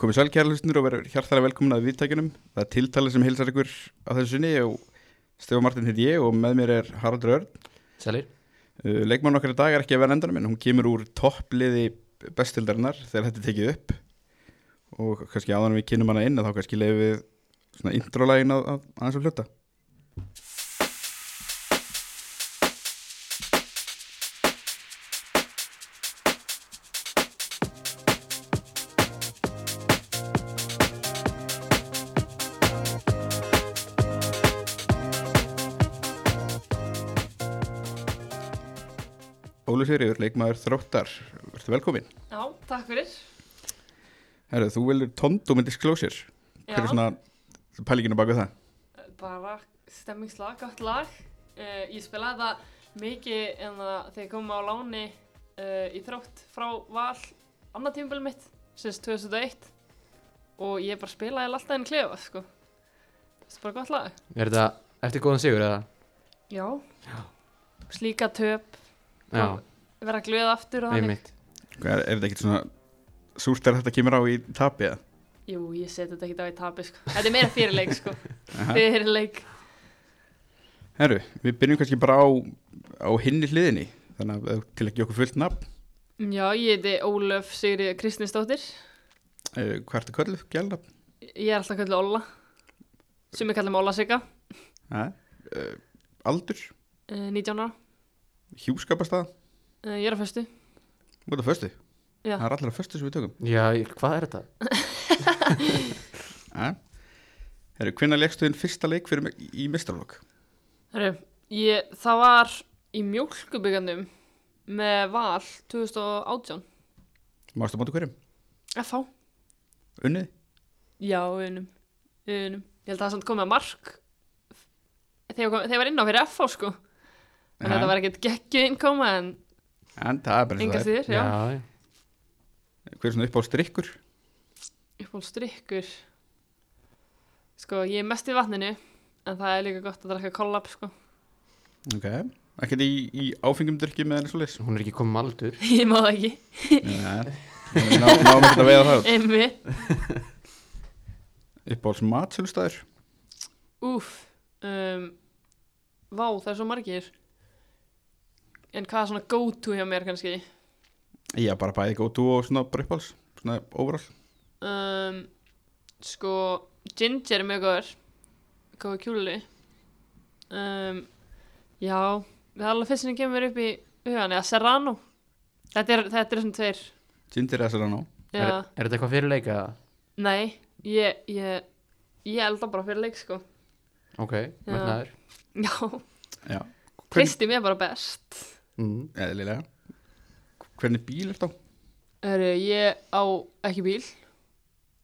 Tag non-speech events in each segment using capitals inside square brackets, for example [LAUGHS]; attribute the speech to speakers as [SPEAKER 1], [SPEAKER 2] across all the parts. [SPEAKER 1] Komið sæl kæra hlustundur og verður hjartalega velkomin að viðtækjunum. Það er tiltalið sem heilsar ykkur á þessu sinni og Stefa Martin heiti ég og með mér er Haraldur Örn.
[SPEAKER 2] Sælir
[SPEAKER 1] Uh, Leikmann okkar í dag er ekki að vera endanum en hún kemur úr toppliði bestildarinnar þegar þetta er tekið upp og kannski áðan en við kynum hana inn að þá kannski leiðum við svona introlægin að, að aðeins að hluta. Óli Sigriður, leikmaður þróttar, verður velkomin.
[SPEAKER 3] Já, takk fyrir.
[SPEAKER 1] Herru, þú velur Tondum in Disclosure.
[SPEAKER 3] Já,
[SPEAKER 1] Hver er svona pælingin á baku það?
[SPEAKER 3] bara stemmingslag, gott lag. Uh, ég spilaði það mikið en það þegar ég kom á láni uh, í þrótt frá val annað tímabili mitt, sinns 2001 og ég bara spilaði það alltaf enn klefa, sko. Það er bara gott lag.
[SPEAKER 2] Er þetta eftir góðan sigur eða?
[SPEAKER 3] Já. Slíka töp,
[SPEAKER 2] Já,
[SPEAKER 3] Já. vera glöð aftur og þannig.
[SPEAKER 2] einmitt
[SPEAKER 1] Er, er þetta ekkert svona súrt er þetta kemur á í tapi eða?
[SPEAKER 3] Jú, ég seti þetta ekki á í tapi, sko. Þetta er meira fyrirleik, sko.
[SPEAKER 1] Aha.
[SPEAKER 3] Fyrirleik.
[SPEAKER 1] Herru, við byrjum kannski bara á, á hinni hliðinni þannig að til ekki okkur fullt nafn
[SPEAKER 3] Já, ég heiti Ólöf Sigri Kristinsdóttir.
[SPEAKER 1] uh, hvað ertu kölluð, gælnafn?
[SPEAKER 3] Ég er alltaf kallið Óla sem ég kallið með Óla Sigga
[SPEAKER 1] Uh, aldur,
[SPEAKER 3] uh, 19 ára,
[SPEAKER 1] hjúskapastað
[SPEAKER 3] uh, ég er að föstu
[SPEAKER 1] út af föstu,
[SPEAKER 3] Já.
[SPEAKER 1] það er allir að föstu sem við tökum
[SPEAKER 2] Já, ég- hvað er þetta?
[SPEAKER 1] uh. Herru, hvenær leggstu þinn fyrsta leik fyrir mig í mistarlokk?
[SPEAKER 3] Heru, ég, Það var í mjólkubyggandum með val 2018
[SPEAKER 1] Mástu móti hverjum?
[SPEAKER 3] FH
[SPEAKER 1] Unnið?
[SPEAKER 3] Já, unum, unum Ég held að það samt komið að mark þegar ég kom- þegar ég var inn á fyrir FH sko en
[SPEAKER 1] Aha.
[SPEAKER 3] þetta var ekkert geggju innkoma en
[SPEAKER 1] En það er bara
[SPEAKER 3] enga
[SPEAKER 1] eins og það
[SPEAKER 3] þýður, já,
[SPEAKER 2] já,
[SPEAKER 1] er Hver er svona upp á strikkur?
[SPEAKER 3] uppból strikkur Sko, ég er mest í vatninu en það er líka gott að drakka kollab sko [LAUGHS]
[SPEAKER 1] Ok, ekkert í, í áfengum drykjum eða eins og leys?
[SPEAKER 2] Hún er ekki komið með aldur
[SPEAKER 3] Ég má það ekki
[SPEAKER 1] Nei, við ná- náum ekki að veiða það
[SPEAKER 3] Einmitt
[SPEAKER 1] upp á alls matsölustæður
[SPEAKER 3] Úf um, Vá, það er svo margir En hvað er svona go to hjá mér kannski?
[SPEAKER 1] Já, bara bæði góð dú og svona bara uppáls Svona overall
[SPEAKER 3] Um, sko, ginger er mjög góður Góður kjúli um, Já, það er alveg fyrst sem kemur upp í hugan Eða serrano Þetta er, þetta er svona tveir
[SPEAKER 1] Ginger eða Serrano
[SPEAKER 3] Já,
[SPEAKER 2] er, er þetta eitthvað fyrirleik eða?
[SPEAKER 3] nei, ég, ég, ég elda bara fyrir leik sko
[SPEAKER 2] Ok, metnaður
[SPEAKER 3] Já,
[SPEAKER 1] Já,
[SPEAKER 3] kristi mér bara best
[SPEAKER 2] mm.
[SPEAKER 1] eðlilega Hvernig bíl er þetta á?
[SPEAKER 3] Herru, ég á ekki bíl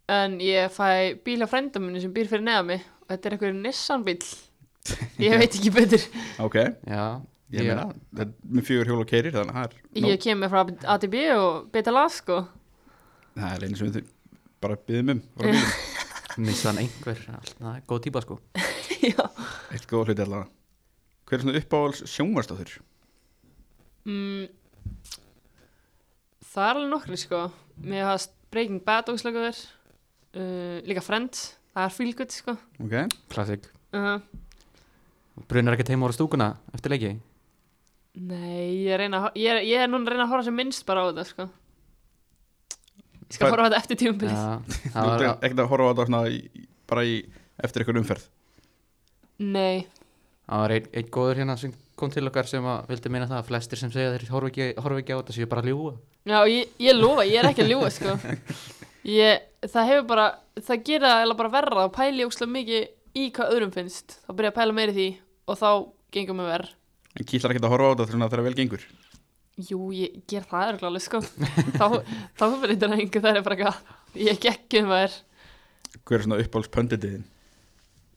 [SPEAKER 3] en ég fæ bíl á frænda minni sem býr fyrir neða mig og þetta er einhver Nissan bíl ég veit ekki betur
[SPEAKER 1] Ok,
[SPEAKER 2] Já,
[SPEAKER 1] ég meina þetta er með fjögur hjól og keirir þannig að það er
[SPEAKER 3] ég kem með frá ATB og betala sko
[SPEAKER 1] Það er einu sem við bara byðum um frá bílum.
[SPEAKER 2] missa hann einhver Alltaf, góð típa sko
[SPEAKER 3] já
[SPEAKER 1] Eitt góð hluti allavega Hver er svona uppáhals sjónvarstáður?
[SPEAKER 3] mm, það er alveg nokkri sko mér hafast Breaking Bad ógslökuður uh, líka Friends það er feel good sko
[SPEAKER 1] Ok,
[SPEAKER 2] Klassik
[SPEAKER 3] uh
[SPEAKER 2] Brunar ekki teima ára stúkuna eftir leiki
[SPEAKER 3] nei ég er, reyna, að ho- ég, er, ég er núna að reyna að horfa sem minnst bara á þetta sko ég skal
[SPEAKER 1] Hvað-
[SPEAKER 3] horfa á þetta eftir tíumbilið
[SPEAKER 2] Já,
[SPEAKER 1] þú
[SPEAKER 2] það var
[SPEAKER 1] ert ekkert að horfa á þetta svona í, bara í, eftir eitthvað umferð
[SPEAKER 3] nei
[SPEAKER 2] Það var einn ein góður hérna sem kom til okkar sem að vildi meina það að flestir sem segja þeir horfa ekki, horfa ekki á þetta séu bara að ljúga
[SPEAKER 3] Já, ég, ég lofa, ég er ekki að ljúa sko ég, Það hefur bara Það gera það eiginlega bara verra þá pæli ég óslega mikið í hvað öðrum finnst Þá byrja ég að pæla meiri því Og þá gengum mér verð
[SPEAKER 1] En kýtlar ekkert að horfa á þetta svona þegar vel gengur
[SPEAKER 3] Jú, ég ger það örgla alveg sko Þá, þá fyrir þetta einhver það er bara eitthvað Ég gekk um verð
[SPEAKER 1] Hver er svona uppáhals pönditiðin?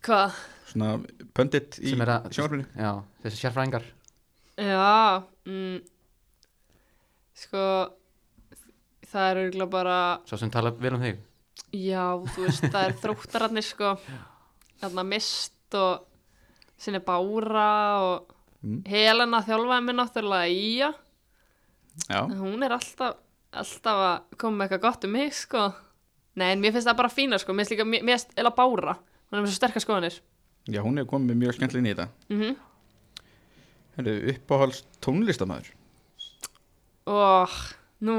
[SPEAKER 3] Hvað?
[SPEAKER 1] Svona pöndit í
[SPEAKER 2] Sem er að-
[SPEAKER 1] sjónvarpinu?
[SPEAKER 2] Já, þessi sérfræðingar
[SPEAKER 3] Já mm, Sko Það er örgla bara
[SPEAKER 2] Svo sem tala vel um þig
[SPEAKER 3] Já, þú veist, það er þróttararnir sko Þarna mist og sinni bára og
[SPEAKER 1] Mm.
[SPEAKER 3] Helena þjálfaði mér náttúrulega í ja.
[SPEAKER 1] Já
[SPEAKER 3] Hún er alltaf, alltaf að koma með eitthvað gott um mig sko Nei, en mér finnst það bara fína sko, mér finnst líka, mér mér finnst eða bára, hún er með svo sterkar skoðanir.
[SPEAKER 1] Já, hún er komið með mjög skemmtileg inn í þetta
[SPEAKER 3] Mm
[SPEAKER 1] Henni, uppáhalds tónlistamæður
[SPEAKER 3] Og nú,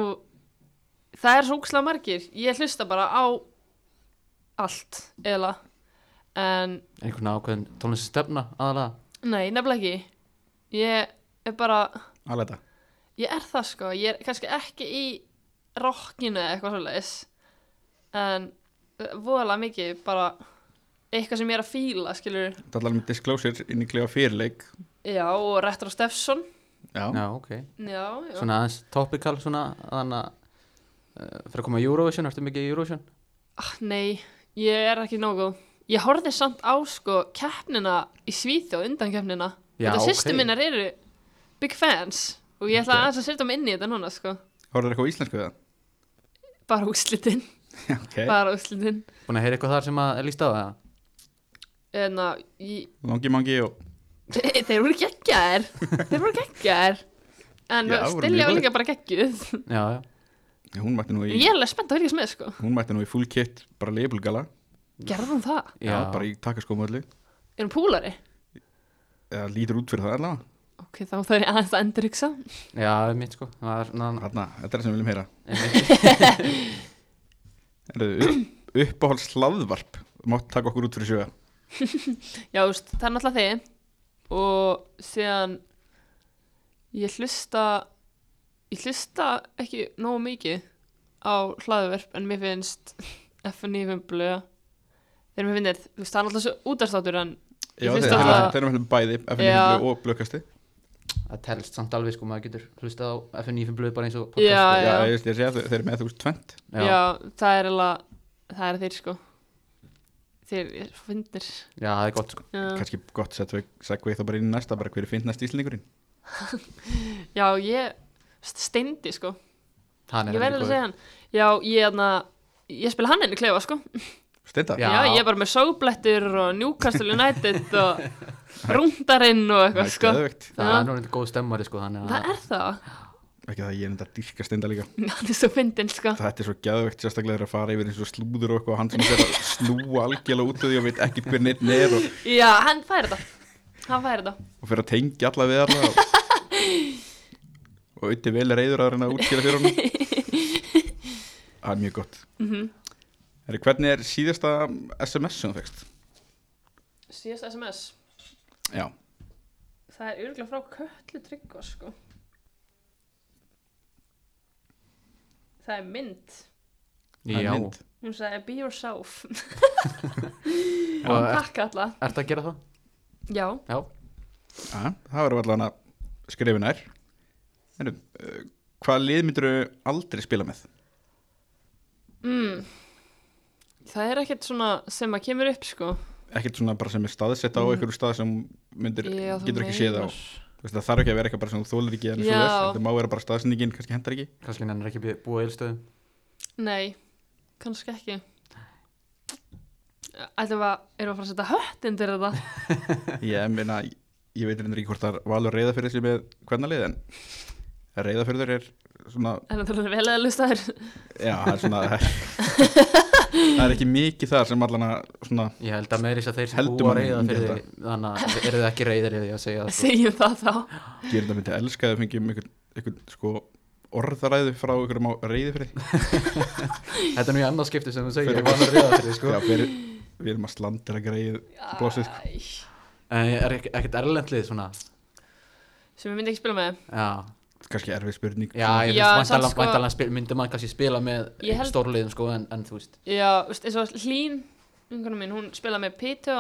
[SPEAKER 3] það er svo úkslega margir, ég hlusta bara á allt, eða, en
[SPEAKER 2] einhvern ákveðin tónlistin stefna aðalega
[SPEAKER 3] nei, nefnilega ekki, ég er bara,
[SPEAKER 1] Aletta
[SPEAKER 3] ég er það sko, ég er kannski ekki í rockinu eða eitthvað svoleiðis, en eh, voðalega mikið bara eitthvað sem ég er að fíla, skilur,
[SPEAKER 1] Það er alveg með disclosure inn í klefa fyrirleik
[SPEAKER 3] já, og Retro Steffsson,
[SPEAKER 1] Já,
[SPEAKER 2] já, ok,
[SPEAKER 3] já, já.
[SPEAKER 2] svona aðeins topical svona, þannig að uh, fyrir að koma í Eurovision, ertu mikið í Eurovision?
[SPEAKER 3] Ah, nei, ég er ekki nógu góð. Ég horfði samt á sko keppnina í Svíþjóð undan keppnina.
[SPEAKER 2] Já,
[SPEAKER 3] Þetta sýstu
[SPEAKER 2] ok.
[SPEAKER 3] minnar eru big fans og ég ætla
[SPEAKER 1] Ok.
[SPEAKER 3] aðeins að setja mig inn í þetta núna sko.
[SPEAKER 1] horfður eitthvað á íslensku [LAUGHS] við það?
[SPEAKER 3] Bara úslitin,
[SPEAKER 1] ok,
[SPEAKER 3] bara úslitin.
[SPEAKER 2] Búin að heyra eitthvað þar sem að er líst á það?
[SPEAKER 3] En að, ég,
[SPEAKER 1] longi mangi og
[SPEAKER 3] þeir voru geggjaðir, þeir voru geggjaðir.
[SPEAKER 1] Já, voru
[SPEAKER 3] En
[SPEAKER 1] mjög
[SPEAKER 3] stillja var
[SPEAKER 1] góðir.
[SPEAKER 3] líka bara geggjuð.
[SPEAKER 2] Já, já,
[SPEAKER 1] Já, hún mætti nú
[SPEAKER 3] En
[SPEAKER 1] í,
[SPEAKER 3] Ég er alveg spennt að fylgjast með sko.
[SPEAKER 1] hún mætti nú í full kit bara leifbulgala,
[SPEAKER 3] Gerðum það?
[SPEAKER 1] já. bara í takaskóma öllu
[SPEAKER 3] Erum púlari?
[SPEAKER 1] eða lítur út fyrir það allavega
[SPEAKER 3] Ok, þá þarf ég aðeins að endurryksa.
[SPEAKER 2] já, mitt sko, það er svona
[SPEAKER 1] Þarna, þetta er það sem við viljum heyra
[SPEAKER 2] einmitt.
[SPEAKER 1] Heyrðu, upp, uppáhalds hlaðvarp mátt taka okkur út fyrir sjöga
[SPEAKER 3] Já, þú veist, það er náttúrulega þið og síðan ég hlusta ég hlusta ekki nógu mikið á hlaðverf en mér finnst FNI Vimblöða þegar mér finnir, þú veist, það er náttúrulega svo útastátur en
[SPEAKER 1] Já,
[SPEAKER 3] finnst
[SPEAKER 1] þeir
[SPEAKER 3] þetta-
[SPEAKER 1] þeir- þeir eru með bæði
[SPEAKER 3] Já.
[SPEAKER 1] FNF og blökkasti
[SPEAKER 2] það telst samt alveg sko, maður getur hlustað á FNF blöð bara eins og
[SPEAKER 3] Já,
[SPEAKER 2] podcast,
[SPEAKER 1] Já, ég veist, ég sé að þeir þeir eru með þú veist tvent
[SPEAKER 2] sko.
[SPEAKER 3] já, það er alveg það er þeir sko þeir eru svo finnir
[SPEAKER 2] já, það er gott sko
[SPEAKER 3] já.
[SPEAKER 1] kannski gott sett við segvið þá bara inn í næsta bara hver er fint næst íslendingurinn
[SPEAKER 3] já, ég steindi sko
[SPEAKER 2] Hann er
[SPEAKER 3] ég verði
[SPEAKER 2] heldur
[SPEAKER 3] að
[SPEAKER 2] góður.
[SPEAKER 3] segja hann já, ég, þarna, ég spila hann henni klefa sko
[SPEAKER 1] Steinda?
[SPEAKER 2] Já.
[SPEAKER 3] Já, ég er bara með sóblettur og Newcastle United og
[SPEAKER 2] [LAUGHS]
[SPEAKER 3] rúndarinn og
[SPEAKER 1] það
[SPEAKER 3] eitthvað,
[SPEAKER 1] er
[SPEAKER 3] sko.
[SPEAKER 1] geðveikt.
[SPEAKER 2] það
[SPEAKER 3] Já.
[SPEAKER 2] er nú reyndar góð stemmari sko, þannig að
[SPEAKER 3] Það er það.
[SPEAKER 1] Ekki það, ég er enda að dýrka steinda líka
[SPEAKER 3] Það er svo fyndin, sko.
[SPEAKER 1] Þetta er svo geðvegt sérstaklega þegar að fara yfir eins og slúður og eitthvað og hann sem þeir að snúa algjörlega út af því og veit ekki hver neitt er og,
[SPEAKER 3] Já, hann fær þetta. Hann fær þetta.
[SPEAKER 1] og fyrir að tengja alla við alla og, og auðvitað vel reyður að reyna að útskýra fyrir honum Það er mjög gott mm
[SPEAKER 3] Mhm.
[SPEAKER 1] Hvernig er síðasta SMS sem þú fegst?
[SPEAKER 3] Síðast SMS.
[SPEAKER 1] Já,
[SPEAKER 3] Það er örgulega frá köllu tryggva, sko. Það er mynd.
[SPEAKER 1] það er
[SPEAKER 2] já,
[SPEAKER 1] mynd.
[SPEAKER 3] Hún sagði, be
[SPEAKER 1] [LAUGHS]
[SPEAKER 3] yourself.
[SPEAKER 2] og er,
[SPEAKER 3] Takk alla.
[SPEAKER 2] ertu að gera það?
[SPEAKER 3] Já.
[SPEAKER 2] Já,
[SPEAKER 1] Aha, það verður allan að skrifa nær Heru, Hvað lið myndur aldrei spila með?
[SPEAKER 3] Mm. Það er ekkert svona sem að kemur upp, sko.
[SPEAKER 1] Ekkert svona bara sem er staðsett á einhverju stað sem myndir,
[SPEAKER 3] Mm. Já, þú
[SPEAKER 1] getur ekki séð á
[SPEAKER 3] meinar.
[SPEAKER 1] Þú veist, Það þarf ekki að vera eitthvað bara sem þú þólir ekki en
[SPEAKER 3] Já.
[SPEAKER 1] það má vera bara staðsendingin, kannski hendar ekki
[SPEAKER 2] kannski hann er ekki að búa eilstöðum
[SPEAKER 3] Nei, kannski ekki Ætlum við að, erum við að fara að setja hött undir þetta?
[SPEAKER 1] Ég meina, ég veit reyndir ekki hvort það er valur reyða fyrir þessi með hvernig lið en reyða fyrir þér er svona
[SPEAKER 3] En það er vel eða lusta þér
[SPEAKER 1] já, það er svona það er ekki mikið þar sem allan að svona,
[SPEAKER 2] Ég held að meira þess að þeir sem
[SPEAKER 1] Heldur
[SPEAKER 2] búa
[SPEAKER 1] manni
[SPEAKER 2] reyða
[SPEAKER 1] myndi
[SPEAKER 2] fyrir því Þannig að eru þið ekki reyðir yfir því að
[SPEAKER 3] [LAUGHS]
[SPEAKER 2] segja það sko.
[SPEAKER 3] Segjum það þá
[SPEAKER 1] gerir þetta myndi elska eða fengjum einhvern, einhvern sko orðaræðu frá einhverjum á reyði fyrir
[SPEAKER 2] Þetta er nú í annars skipti sem þú segir
[SPEAKER 1] Fyrir-
[SPEAKER 2] Ég var að reyða fyrir því sko
[SPEAKER 1] já, fyrir, við erum að slandra greið blósið sko.
[SPEAKER 3] Æ,
[SPEAKER 2] En Eh, er ekk- ekkert erlendlið svona
[SPEAKER 3] Sem ég myndi ekki spila með
[SPEAKER 2] Já,
[SPEAKER 1] kannski erfið spurning
[SPEAKER 2] já ég
[SPEAKER 3] Já,
[SPEAKER 2] finnst
[SPEAKER 3] samt
[SPEAKER 2] vantalega
[SPEAKER 3] sko-
[SPEAKER 2] sko... spil, myndi maður kannski spila með
[SPEAKER 3] Ég held-
[SPEAKER 2] stórliðum sko en, en þú veist
[SPEAKER 3] Já, veist, eins og Hlín Vingunum mín, hún spila með Pito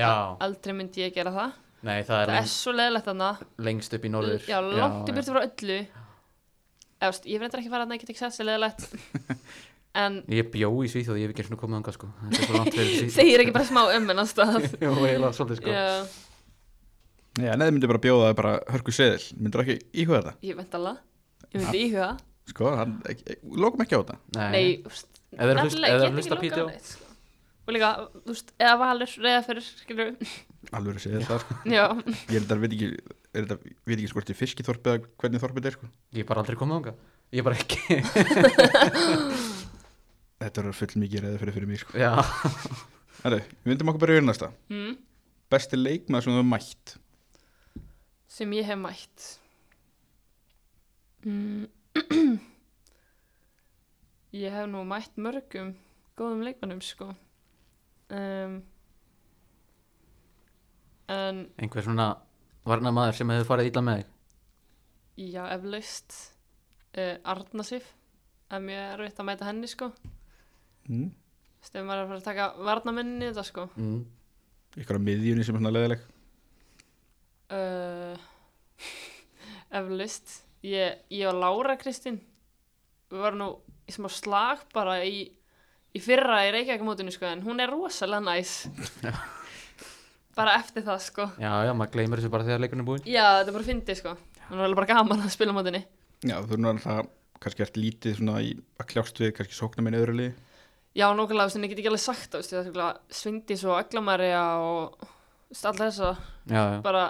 [SPEAKER 2] Já,
[SPEAKER 3] Aldrei myndi ég gera það
[SPEAKER 2] nei það er
[SPEAKER 3] Það er
[SPEAKER 2] lengst,
[SPEAKER 3] svo leðilegt þarna
[SPEAKER 2] lengst upp í norður
[SPEAKER 3] Já, langt í
[SPEAKER 2] já.
[SPEAKER 3] byrtu frá öllu Eða, veist, Ég verður ekki að fara þarna, ég get ekki sagt
[SPEAKER 2] [LAUGHS]
[SPEAKER 3] sér leðilegt En
[SPEAKER 2] Ég bjó í Svíþjóð, ég hef ekki einu sinni komið anga sko Þetta er svo langt fyrir Svíþjóð
[SPEAKER 3] segir ekki bara smá um en að stað
[SPEAKER 2] [LAUGHS] Jú, eiginlega svolítið sko
[SPEAKER 3] Já,
[SPEAKER 1] já, en eða myndir bara bjóða það bara hörku seðil myndir ekki íhuga þetta
[SPEAKER 3] ég veit alveg Ég myndi íhuga það
[SPEAKER 1] sko, hann, ekki, lokum ekki á þetta
[SPEAKER 3] Nei, þú veist,
[SPEAKER 2] Eða er hlust,
[SPEAKER 3] nefnilega,
[SPEAKER 2] eða er
[SPEAKER 3] ég get
[SPEAKER 2] hlusta
[SPEAKER 3] ekki
[SPEAKER 2] píti
[SPEAKER 3] lokað á neitt, sko. Og líka, þú veist, eða valur, reyða fyrir, skilur
[SPEAKER 1] alveg seðil það sko
[SPEAKER 3] [LAUGHS] Já,
[SPEAKER 2] [LAUGHS]
[SPEAKER 1] ég er þetta veit ekki er þetta, veit ekki sko hvort í fiskiþorpið eða hvernig þorpið er sko
[SPEAKER 2] Ég er bara aldrei komið ánga Ég er bara ekki
[SPEAKER 1] Þetta verður full mikið reyði fyrir fyrir mig sko.
[SPEAKER 2] [LAUGHS] Já,
[SPEAKER 1] Herru, við myndum okkur bara yfir í næsta
[SPEAKER 3] mm.
[SPEAKER 1] Besti leikmaður sem þú hefur mætt
[SPEAKER 3] sem ég hef mætt mm. [CLEARS THROAT] ég hef nú mætt mörgum góðum leikmannum sko um, en
[SPEAKER 2] einhver svona varnamaður sem hefur farið illa með þig
[SPEAKER 3] já eflaust uh, Arnasif það er mjög erfitt að mæta henni sko
[SPEAKER 1] mm.
[SPEAKER 3] stefum maður er að fara að taka varnamenninni þetta sko
[SPEAKER 2] mm.
[SPEAKER 1] Ykkur á miðjunni sem er svona leðileg
[SPEAKER 3] Uh, [LAUGHS] eflaust ég, ég og Lára Kristín við varum nú í smá slag bara í, í fyrra í Reykjavíkamótinu sko en hún er rosalega næs bara eftir það sko
[SPEAKER 2] Já, já, maður gleymir þessu bara þegar leikurinn er búinn
[SPEAKER 3] já þetta er bara fyndið sko hún er alveg bara gaman að spila á mótinu
[SPEAKER 1] Já, þú erum alltaf kannski eftir lítið svona í, að kljást við kannski sókna minni öðru liði
[SPEAKER 3] já nokkulega sem ég get ekki alveg sagt það veistu, það er svindið svo öglamæri og alltaf þess að
[SPEAKER 2] Já, já,
[SPEAKER 3] bara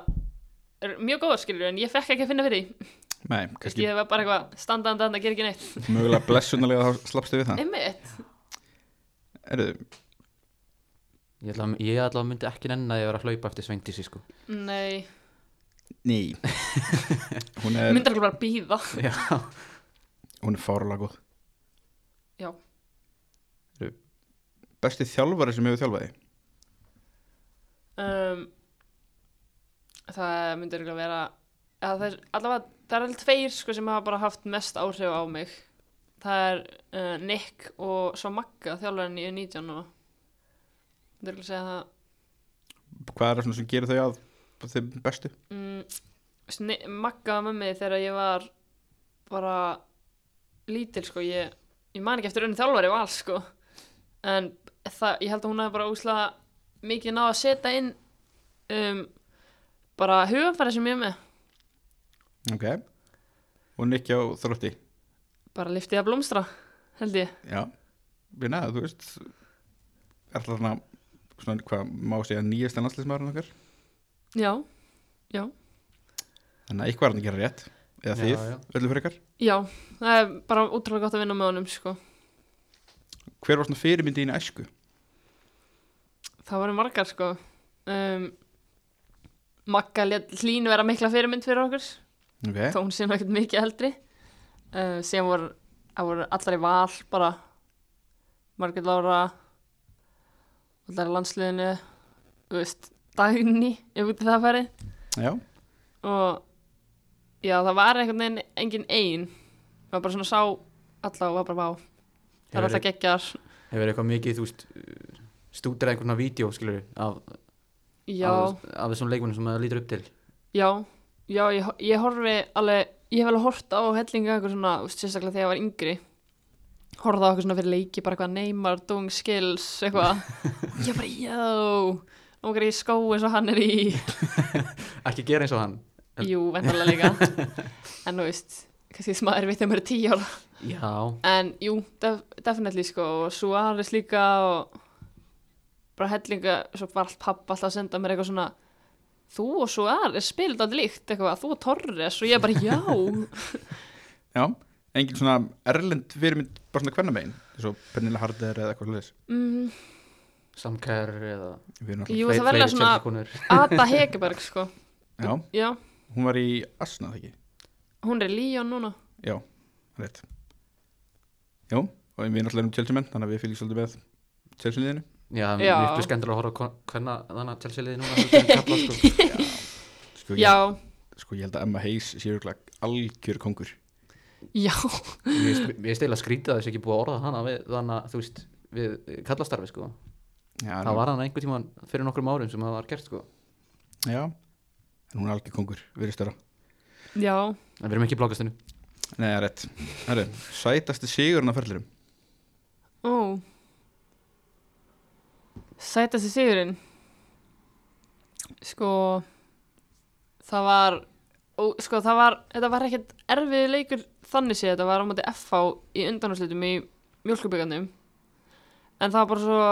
[SPEAKER 3] er mjög góður skilur en ég fekk ekki að finna fyrir því
[SPEAKER 1] Nei,
[SPEAKER 3] Kannski
[SPEAKER 1] kannski
[SPEAKER 3] ég hef bara eitthvað standandi að það gera ekki neitt
[SPEAKER 1] mögulega blessunarlega þá slappstu við það
[SPEAKER 3] einmitt
[SPEAKER 1] Herru,
[SPEAKER 2] ég ætla, að- ég ætla að myndi ekki nenni að ég vera að hlaupa eftir Sveindísi sko [LAUGHS]
[SPEAKER 3] Nei,
[SPEAKER 1] [LAUGHS] ný Hún
[SPEAKER 3] er...
[SPEAKER 1] er,
[SPEAKER 3] myndar ekki bara býða
[SPEAKER 2] Já,
[SPEAKER 1] hún er fárlega góð
[SPEAKER 3] Já.
[SPEAKER 1] Herru, Besti þjálfari sem hefur þjálfaði
[SPEAKER 3] um, Það myndar ekki vera eða, það er, allavega, það er alveg tveir sko, sem hafa bara haft mest áhrif á mig Það er uh, Nick og svo Magga þjálfarinn í 19 og myndar ekki segja það
[SPEAKER 1] Hvað er það svona sem gerir þau að þeim bestu?
[SPEAKER 3] mm, sni, Magga var með mig þegar ég var bara lítil sko, ég, ég man ekki eftir unni þjálfari val sko en það, ég held að hún hafi bara úslega mikið náð að setja inn um, bara huganfæri sem ég er með
[SPEAKER 1] Ok Og Nikki á þrótti
[SPEAKER 3] bara liftið að blómstra held ég,
[SPEAKER 1] Já, við neða, þú veist Er það svona, svona hvað má segja nýjasta landslismæðurinn okkar
[SPEAKER 3] já
[SPEAKER 1] Þannig að eitthvað er hann að gera rétt Eða
[SPEAKER 2] Já,
[SPEAKER 1] þið,
[SPEAKER 2] já.
[SPEAKER 1] öllu fyrir ykkar
[SPEAKER 3] já, það er bara útrúlega gott að vinna með honum sko,
[SPEAKER 1] Hver var svona fyrirmyndi þín í æsku?
[SPEAKER 3] það voru margar sko um, Magga lét hlín vera mikla fyrirmynd fyrir okkur
[SPEAKER 1] Ok,
[SPEAKER 3] þó hún sé nú ekkert mikið eldri uh, síðan voru, það voru allar í val bara Margrét Lára allar í landsliðinu þú veist, dagni ef út í það færi
[SPEAKER 1] já,
[SPEAKER 3] og já, það var einhvern veginn engin ein maður bara svona sá alla og var bara vá það er
[SPEAKER 2] Hefur-
[SPEAKER 3] alltaf geggjar
[SPEAKER 2] hefur eitthvað mikið, þú veist stúdrað einhvern veginn vídeo, skilur af,
[SPEAKER 3] já,
[SPEAKER 2] af, af þessum leikunum sem maður lítur upp til
[SPEAKER 3] já, já, ég, ég horfi alveg, ég hef alveg hort á hellinga eitthvað svona, þú veist, sérstaklega þegar ég var yngri horfði á eitthvað svona fyrir leiki bara eitthvað neymar, dung, skills, eitthvað ég bara, já og í skó eins og hann er í
[SPEAKER 2] Ekki gera eins og hann
[SPEAKER 3] jú, vendarlega líka en þú veist, kannski smá erfitt þegar maður er tíu ára
[SPEAKER 2] Já,
[SPEAKER 3] En jú, def, definitely sko og Suárez líka og bara hellinga, svo var allt pappa alltaf að senda mér eitthvað svona þú og Suárez spilir þetta líkt eitthvað, þú og Torres og ég bara já
[SPEAKER 1] já Engin svona erlend fyrirmynd bara svona hvernig megin Svo Pernilla Harder eða eitthvað hlutis
[SPEAKER 3] mm,
[SPEAKER 2] samkær eða
[SPEAKER 1] Við erum alltaf,
[SPEAKER 3] Jú,
[SPEAKER 2] fle-
[SPEAKER 3] það verður
[SPEAKER 2] fleiri
[SPEAKER 3] svona
[SPEAKER 2] Chelsea-konur.
[SPEAKER 3] Ada Hegeberg sko,
[SPEAKER 1] já,
[SPEAKER 3] já
[SPEAKER 1] hún var í Asna þegar ekki
[SPEAKER 3] hún er í Líón núna
[SPEAKER 1] Já, rétt Jú, og við erum alltaf um Chelsea menn Þannig að við fylgjum svolítið með Chelsea liðinu
[SPEAKER 2] Já, það
[SPEAKER 3] Já.
[SPEAKER 2] er miklu skemmtilega að horfa hvernig þannig að Chelsea liði núna heldur en kalla, sko.
[SPEAKER 3] [LAUGHS]
[SPEAKER 1] Sko, ég-
[SPEAKER 3] Já,
[SPEAKER 1] sko ég held að Emma Hayes sé örugglega algjör kongur
[SPEAKER 3] já,
[SPEAKER 2] Ég st- Ég stila að skrýta þessu ekki búið að orða hana við, þannig að þú veist við kallastarfi sko.
[SPEAKER 1] já,
[SPEAKER 2] Það var hann einhver tíma fyrir nokkrum árum sem það var gert sko.
[SPEAKER 1] já, en hún er algjör kongur virðist vera,
[SPEAKER 3] já
[SPEAKER 2] En við erum ekki í blókastinu
[SPEAKER 1] nei, það er rétt Herru, sætasti sigurinn af ferðlurum
[SPEAKER 3] Ó Sætasti sigurinn Sko Það var ó, Sko það var Þetta var ekkert erfið leikur þannig séð Þetta var á móti FH í undanúrslitum í mjölkubyggandum En það var bara svo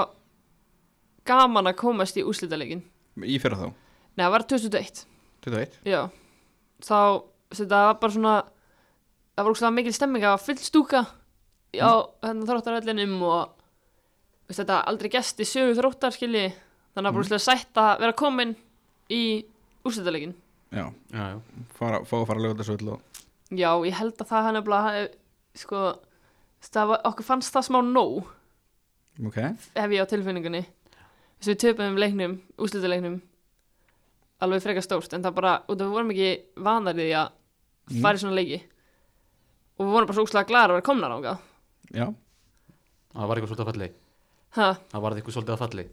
[SPEAKER 3] Gaman að komast í úrslitaleikin
[SPEAKER 1] í fyrra þá,
[SPEAKER 3] Nei, það var 2001
[SPEAKER 1] 21
[SPEAKER 3] Já, þá þetta var bara svona það var úrslega mikil stemming, það var full stúka á hérna, þróttaröllinum og veist, þetta aldrei gest í sögu þróttar skilji þannig að bara mm. sætt að vera komin í úrstættuleikin
[SPEAKER 1] Já,
[SPEAKER 2] já, já.
[SPEAKER 1] fara, fá að fara að lögða þessu öll og
[SPEAKER 3] já, ég held að það hann er bara sko, veist, það var, okkur fannst það smá nóg
[SPEAKER 1] Ok,
[SPEAKER 3] hef ég á tilfinningunni þess að við töpum leiknum, úrslutaleiknum alveg frekar stórt en það bara, út af við vorum ekki vanar í því að fara í svona leiki og við vorum bara svo úrslega glæðar að vera komnar ánga
[SPEAKER 1] já,
[SPEAKER 2] það var eitthvað svolítið að falli
[SPEAKER 3] ha,
[SPEAKER 2] það var eitthvað svolítið að falli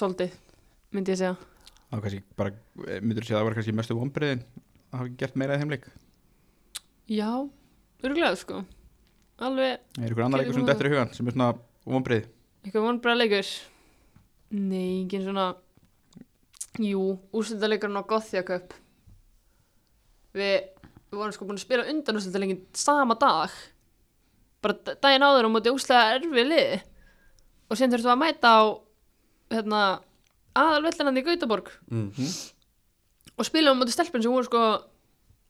[SPEAKER 3] svolítið myndi ég segja,
[SPEAKER 1] þá kannski bara eh, myndirðu segja að það var kannski mestu vonbriðin að hafa ekki gert meira í þeim leik
[SPEAKER 3] já örgulega sko, alveg
[SPEAKER 1] Er ykkur annar
[SPEAKER 3] Getur
[SPEAKER 1] leikur sem
[SPEAKER 3] þú-
[SPEAKER 1] dettur í hugan sem er svona vonbrið
[SPEAKER 3] eitthvað vonbræða leikur nei, engin svona jú, úrslutaleikurinn á Gothia Cup við, við vorum sko búin að spila undan úrslutaleikin sama dag bara d- daginn áður og móti úrslega erfið liði og síðan þurftum við að mæta á hérna, aðalvellinandi í Gautaborg
[SPEAKER 2] mm.
[SPEAKER 3] og spilaðum á móti stelpun sem voru sko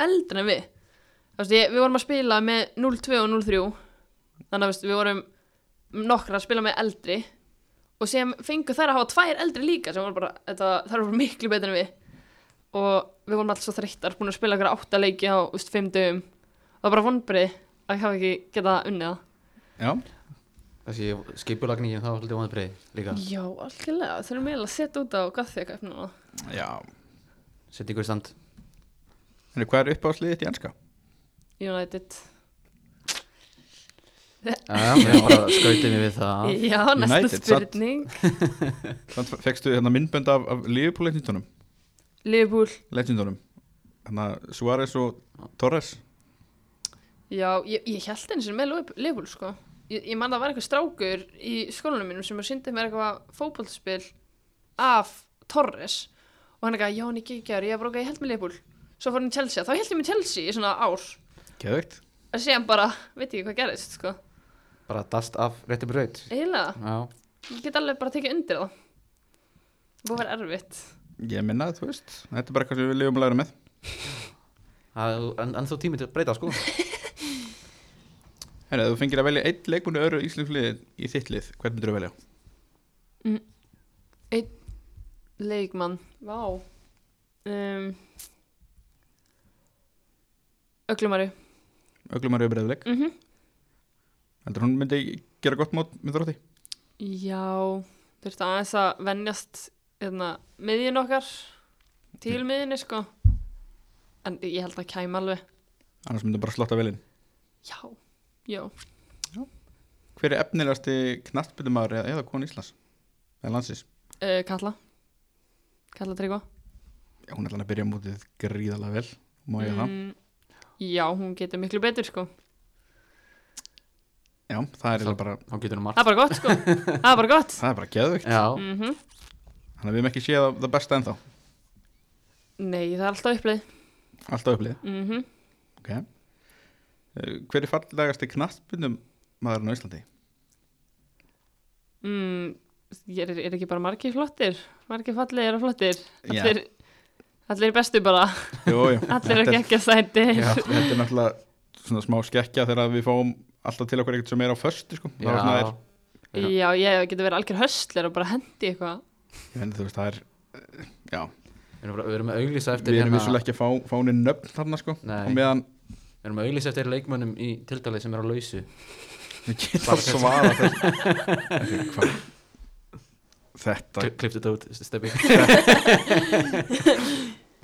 [SPEAKER 3] eldri en við Þú veist, ég, við vorum að spila með 0-2 og 0-3 þannig að þú veist, við vorum nokkra að spila með eldri og sem fengu þær að hafa tvær eldri líka sem voru bara, þetta, þær voru miklu betur en við og við vorum alls svo þreyttar búin að spila ykkur átta leiki á úst, fimm dögum og það var bara vonbrið að ég hafa ekki getað unnið það
[SPEAKER 1] Já,
[SPEAKER 2] þessi skipulagningin það var svolítið vonðbreið líka
[SPEAKER 3] Já, algjörlega, þau eru meðlega að setja út á gathjaka núna
[SPEAKER 1] já
[SPEAKER 2] setja ykkur í stand
[SPEAKER 1] En hvað er uppáðsliðið þitt í enska?
[SPEAKER 3] United
[SPEAKER 2] já, já,
[SPEAKER 3] [LAUGHS]
[SPEAKER 2] við bara skautum við það
[SPEAKER 3] Já, næsta
[SPEAKER 1] Ah. United, satt.
[SPEAKER 3] spurning
[SPEAKER 1] Þannig fegstu hérna myndbönd af, af Liverpool leikindunum
[SPEAKER 3] Liverpool
[SPEAKER 1] Leikindunum Þannig Hérna, Suárez og Torres
[SPEAKER 3] Já, ég, ég held eins og með Liverpool- Liverpool sko Ég, ég man það var eitthvað strákur í skólanum mínum sem að syndi mér eitthvað fótboltspil af Torres og hann eitthvað, já hann er geggjör, ég hef bara okkar, ég held með Liverpool Svo fór hann í Chelsea, þá held ég með Chelsea í svona ár
[SPEAKER 1] Geðveikt
[SPEAKER 3] að segja hann bara, veit ekki hvað gerist sko
[SPEAKER 2] bara dast af rétti braut
[SPEAKER 3] Eiginlega,
[SPEAKER 2] já,
[SPEAKER 3] ég get alveg bara tekið undir það Búið að vera erfitt
[SPEAKER 1] Ég minna það, þú veist Þetta er bara eitthvað sem við lifum að læra með
[SPEAKER 2] það, en, en þú tími til að breyta sko
[SPEAKER 1] Herra, ef þú fengir að velja einn leikmunni öru íslensliði í þitt lið, hvern myndir þú velja?
[SPEAKER 3] Leikmann, vá um, Öglumari
[SPEAKER 1] Öglumar yfir breyðleik
[SPEAKER 3] Mhm
[SPEAKER 1] Heldur hún myndi gera gott mót með þrótti?
[SPEAKER 3] Já, þurfti aðeins að venjast hérna, miðjun okkar
[SPEAKER 1] Mm.
[SPEAKER 3] til miðjunni sko en ég held að kæma alveg
[SPEAKER 1] Annars myndi hún bara slotta velin
[SPEAKER 3] já, já
[SPEAKER 1] Hver er efnilegasti knastbytumar eða, eða konu Íslands? Eða landsins?
[SPEAKER 3] uh, Kalla Kalla Tryggva
[SPEAKER 1] Já, hún er alveg að byrja mótið gríðalega vel Má
[SPEAKER 3] Mhm.
[SPEAKER 1] ég það?
[SPEAKER 3] Mm, Já, hún getur miklu betur sko
[SPEAKER 1] Já, það er eiginlega bara,
[SPEAKER 2] þá getur hún
[SPEAKER 3] Það
[SPEAKER 2] margt
[SPEAKER 3] er bara gott sko Það er bara gott
[SPEAKER 1] [LAUGHS] það er bara geðveikt
[SPEAKER 2] já,
[SPEAKER 3] mm
[SPEAKER 1] Þannig að við hefum ekki séð það- það besta ennþá
[SPEAKER 3] Nei, það er alltaf upplið
[SPEAKER 1] Alltaf upplið
[SPEAKER 3] mm
[SPEAKER 1] Ok Eh, Hver er fallegasti knastbytum maðurinn á Íslandi?
[SPEAKER 3] mm, er, er ekki bara margir flottir Margir fallegir og flottir
[SPEAKER 1] Já.
[SPEAKER 3] Allir, allir bestu bara
[SPEAKER 1] [LAUGHS] Jú, jú
[SPEAKER 3] [LAUGHS] Allir
[SPEAKER 1] Þetta
[SPEAKER 3] eru
[SPEAKER 1] er-
[SPEAKER 3] ekki að sæti
[SPEAKER 1] Já, þetta er náttúrulega svona smá skekkja þegar við fáum alltaf til okkur eitthvað sem er á föstu sko. það, er svona,
[SPEAKER 2] já.
[SPEAKER 1] er,
[SPEAKER 3] Já, ég geti verið algjör höstler og bara hendi eitthvað.
[SPEAKER 1] ég veit, þú veist, það er já,
[SPEAKER 2] Við erum bara- við erum að auglýsa eftir hérna-
[SPEAKER 1] við erum vissulega ekki að fá, fá henni nöfn þarna sko,
[SPEAKER 2] Nei.
[SPEAKER 1] og meðan
[SPEAKER 2] við erum að auglýsa eftir leikmönnum í tildalið sem er á lausu
[SPEAKER 1] við getum
[SPEAKER 2] Bara
[SPEAKER 1] að svara þess hvað þetta,
[SPEAKER 2] Kli- klipptu þetta út, steppi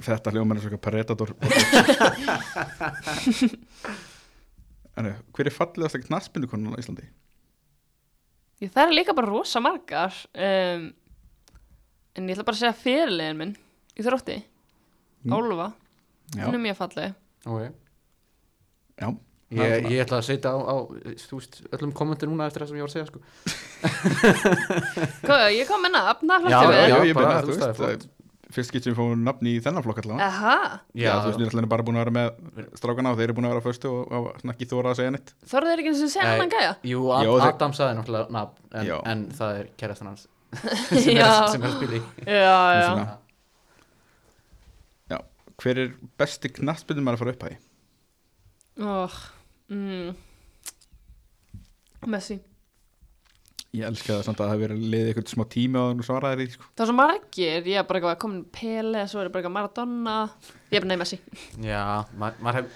[SPEAKER 1] þetta hljóma er svona paretador Þannig, eh, hver er fallegasta knarsbyndukonan á Íslandi?
[SPEAKER 3] Ég, það er líka bara rosa margar. Um, en ég ætla bara að segja fyrirlegin minn í þrótti.
[SPEAKER 1] Mm.
[SPEAKER 3] Álfa,
[SPEAKER 1] Já,
[SPEAKER 3] hún er mjög falleg.
[SPEAKER 2] okay.
[SPEAKER 1] já, Það er
[SPEAKER 2] ég,
[SPEAKER 1] svona.
[SPEAKER 2] ég ætla að setja á, á þú veist, öllum kommentir núna eftir það sem ég var að segja sko.
[SPEAKER 3] Hvað, ég kom með nafn, það
[SPEAKER 2] Já,
[SPEAKER 1] já,
[SPEAKER 3] flottu við.
[SPEAKER 2] já,
[SPEAKER 1] já, ég
[SPEAKER 2] bara,
[SPEAKER 1] byrja,
[SPEAKER 2] þú
[SPEAKER 1] þú
[SPEAKER 2] veist, það er
[SPEAKER 1] veist fyrst getur við fáum nafn í þennan flokk allavega
[SPEAKER 3] Aha,
[SPEAKER 1] Já, þú veist, Nýrland er bara búin að vera með strákana og þeir eru búin að vera á föstu og, og svona ekki þóra að segja neitt
[SPEAKER 3] þorðið er ekki eins og segja
[SPEAKER 2] Nei.
[SPEAKER 3] hann að gæja.
[SPEAKER 2] Jú, Ad,
[SPEAKER 1] Já, og þeir-
[SPEAKER 2] Adam saði náttúrulega nafn, en,
[SPEAKER 1] Já.
[SPEAKER 2] en það er kærastan hans [LAUGHS] [LAUGHS] sem, er,
[SPEAKER 3] Já.
[SPEAKER 2] sem er að spila í
[SPEAKER 3] Já, já.
[SPEAKER 1] Svona. Já, hver er besti knattspynnum að fara upp að því?
[SPEAKER 3] Oh, mm, Messi
[SPEAKER 1] Ég elska það samt að það hefur verið liðið eitthvað smá tími á þannig svaraðir í sko.
[SPEAKER 3] Það var svo margir, ég er bara eitthvað komin Pele, svo er ég bara eitthvað Maradona Ég er bara nefn Messi
[SPEAKER 2] Já, ma maður hef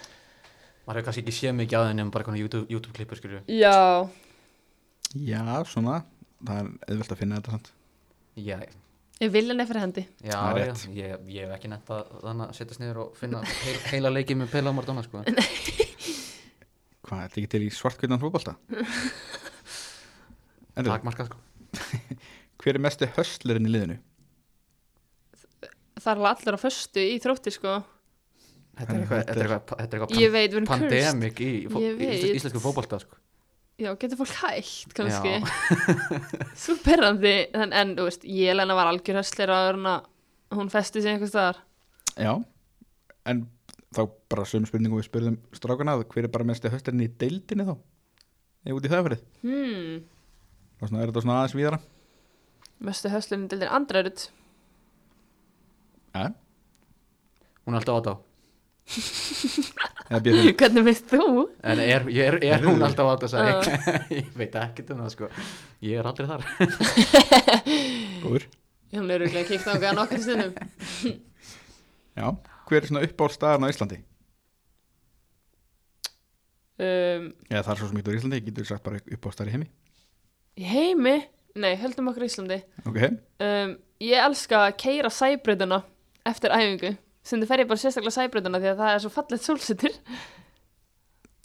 [SPEAKER 2] maður hef kannski ekki séð mikið að henni en bara konar YouTube, YouTube klippur skilju
[SPEAKER 3] Já,
[SPEAKER 1] Já, svona Það er auðvelt að finna þetta samt
[SPEAKER 2] Já,
[SPEAKER 3] ég vil henni fyrir hendi
[SPEAKER 1] Það
[SPEAKER 2] já,
[SPEAKER 1] er
[SPEAKER 2] já
[SPEAKER 1] rétt.
[SPEAKER 2] ég, ég hef ekki nefnt að þannig að setjast niður og finna heil, heila leikið með Pela og Mardona sko
[SPEAKER 1] Hvað, þetta ekki til í svartkvitnan fótbolta? Erðu,
[SPEAKER 2] Takmarkað sko
[SPEAKER 1] hver er mestu höstlerinn í liðinu?
[SPEAKER 3] Það er alveg allir á föstu í þrótti sko
[SPEAKER 2] Þetta er eitthvað, þetta er eitthvað, þetta er
[SPEAKER 3] Ég
[SPEAKER 2] eitthvað
[SPEAKER 3] veit, við
[SPEAKER 2] pan
[SPEAKER 3] erum cursed
[SPEAKER 2] pandemic í, í, fó-
[SPEAKER 3] Ég
[SPEAKER 2] í ísl-
[SPEAKER 3] veit.
[SPEAKER 2] íslensku fótbolta sko
[SPEAKER 3] Já, getur fólk hægt kannski
[SPEAKER 2] Já.
[SPEAKER 3] [LAUGHS] Svo perrandi en, en, þú veist, Jelena var algjör höstlir áður en að hún festi sig einhvers staðar
[SPEAKER 1] Já, en þá bara sömu spurningum við spurðum strákana að hver er bara mestu höstlerinn í deildinni þá? Eða út í það fyrir?
[SPEAKER 3] Hmm,
[SPEAKER 1] Og svona er þetta svona aðeins víðara?
[SPEAKER 3] mestu höstlunni dildir andrarut
[SPEAKER 1] Já,
[SPEAKER 2] Hún er alltaf á þá
[SPEAKER 1] eða
[SPEAKER 3] [LAUGHS]
[SPEAKER 1] býður
[SPEAKER 3] [LAUGHS] Hvernig veist þú?
[SPEAKER 2] En er, er, er,
[SPEAKER 1] Heyrðu.
[SPEAKER 2] hún alltaf á þetta sagði
[SPEAKER 3] Ah.
[SPEAKER 2] [LAUGHS] Ég veit ekkert um það sko Ég er aldrei þar
[SPEAKER 1] góður
[SPEAKER 3] Hún er auðvitað kíkt á einhverja nokkar sinnum
[SPEAKER 1] Já, hver er svona uppáhaldstaðan á Íslandi?
[SPEAKER 3] um,
[SPEAKER 1] Já, það er svo sem ekki úr Íslandi, ég getur sagt bara uppáhaldstaðar í heimi
[SPEAKER 3] Í heimi? Nei, höldum okkur í Íslandi
[SPEAKER 1] Ok,
[SPEAKER 3] um, Ég elska að keira sæbröðuna eftir æfingu sem fer ég bara sérstaklega sæbröðuna því að það er svo fallegt sólsetur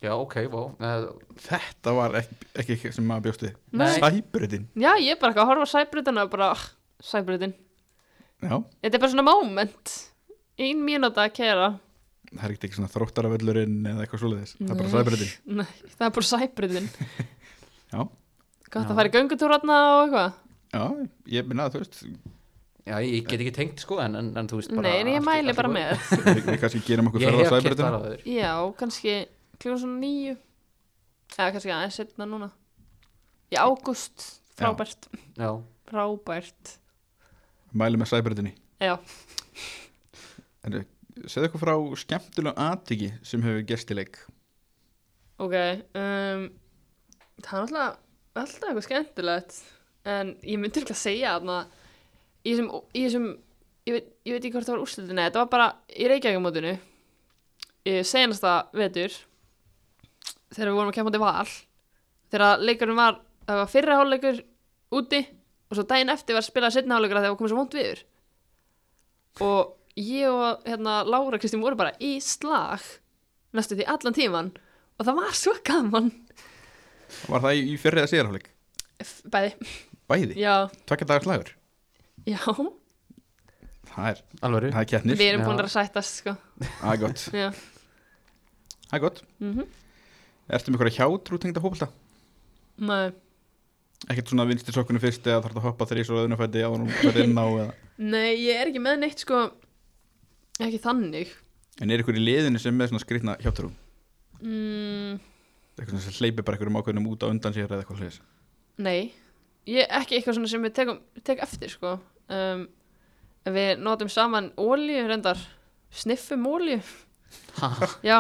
[SPEAKER 2] Já, ok, vó eh,
[SPEAKER 1] þetta var ekki, ekki sem maður bjósti
[SPEAKER 3] Nei.
[SPEAKER 1] Sæbrutin
[SPEAKER 3] Já, ég er bara eitthvað að horfa á sæbröðuna og bara, ah, sæbröðin
[SPEAKER 1] Já,
[SPEAKER 3] Þetta er bara svona moment Ein mínúta að keira
[SPEAKER 1] það er ekkert ekki svona þróttaravöllurinn eða eitthvað svoleiðis Það er bara
[SPEAKER 3] Nei.
[SPEAKER 1] sæbrutin
[SPEAKER 3] Nei, það er bara sæbröðin
[SPEAKER 1] [LAUGHS] Já,
[SPEAKER 3] Gott
[SPEAKER 2] Já.
[SPEAKER 3] að fara í göngutúrarna og eitthvað
[SPEAKER 1] já, ég minna að þú veist
[SPEAKER 2] Já, ég get ekki tengt sko En, en, en þú veist bara
[SPEAKER 3] Nei, en
[SPEAKER 2] allt í-
[SPEAKER 3] ég
[SPEAKER 2] allt
[SPEAKER 3] mæli
[SPEAKER 2] í
[SPEAKER 3] bara
[SPEAKER 2] góðu.
[SPEAKER 3] með
[SPEAKER 1] Við,
[SPEAKER 3] [LAUGHS]
[SPEAKER 1] við kannski gerum okkur
[SPEAKER 2] Ég
[SPEAKER 1] ferð á
[SPEAKER 2] hef kert
[SPEAKER 1] sæbrutin
[SPEAKER 2] þar á þau
[SPEAKER 3] Já, kannski klukkan svona nýju eða kannski aðeins setna núna í ágúst,
[SPEAKER 1] Já.
[SPEAKER 3] frábært
[SPEAKER 2] Já,
[SPEAKER 3] frábært,
[SPEAKER 1] Mælum með sæbrutinni
[SPEAKER 3] já
[SPEAKER 1] En eh, segðu okkur frá skemmtulega atviki sem hefur gestileik
[SPEAKER 3] ok um, það er alltaf alltaf eitthvað skemmtilegt en ég myndi ekki að segja þarna í þessum, í þessum ég, veit, ég veit ekki hvort það var úrslutin eða þetta var bara í Reykjavíkumótinu senasta vetur þegar við vorum að kemja á val þegar leikurinn var, það var fyrra hálfleikur úti og svo daginn eftir var spilað setna hálfleikur að það var komið svo vond viður og ég og hérna, Lára Kristín voru bara í slag næstu því allan tíman og það var svo gaman
[SPEAKER 1] Var það í, í fyrri eða síðarháleik?
[SPEAKER 3] F- bæði,
[SPEAKER 1] Bæði,
[SPEAKER 3] já,
[SPEAKER 1] tvekja dagar slagur
[SPEAKER 3] já
[SPEAKER 1] Það er,
[SPEAKER 2] alveg
[SPEAKER 1] það er keppnir,
[SPEAKER 3] við erum
[SPEAKER 2] Já.
[SPEAKER 3] búin að sættast sko
[SPEAKER 1] það er gott
[SPEAKER 3] já.
[SPEAKER 1] Það er gott
[SPEAKER 3] Mm
[SPEAKER 1] Ertu með einhverja hjátrú tengda fókbalta?
[SPEAKER 3] Nei.
[SPEAKER 1] Ekkert svona vinstir sokkunum fyrst eða þarf að hoppa þrís og öðnafæti eða hún fyrir inn á eða
[SPEAKER 3] Nei, ég er ekki með neitt sko ekki þannig
[SPEAKER 1] En er ykkur í liðinu sem er með svona skrýtna hjátrú?
[SPEAKER 3] mm,
[SPEAKER 1] Eitthvað svona sem hleypir bara einhverjum ákveðnum út á undan sér eða eitthvað hlutis
[SPEAKER 3] Nei, ég ekki eitthvað svona sem ég tek, tek eftir sko um, en við notum saman ólíu reyndar, sniffum ólíu já,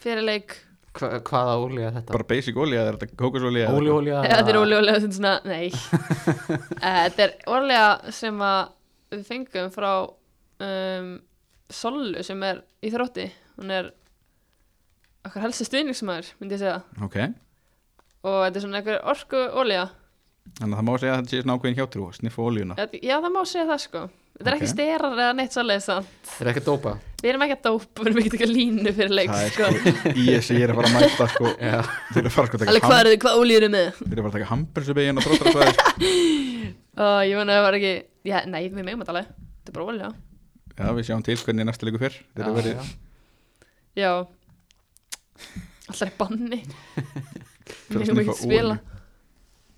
[SPEAKER 3] fyrir leik
[SPEAKER 2] Hva, Hvaða ólíu er þetta?
[SPEAKER 1] Bara basic olja eða er þetta kókosólja eða
[SPEAKER 2] Ólíu,
[SPEAKER 1] eitthvað?
[SPEAKER 2] ólíu
[SPEAKER 3] Þetta er ólega þetta er svona, nei
[SPEAKER 1] [LAUGHS]
[SPEAKER 3] Eh, Þetta er ólega sem að við fengum frá um, Sollu sem er í þrótti hún er okkar helsti stuðningsmaður, myndi ég segja
[SPEAKER 1] Ok,
[SPEAKER 3] og þetta er svona einhver orku ólega
[SPEAKER 1] þannig að það má segja að þetta sé svona ákveðin hjátrú Sniffa oljuna
[SPEAKER 3] Þetta- Já, það má segja það sko Þetta er
[SPEAKER 1] Ok.
[SPEAKER 3] ekki sterar eða neitt svolítið sann
[SPEAKER 2] Þetta er ekki dópa
[SPEAKER 3] Við erum ekki að dópa, við erum ekki að taka línu fyrir leik
[SPEAKER 1] Það er
[SPEAKER 3] sko.
[SPEAKER 1] sko í þessi ég er að fara að mæta sko
[SPEAKER 2] Já.
[SPEAKER 1] Þeir eru að fara sko að
[SPEAKER 3] Alveg
[SPEAKER 1] taka
[SPEAKER 3] hvað
[SPEAKER 1] ham-
[SPEAKER 3] eru þið, hvað ólíu eru með?
[SPEAKER 1] þeir eru að fara að taka hambursubegin og tróttra svæði sko.
[SPEAKER 3] Uh, ég vona að það var ekki, já, nei, við megum þetta alveg Þetta er bara ólega
[SPEAKER 1] Já, við sjáum til hvernig næsta leiku fyrr Þeir eru
[SPEAKER 2] Já,
[SPEAKER 1] verið
[SPEAKER 2] já.
[SPEAKER 3] Já Alltaf er banni
[SPEAKER 1] fyrir að
[SPEAKER 3] Megum
[SPEAKER 1] sniffa
[SPEAKER 3] ekki spila
[SPEAKER 1] olíu.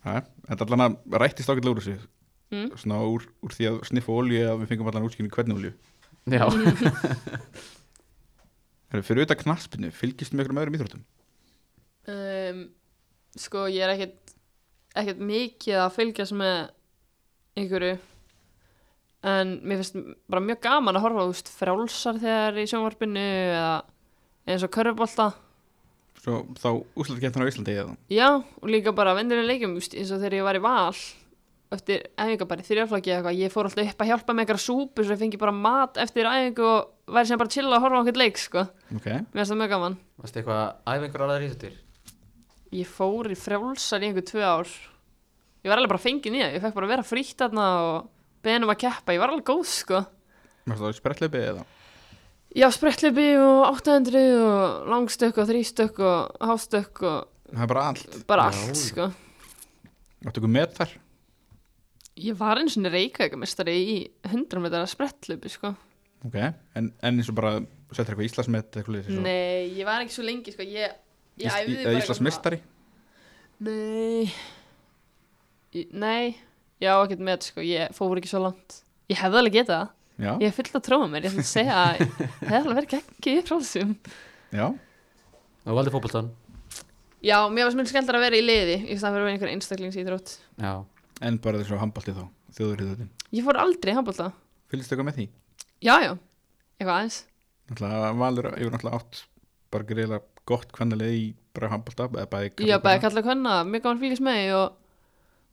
[SPEAKER 1] Já, Þetta allan að rættist ákveðlega úr þessu
[SPEAKER 3] Mm.
[SPEAKER 1] Svona úr, úr því að sniffa olju að við fengum allan útskynning hvernig olju
[SPEAKER 2] Já,
[SPEAKER 3] [LAUGHS]
[SPEAKER 1] Herru, fyrir auðvitað knaspinu, fylgist með einhverjum öðrum íþróttum?
[SPEAKER 3] um, Sko ég er ekkert ekkert mikið að fylgjast með einhverju en mér finnst bara mjög gaman að horfa á þú veist, frjálsar þegar í sjónvarpinu eða eins og körfubolta
[SPEAKER 1] Svo þá úslutkettan á Íslandi eða
[SPEAKER 3] Já, og líka bara vendilega leikjum, úst, eins og þegar ég var í val eftir æfingar bara í þrjárflokki eða eitthvað, ég fór alltaf upp að hjálpa með eitthvað súpu svo ég fengi bara mat eftir æfingu og væri sem bara chill að horfa á einhvern leik, sko.
[SPEAKER 1] Ok,
[SPEAKER 3] Mér finnst það mjög gaman.
[SPEAKER 2] Varstu eitthvað æfingur aðra íþjóttir?
[SPEAKER 3] Ég fór í frjálsar í einhver tvö ár. Ég var alveg bara fengið nýja, ég fekk bara að vera frítt þarna og beðin um að keppa, ég var alveg góð, sko.
[SPEAKER 1] maður stóður sprettleipi eða
[SPEAKER 3] Já, sprettlipi og 800 og langstökk og þrýstökk og hástökk og
[SPEAKER 1] Það er bara allt
[SPEAKER 3] bara
[SPEAKER 2] Já.
[SPEAKER 3] allt, sko.
[SPEAKER 1] Áttu ykkur met þar?
[SPEAKER 3] Ég var eins og reykaukamestari í 100 metrar sprettlipi, sko.
[SPEAKER 1] Ok, en, en eins og bara settir eitthvað Íslandsmet eitthvað liðið
[SPEAKER 3] Nei, ég var ekki svo lengi sko, ég, ég æfði bara
[SPEAKER 1] Eða Íslandsmistari
[SPEAKER 3] svona- Nei Ég- Nei, ég á ekkert með sko, ég fór ekki svo langt Ég hefði alveg getað það,
[SPEAKER 1] Já,
[SPEAKER 3] ég er fullt að tróma mér, ég ætla að segja að það hefði alveg verið geggið í prófisum
[SPEAKER 1] já
[SPEAKER 2] Þú valdi fótboltan?
[SPEAKER 3] Já, mér var sem mjög skemmtar að vera í liði, ég stað að vera með einhver einstaklingsíþrótt
[SPEAKER 2] Já.
[SPEAKER 1] En bara þessu handbalti þá, þjóðurriðutin
[SPEAKER 3] Ég fór aldrei í handbólta,
[SPEAKER 1] Fylgist eitthvað með því?
[SPEAKER 3] já, já, eitthvað aðeins
[SPEAKER 1] Náttúrulega valur, ég var náttúrulega átt bara greiðlega gott kvennalið í bara handbalta eða bæði karla
[SPEAKER 3] Já,
[SPEAKER 1] og
[SPEAKER 3] bæði
[SPEAKER 1] kvenna.
[SPEAKER 3] kalla hvenna, mér gaman fylgjast með því og,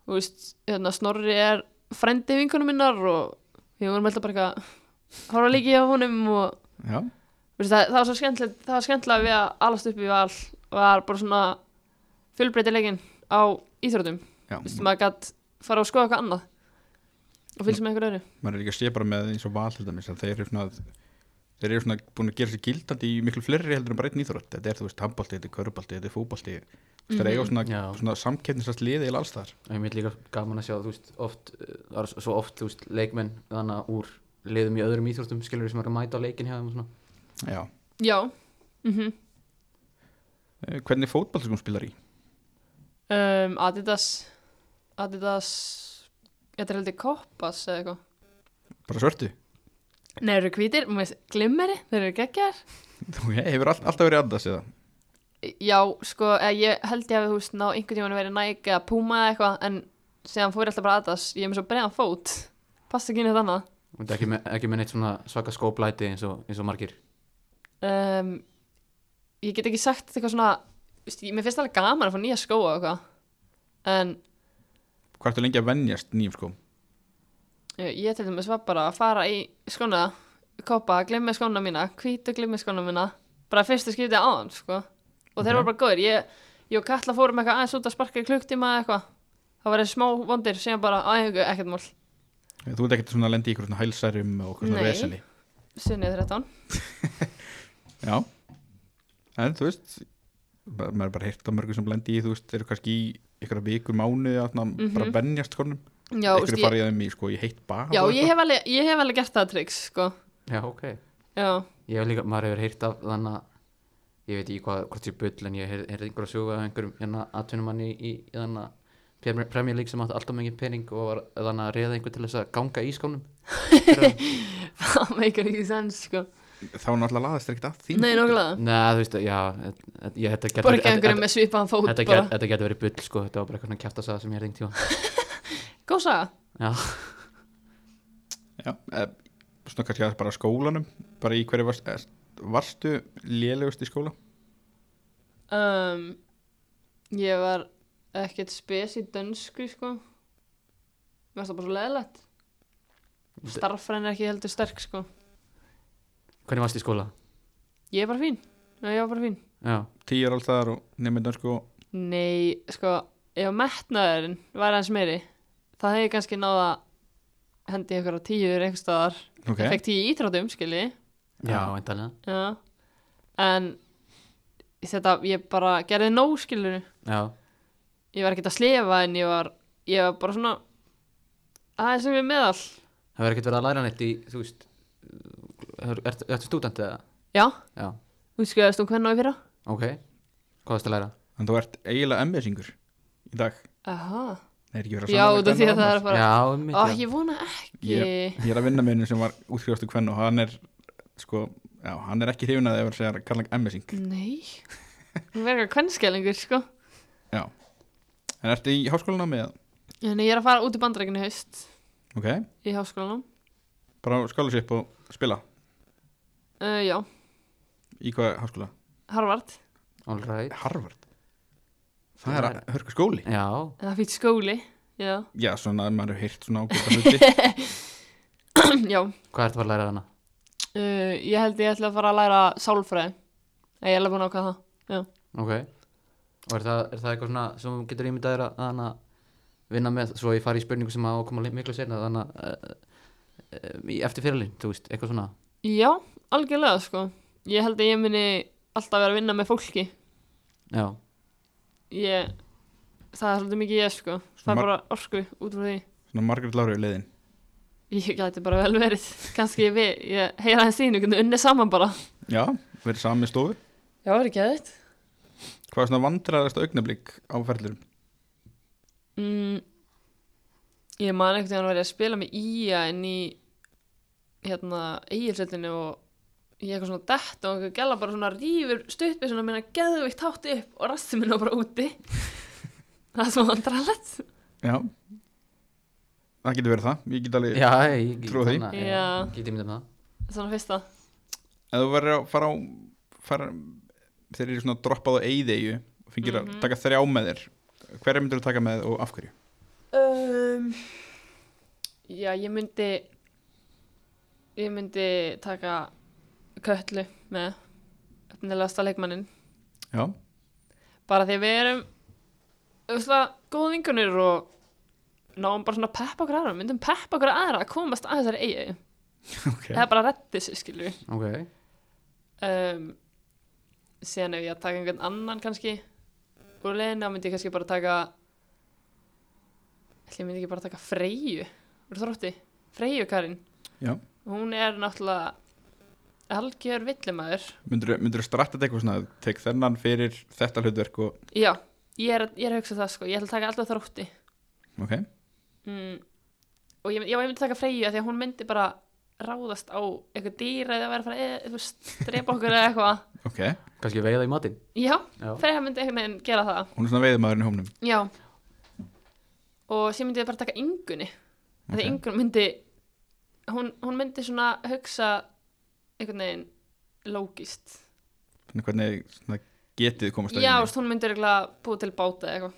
[SPEAKER 3] þú veist, hérna, Snorri er frendi vinkunum minnar og við vorum alltaf bara eitthvað að horfa líki á honum og,
[SPEAKER 1] Já,
[SPEAKER 3] þú veist, það, það var svo skemmtilegt, það var skemmtilega við að alast upp í val, var bara svona fjölbreytilegin á íþrótum,
[SPEAKER 1] já,
[SPEAKER 3] þú veist, maður gætt fara og skoða eitthvað annað og fylgjast með einhverju öðru.
[SPEAKER 1] maður er líka að sé bara með eins og val til dæmis að þeir eru svona þeir eru svona búin að gera sér gildandi í miklu fleiri heldur en bara einn íþrótt þetta er þú veist handbalti, þetta er körubalti, þetta er fótbalti mm -hmm. það er
[SPEAKER 3] Mhm.
[SPEAKER 1] eiga svona,
[SPEAKER 2] Já.
[SPEAKER 1] svona samkeppnisast liði eða alls þar
[SPEAKER 2] Og ég mynd líka gaman að sjá, þú veist, oft, eh, það er svo oft, þú veist, leikmenn, þannig úr liðum í öðrum íþróttum, skilur sem eru að mæta á leikin hjá þeim og svona.
[SPEAKER 1] já.
[SPEAKER 3] Já, mhm,
[SPEAKER 1] Eh, hvernig fótbalti hún spilar í?
[SPEAKER 3] um, Adidas, Adidas, þetta er heldur Koppas eða eitthvað.
[SPEAKER 1] bara svörtu? [LAUGHS]
[SPEAKER 3] Nei, þeir eru hvítir, mér finnst glimmeri, þeir eru geggjar.
[SPEAKER 1] þú hefur all, alltaf verið andas eða
[SPEAKER 3] Já, sko, eða ég held ég hafi, þú veist, ná einhvern tímann verið næg eða púma eða eitthvað, en síðan fór ég alltaf bara aðdas, ég er með svo breiðan fót, passa ekki inn í þetta annað.
[SPEAKER 2] Og þetta er ekki með, ekki með neitt svona svaka skóplæti eins og, eins og margir.
[SPEAKER 3] Um, ég get ekki sagt eitthvað svona, þú veist, ég- mér finnst alveg gaman að fá nýja skóa og eitthvað, en
[SPEAKER 1] hvað ertu lengi að venjast nýjum sko? skóm?
[SPEAKER 3] eh, ég til dæmis var bara að fara í skóna, koppa, glimmi skóna mína, hvítu glimmi skóna mína, bara fyrstu skiptið áðan, sko, og þeir
[SPEAKER 1] Ok.
[SPEAKER 3] voru bara góðir, ég, ég og Katla fórum eitthvað aðeins út að sparka í klukktíma eða eitthvað, það var smá vondir, síðan bara, aðeins, ekkert mál.
[SPEAKER 1] Eh, þú ert ekkert svona að lendi í ykkur svona hælsærum og okkur svona
[SPEAKER 3] Nei.
[SPEAKER 1] veseni
[SPEAKER 3] Sunnið 13
[SPEAKER 1] já en þú veist ba- maður er bara heyrt á mörgum sem lendi í þú veist eru kannski í ykkur vikur mánu að
[SPEAKER 3] Mhm.
[SPEAKER 1] bara venjast skónum
[SPEAKER 3] Já, úst,
[SPEAKER 1] Ekkur
[SPEAKER 3] ég,
[SPEAKER 1] farið að þeim í sko, ég heitt bara
[SPEAKER 3] já ég, hef alveg, ég hef alveg gert það triks sko.
[SPEAKER 2] Já, ok.
[SPEAKER 3] Já, [LAUGHS]
[SPEAKER 2] Ég hef líka, maður hefur heyrt af þannig að, ég veit ekki hvað, hvort ég bull, en ég hef heyrt einhverja sögu af einhverjum, hérna, atvinnumanni í, í þannig að, Premier League sem átti alltaf mengið pening og var þannig að reyða einhver til þess að ganga í skónum.
[SPEAKER 3] það meikar ekki sens sko.
[SPEAKER 1] Þá náttúrulega laðast þér ekkert að því
[SPEAKER 3] Nei, nokkulega
[SPEAKER 2] Nei, þú veist, já, ég- ég- þetta getur-
[SPEAKER 3] Bara ekki
[SPEAKER 2] þetta-
[SPEAKER 3] einhverjum með svipaðan fót
[SPEAKER 2] Þetta
[SPEAKER 3] bara.
[SPEAKER 2] get- þetta getur verið bull sko, þetta var bara eitthvað svona kjæftasaga sem ég er reyndi á.
[SPEAKER 3] Góð saga
[SPEAKER 2] Já,
[SPEAKER 1] Já, e, Svona kannski aðeins bara skólanum Bara í hverju varst, e, varstu lélegust í skóla?
[SPEAKER 3] um, Ég var ekkert spes í dönsku sko. Mér finnst það bara svo leðilegt Starffræðin er ekki heldur sterk sko.
[SPEAKER 2] hvernig varst í skóla?
[SPEAKER 3] Ég er bara fín Já, ég var bara fín
[SPEAKER 2] Já,
[SPEAKER 1] Tíu er alls þar og sko. nefnir dönsku og
[SPEAKER 3] Nei, sko, ef metnaðurinn var aðeins meiri Það hefði ég kannski náða hendi ykkur á tíur einhvers staðar
[SPEAKER 1] Ok,
[SPEAKER 3] Ég fekk tíu í ítrátum, skilji
[SPEAKER 2] já, eintalega.
[SPEAKER 3] Já. En þetta, ég bara gerði nóg, skilur.
[SPEAKER 2] Já,
[SPEAKER 3] Ég var ekkert að slefa en ég var, ég var bara svona aðeins sem við meðal.
[SPEAKER 2] það verður ekkert verið að læra neitt í, þú veist, er, er, ertu stúdent eða?
[SPEAKER 3] Já,
[SPEAKER 2] Já,
[SPEAKER 3] útskriðast um hvernig á í fyrra.
[SPEAKER 2] ok, hvað varst að læra?
[SPEAKER 1] en þú ert eiginlega emmesingur í dag
[SPEAKER 3] Aha.
[SPEAKER 1] Nei, er ekki verið að
[SPEAKER 3] Já,
[SPEAKER 1] sanna
[SPEAKER 3] út af því
[SPEAKER 1] kvenna
[SPEAKER 3] að það
[SPEAKER 1] annars?
[SPEAKER 3] er bara,
[SPEAKER 2] Já, mitt,
[SPEAKER 3] ó, ég vona ekki.
[SPEAKER 1] Ég- Ég er að vinna með einu sem var útskrifastu kvenn og hann er sko, já, hann er ekki hrifin að það er að segja kallan emmesing [LAUGHS]
[SPEAKER 3] Nei. Hún verður eitthvað kvennskælingur, sko.
[SPEAKER 1] En ertu í háskólanum með,
[SPEAKER 3] Þannig ég er að fara út í bandrækinu í haust
[SPEAKER 1] ok,
[SPEAKER 3] í háskólanum.
[SPEAKER 1] bara skála sér upp og spila
[SPEAKER 3] Uh, já,
[SPEAKER 1] Í hvað háskóla?
[SPEAKER 3] Harvard.
[SPEAKER 2] all right
[SPEAKER 1] Harvard Það er að hörku skóli
[SPEAKER 2] já,
[SPEAKER 3] Það er fýtt skóli, já.
[SPEAKER 1] Já, svona, maður hefur heyrt svona ágæta hluti
[SPEAKER 3] [CLEARS THROAT] já,
[SPEAKER 2] hvað ertu að fara að læra þarna?
[SPEAKER 3] uh, ég held ég ætla að fara að læra sálfræði. Nei, Ég er alveg búin að ákveða það.
[SPEAKER 2] ok og er það, er það eitthvað svona sem þú getur ímyndað þér að þannig að vinna með svo ég fari í spurningu sem á að koma li- miklu sena þannig að uh, uh, í eftir fyrirlin, þú veist, eitthvað svona
[SPEAKER 3] Já, algjörlega, sko. Ég held að ég muni alltaf vera að vinna með fólki.
[SPEAKER 2] já,
[SPEAKER 3] Ég, það er svolítið mikið ég, sko. Það
[SPEAKER 1] Mar-
[SPEAKER 3] er bara orku út frá því.
[SPEAKER 1] Svona Margaret Láru leiðin
[SPEAKER 3] Ég gæti bara vel verið. Kanski ég, við- ég heyra hans þínu, hvernig unni saman bara.
[SPEAKER 1] Já, verið sami stofu
[SPEAKER 3] Já, það er ekki aðeitt.
[SPEAKER 1] Hvað er svona vandræðast augnablík á ferðlurum?
[SPEAKER 3] Mm, ég man ekkert að hann verið að spila með Ía inn í hérna eigilsveitinu og ég eitthvað svona dett og einhver gæla bara svona rýfur stuttbysuna minna geðveikt hátt upp og rassi minna bara úti það er svona andralett
[SPEAKER 1] Já Það getur verið það, ég get alveg
[SPEAKER 2] já, ég
[SPEAKER 1] Eh, Trúi því.
[SPEAKER 2] þannig að-
[SPEAKER 3] Já.
[SPEAKER 2] ég get ímyndað með það
[SPEAKER 3] svona fyrsta
[SPEAKER 1] Ef þú verður að fara á fara, þeir eru svona droppað á eyðeyju og fengir
[SPEAKER 3] Mhm.
[SPEAKER 1] að taka þrjá með þér hverja myndir þú taka með og af hverju?
[SPEAKER 3] um, já ég myndi ég myndi taka köllu með efnilegasta leikmannin
[SPEAKER 1] Já,
[SPEAKER 3] bara því að við erum öfla, góð vingunir og náum bara svona að peppa okkur aðra myndum peppa okkur aðra að komast að þessari eigi
[SPEAKER 1] ok
[SPEAKER 3] það er bara að reddi sig skilju
[SPEAKER 2] ok,
[SPEAKER 3] um, síðan ef ég að taka einhvern annan kannski úr leiðinu þá myndi ég kannski bara taka ætli ég myndi ekki bara taka Freyju úr þrótti, Freyju Karin
[SPEAKER 1] Já.
[SPEAKER 3] hún er náttúrulega algjör villimæður
[SPEAKER 1] Myndir þú stratta þetta eitthvað svona að tek þennan fyrir þetta hlutverk og
[SPEAKER 3] já, ég er, ég er að hugsa það sko ég ætla að taka alltaf þrótti
[SPEAKER 1] ok,
[SPEAKER 3] mm, og ég, mynd- já, ég myndi taka Freyju af því að hún myndi bara ráðast á eitthvað dýra eða vera að fara eða, þú veist, drepa okkur eða eitthvað
[SPEAKER 1] ok
[SPEAKER 2] kannski veiða í matinn
[SPEAKER 3] já,
[SPEAKER 2] já,
[SPEAKER 3] Freyja myndi einhvern veginn gera það
[SPEAKER 1] hún er svona veiðmaðurinn í hómnum
[SPEAKER 3] já og sér myndi ég bara taka yngunni af
[SPEAKER 1] Ok.
[SPEAKER 3] því yngun myndi hún, hún myndi svona hugsa einhvern veginn lógist
[SPEAKER 1] Þannig hvernig svona, getið komast að
[SPEAKER 3] já,
[SPEAKER 1] eyjunni.
[SPEAKER 3] veist, hún myndi örgulega búið til báta eða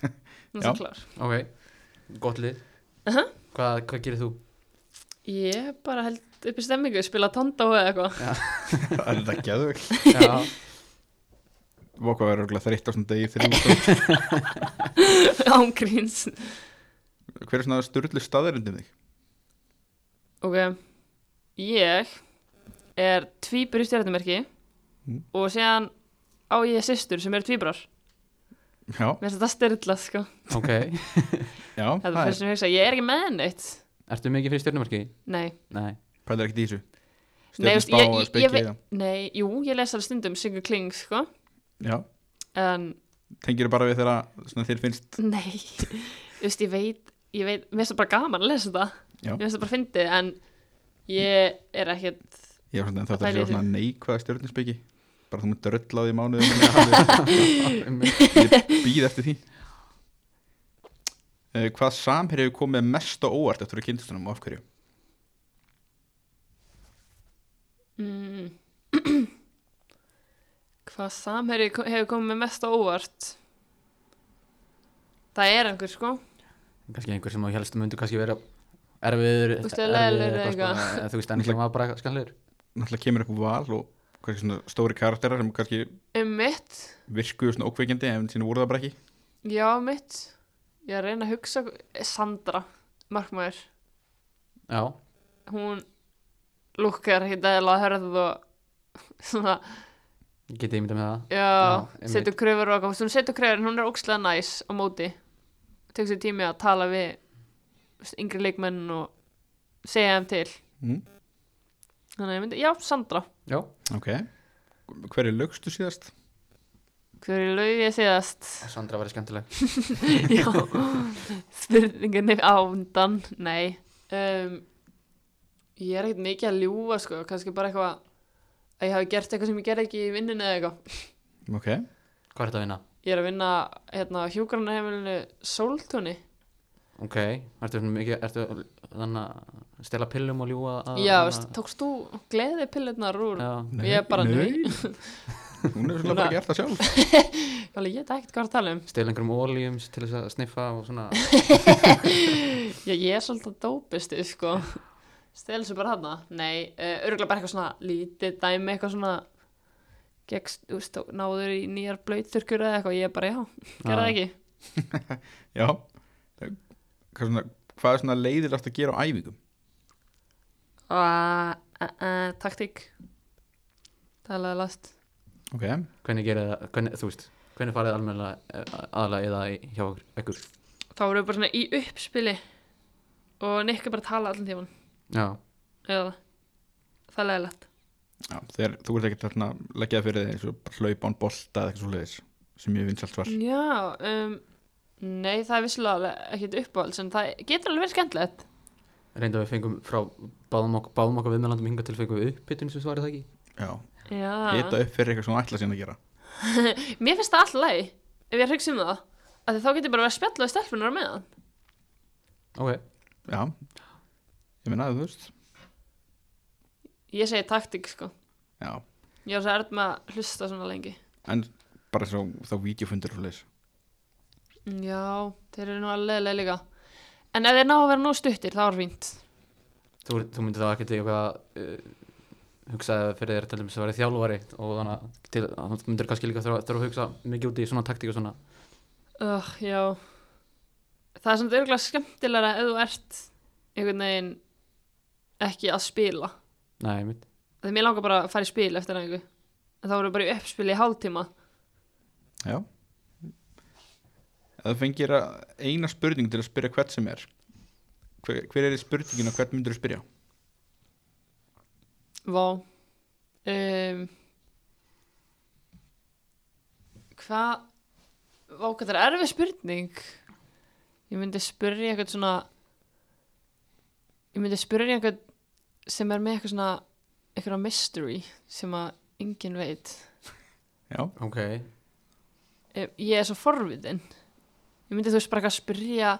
[SPEAKER 1] [LAUGHS]
[SPEAKER 3] eitthvað Hún er
[SPEAKER 1] Já.
[SPEAKER 3] svo klár.
[SPEAKER 2] ok, gott lið
[SPEAKER 3] Aha.
[SPEAKER 2] hvað, hvað gerir
[SPEAKER 3] [LAUGHS]
[SPEAKER 2] þú?
[SPEAKER 3] ég bara held upp í stemmingu spila tóndá eða eitthvað
[SPEAKER 1] Það [LAUGHS] er þetta geðvögg
[SPEAKER 2] já,
[SPEAKER 1] Vokka verður örugglega þreytt á svona degi þegar þú ert
[SPEAKER 3] ángríns
[SPEAKER 1] á- Hver er svona styrlu staðarindum þig?
[SPEAKER 3] Ok, ég er tvíbur í stjórnumerki
[SPEAKER 1] Mm.
[SPEAKER 3] og síðan á ég systur sem eru tvíburar.
[SPEAKER 1] Já,
[SPEAKER 3] Mér finnst þetta styrla, sko.
[SPEAKER 2] ok
[SPEAKER 1] já,
[SPEAKER 3] Það er fyrst sem ég hugsa, ég er ekki með neitt.
[SPEAKER 2] ertu mikið fyrir stjórnumarki?
[SPEAKER 3] Nei,
[SPEAKER 2] nei,
[SPEAKER 3] [LAUGHS]
[SPEAKER 1] pælir ekkert í þessu
[SPEAKER 3] Nei, veist,
[SPEAKER 1] Stjörnusbá
[SPEAKER 3] ég-
[SPEAKER 1] og
[SPEAKER 3] ég- ég
[SPEAKER 1] spekið
[SPEAKER 3] ve-
[SPEAKER 1] í það.
[SPEAKER 3] nei, jú, ég les alveg stundum Sigur Kling, sko,
[SPEAKER 1] Já,
[SPEAKER 3] en
[SPEAKER 1] tengir bara við þegar svona, þér finnst
[SPEAKER 3] nei, þú veist, ég veit, ég veit, mér finnst það bara gaman að lesa þetta.
[SPEAKER 1] Já.
[SPEAKER 3] Mér finnst það bara fyndið, en ég er ekkert,
[SPEAKER 1] Já, svona,
[SPEAKER 3] Það
[SPEAKER 1] þetta er
[SPEAKER 3] pælir í
[SPEAKER 1] svona
[SPEAKER 3] því.
[SPEAKER 1] neikvæða stjórninsbyggi bara þú myndir rölla á því í mánuði ég býð eftir því uh, Hvað samherri hefur komið mest á óvart eftir að kynstunum og af hverju?
[SPEAKER 3] mm, [CLEARS THROAT] hvað samherri ko- hefur komið með mest á óvart? Það er einhver, sko.
[SPEAKER 2] kannski einhver sem á helstum myndu kannski vera erfiður
[SPEAKER 3] Þú veist, leiðilegur eða
[SPEAKER 2] sko,
[SPEAKER 3] eitthvað.
[SPEAKER 2] en þú veist, annars sem var bara skanlegur
[SPEAKER 1] Náttúrulega kemur upp val og kannski svona stóri karakterar sem kannski
[SPEAKER 3] Um mitt,
[SPEAKER 1] virkuðu svona ókveikindi en síðan voru það bara ekki
[SPEAKER 3] já mitt, ég er að reyna að hugsa, eh, Sandra, markmaður,
[SPEAKER 2] já,
[SPEAKER 3] hún lukkar ekki dæla að hörðu og [LAUGHS] svona,
[SPEAKER 2] ég geti ímynda með það
[SPEAKER 3] já,
[SPEAKER 2] einmitt.
[SPEAKER 3] setur kröfur og eitthvað, hún setur kröfur en hún er ókslega næs á móti, tek sér tími að tala við þú veist, yngri leikmenn og segja þeim til,
[SPEAKER 1] mm.
[SPEAKER 3] þannig að ég myndi, já, Sandra,
[SPEAKER 2] já,
[SPEAKER 1] Ok Hverju lögstu síðast?
[SPEAKER 3] hver er laug ég séðast,
[SPEAKER 2] Sandra verið skemmtileg
[SPEAKER 3] já, spurninginni ándan, nei. Um, ég er ekkert mikið að ljúga, sko, kannski bara eitthvað að ég hafi gert eitthvað sem ég gerði ekki í vinnunni eða eitthvað.
[SPEAKER 1] Ok
[SPEAKER 2] hvað er þetta að vinna?
[SPEAKER 3] Ég er að vinna hérna á hjúgranaheimilinu Sóltúni.
[SPEAKER 2] ok, ertu svona mikið, ertu þannig að stela pillum og ljúa að,
[SPEAKER 3] Já,
[SPEAKER 2] að-
[SPEAKER 3] veist, tókst þú gleði pillurnar úr?
[SPEAKER 2] já,
[SPEAKER 3] Ég er bara, nei.
[SPEAKER 1] [LAUGHS] Hún hefur svona bara gert það sjálf
[SPEAKER 3] Gáli, ég veit ekkert hvað það er að tala um.
[SPEAKER 2] Stel einhverjum óljum til þess að sniffa og
[SPEAKER 3] [LAUGHS]
[SPEAKER 2] svona
[SPEAKER 3] Já, ég er svolítið dópistu, sko. Stel þessu bara hana. Nei, uh, örgulega bara eitthvað svona lítið dæmi, eitthvað svona gegst, þú veist, tó- náður í nýjar blöyturkur eða eitthvað. Ég er bara, já, gera það
[SPEAKER 2] Já.
[SPEAKER 3] ekki.
[SPEAKER 1] Já Hvað, svona, hvað er svona leiðilegt að gera á æfingum?
[SPEAKER 3] Og uh, uh, taktík. Talaði last.
[SPEAKER 1] Ok,
[SPEAKER 2] Hvernig gerið það, hvernig, þú veist Hvernig farið almennilega aðalega eða í- hjá okkur- ykkur
[SPEAKER 3] Þá erum við bara svona í uppspili og Nick er bara að tala allan tíman.
[SPEAKER 2] Já,
[SPEAKER 3] Eða það. Það er leðilegt.
[SPEAKER 1] já, þegar, þú ert ekkert að leggja það fyrir þig eins og bara hlaupa án bolta eða eitthvað svo leiðis sem ég vins allt var
[SPEAKER 3] Já, um, nei, það er vissulega ekkert uppáhalds en það getur alveg verið skemmtilegt.
[SPEAKER 2] reynda við fengum frá báðum okkur, báðum okkur viðmjölandum hinga til fengum við uppbytun sem svarið það ekki
[SPEAKER 1] Já,
[SPEAKER 3] Já,
[SPEAKER 1] hita upp fyrir eitthvað sem hún ætla síðan að gera
[SPEAKER 3] mér finnst það alltaf lægi ef ég hugsa um það. Af því þá getur ég bara verið að spjalla við stelpunar á meðan.
[SPEAKER 2] Ok,
[SPEAKER 1] Já, ég meina að þú veist
[SPEAKER 3] Ég segi taktík, sko.
[SPEAKER 1] Já,
[SPEAKER 3] Ég var svo erð með að hlusta svona lengi.
[SPEAKER 1] en bara svo þá vídeofundur og svo leiðis
[SPEAKER 3] Já, þeir eru nú alveg leðilega líka. En ef þeir ná að vera nú stuttir, þá er fínt.
[SPEAKER 2] þú, þú myndir þá ekkert eitthvað uh, hugsaði fyrir þér til dæmis að vera þjálfari og þannig að til, að þú myndir kannski líka þurfa, þurfa að hugsa mikið út í svona taktík og svona
[SPEAKER 3] Uh, já, það er samt örgulega skemmtilega ef þú ert einhvern veginn ekki að spila.
[SPEAKER 2] Nei, mitt
[SPEAKER 3] Þegar mér langar bara að fara í spil eftir nægu. En þá erum við bara í uppspil í hálftíma.
[SPEAKER 1] Já Ef þú fengir að- eina spurning til að spyrja hvert sem er Hver, hver er í spurningin og hvert myndur þú spyrja?
[SPEAKER 3] Vá. Um, hvað? Vá, hvað það er erfið spurning. Ég myndi spyrja eitthvað svona... Ég myndi spyrja eitthvað sem er með eitthvað svona... Eitthvað mystery sem að enginn veit.
[SPEAKER 1] Já,
[SPEAKER 2] Ok,
[SPEAKER 3] Ef- ég er svo forvitin ég myndi þú veist bara eitthvað að spyrja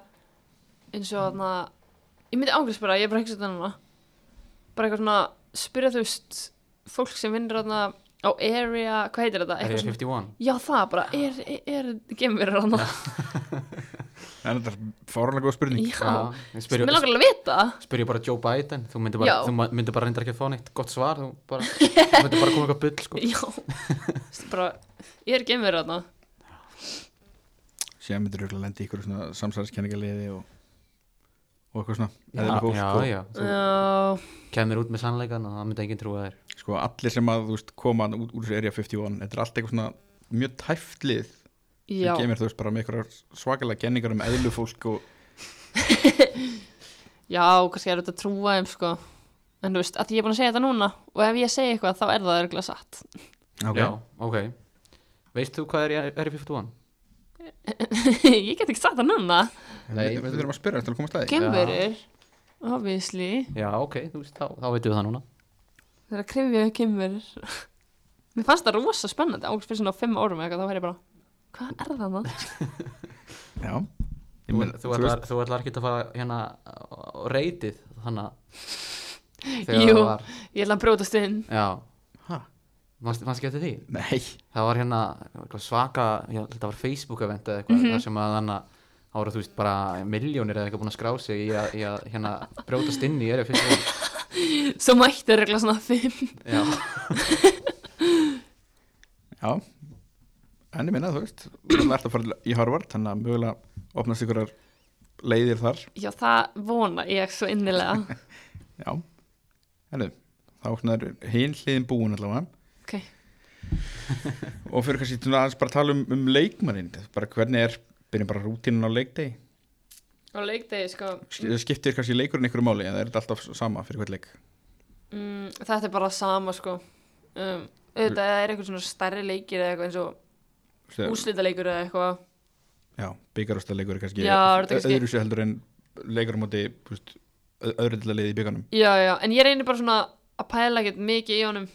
[SPEAKER 3] eins og þarna ég myndi ángriðs bara, ég er bara að hugsa þetta núna bara eitthvað svona spyrja þú veist fólk sem vinnur þarna á area, hvað heitir þetta?
[SPEAKER 2] er ég
[SPEAKER 3] Eitthvað
[SPEAKER 2] 51?
[SPEAKER 3] já það bara, er, er, er gemverur þarna
[SPEAKER 1] en þetta er fárlega góð spurning
[SPEAKER 3] já,
[SPEAKER 2] ég
[SPEAKER 3] mér
[SPEAKER 2] spyrja,
[SPEAKER 3] langar alveg að vita það.
[SPEAKER 2] spyrja bara Joe Biden þú myndir bara,
[SPEAKER 3] Já.
[SPEAKER 2] þú ma- myndir bara reyndar ekki að fá neitt gott svar þú
[SPEAKER 3] [LAUGHS]
[SPEAKER 2] bara, þú myndir bara koma eitthvað bull sko.
[SPEAKER 3] já, þú veist bara ég er gemverur þarna
[SPEAKER 1] síðan myndir þú lendi í ykkur svona samsæðiskenningaliði og, og eitthvað svona
[SPEAKER 2] já,
[SPEAKER 1] eðlileg fólk,
[SPEAKER 2] já,
[SPEAKER 1] sko.
[SPEAKER 2] já, þú
[SPEAKER 3] já,
[SPEAKER 2] kemur út með sannleikan og það myndi enginn trúa þér
[SPEAKER 1] Sko, allir sem að þú veist, koma út úr þessu erja 51 þetta er allt eitthvað svona mjög tæftlið
[SPEAKER 3] já,
[SPEAKER 1] sem kemur þú veist bara með einhverjar svakalega kenningar um eðlu fólk og
[SPEAKER 3] já kannski er þetta að trúa þeim sko en þú veist, að ég er búin að segja þetta núna og ef ég segi eitthvað þá er það örgulega satt
[SPEAKER 2] já, ok veist þú hvað er ég er 51?
[SPEAKER 3] ég get ekki sagt það núna
[SPEAKER 1] Nei,
[SPEAKER 2] Nei,
[SPEAKER 1] við, við þurfum að spyrja til að komast að því
[SPEAKER 3] Kimberur, obviously
[SPEAKER 2] já, ok, þú veist, þá, þá veitum við það núna
[SPEAKER 3] Það er að krifja upp kimverur Mér fannst það rosa spennandi Águst fyrir svona fimm árum eða eitthvað Þá væri ég bara, hvað er það það?
[SPEAKER 1] Já, Ég
[SPEAKER 2] Þú,
[SPEAKER 1] meina,
[SPEAKER 2] þú, ætlar, þú ætlar ekki að fara hérna á reytið þannig
[SPEAKER 3] Jú.
[SPEAKER 2] það var
[SPEAKER 3] Ég ætla að brjótast inn
[SPEAKER 2] já,
[SPEAKER 1] ha,
[SPEAKER 2] mannst ekki eftir því
[SPEAKER 1] Nei,
[SPEAKER 2] það var hérna eitthvað svaka ég held að það var Facebook event eða
[SPEAKER 3] Mhm.
[SPEAKER 2] eitthvað þar sem að þannig þá voru þú veist bara miljónir eða eitthvað búin að skrá sig í að, í að hérna brjótast inn í erið fyrst og-
[SPEAKER 3] Svo mætti er eitthvað svona fimm
[SPEAKER 2] já,
[SPEAKER 1] já En ég minna, þú veist, þú ert að fara í Harvard þannig að mögulega opnast einhverjar leiðir þar
[SPEAKER 3] Já, það vona ég svo innilega
[SPEAKER 1] Já, hennu þá svona er hin hliðin búin allavega
[SPEAKER 3] Ok,
[SPEAKER 1] og fyrir kannski svona aðeins bara að tala um, um leikmannin bara hvernig er, byrjum bara rútínun á leikdegi
[SPEAKER 3] á leikdegi sko
[SPEAKER 1] Sk- skiptir kannski leikurinn einhverju máli en það er þetta alltaf sama fyrir hvert leik
[SPEAKER 3] mm, Þetta er bara sama sko um, Auðvitað er eitthvað svona stærri leikir eða eitthvað eins og
[SPEAKER 1] Svo-
[SPEAKER 3] úslita leikur eða eitthvað
[SPEAKER 1] já, byggarústa leikur er kannski,
[SPEAKER 3] Já, er þetta kannski-
[SPEAKER 1] öðru sér heldur en leikur á móti þú veist, ö- öðru til að leiði í byggarnum
[SPEAKER 3] Já, já, en ég reynir bara svona að pæla ekkert mikið í honum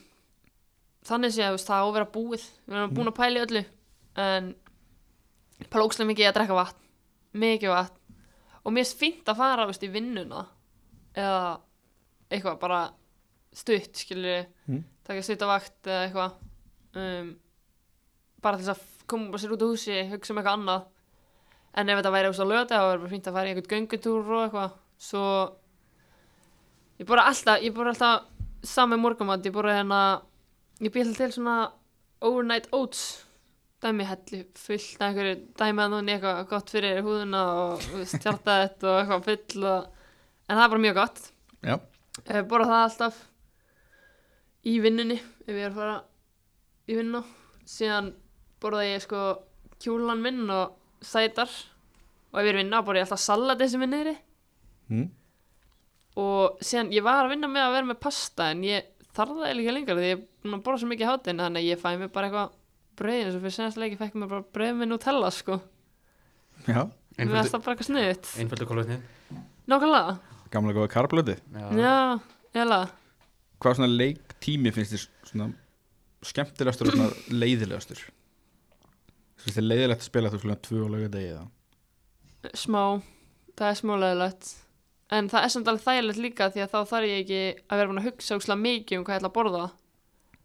[SPEAKER 3] þannig sé að þú veist, það á að vera búið við erum búin að pæla í öllu en pæla ókslega mikið í að drekka vatn mikið vatn og mér er fínt að fara þú veist, í vinnuna eða eitthvað bara stutt skilur
[SPEAKER 1] Mm.
[SPEAKER 3] taka stutt á vakt eða eitthvað um, bara til þess að koma bara sér út á húsi, hugsa um eitthvað annað en ef þetta væri úst á löta þá væri bara fínt að fara í einhvern göngutúr og eitthvað svo ég bara alltaf, ég bara alltaf sami morgumat, ég bara hérna ég býð alltaf til svona overnight oats dæmi hellu fullt af einhverju dæmi að núni eitthvað gott fyrir húðuna og stjarta þetta og eitthvað full og, en það er bara mjög gott
[SPEAKER 1] Já,
[SPEAKER 3] Eh, borða það alltaf í vinnunni ef ég er að fara í vinnu síðan borða ég sko kjúlan minn og sætar og ef ég er að vinna borða ég alltaf salati sem er niðri
[SPEAKER 1] mm.
[SPEAKER 3] og síðan ég var að vinna með að vera með pasta en ég þarf það eiginlega ekki lengur því ég er búin að borða svo mikið hátinn þannig að ég fæ mér bara eitthvað brauðin eins og fyrir senast leiki fekk mér bara brauð með Nutella sko
[SPEAKER 1] já,
[SPEAKER 3] mér varst það bara eitthvað sniðut
[SPEAKER 2] Einföldu kolvetnin
[SPEAKER 3] nákvæmlega
[SPEAKER 1] gamla góða karblöti
[SPEAKER 3] já, jæla
[SPEAKER 1] Hvað svona leiktími finnst þér svona skemmtilegastur og
[SPEAKER 3] [CLEARS THROAT]
[SPEAKER 1] svona leiðilegastur? Finnst þér leiðilegt að spila þú svona tvö og lögja degi eða?
[SPEAKER 3] smá, það er smáleðilegt en það er samt alveg þægilegt líka því að þá þarf ég ekki að vera búin að hugsa ógslag mikið um hvað ég ætla að borða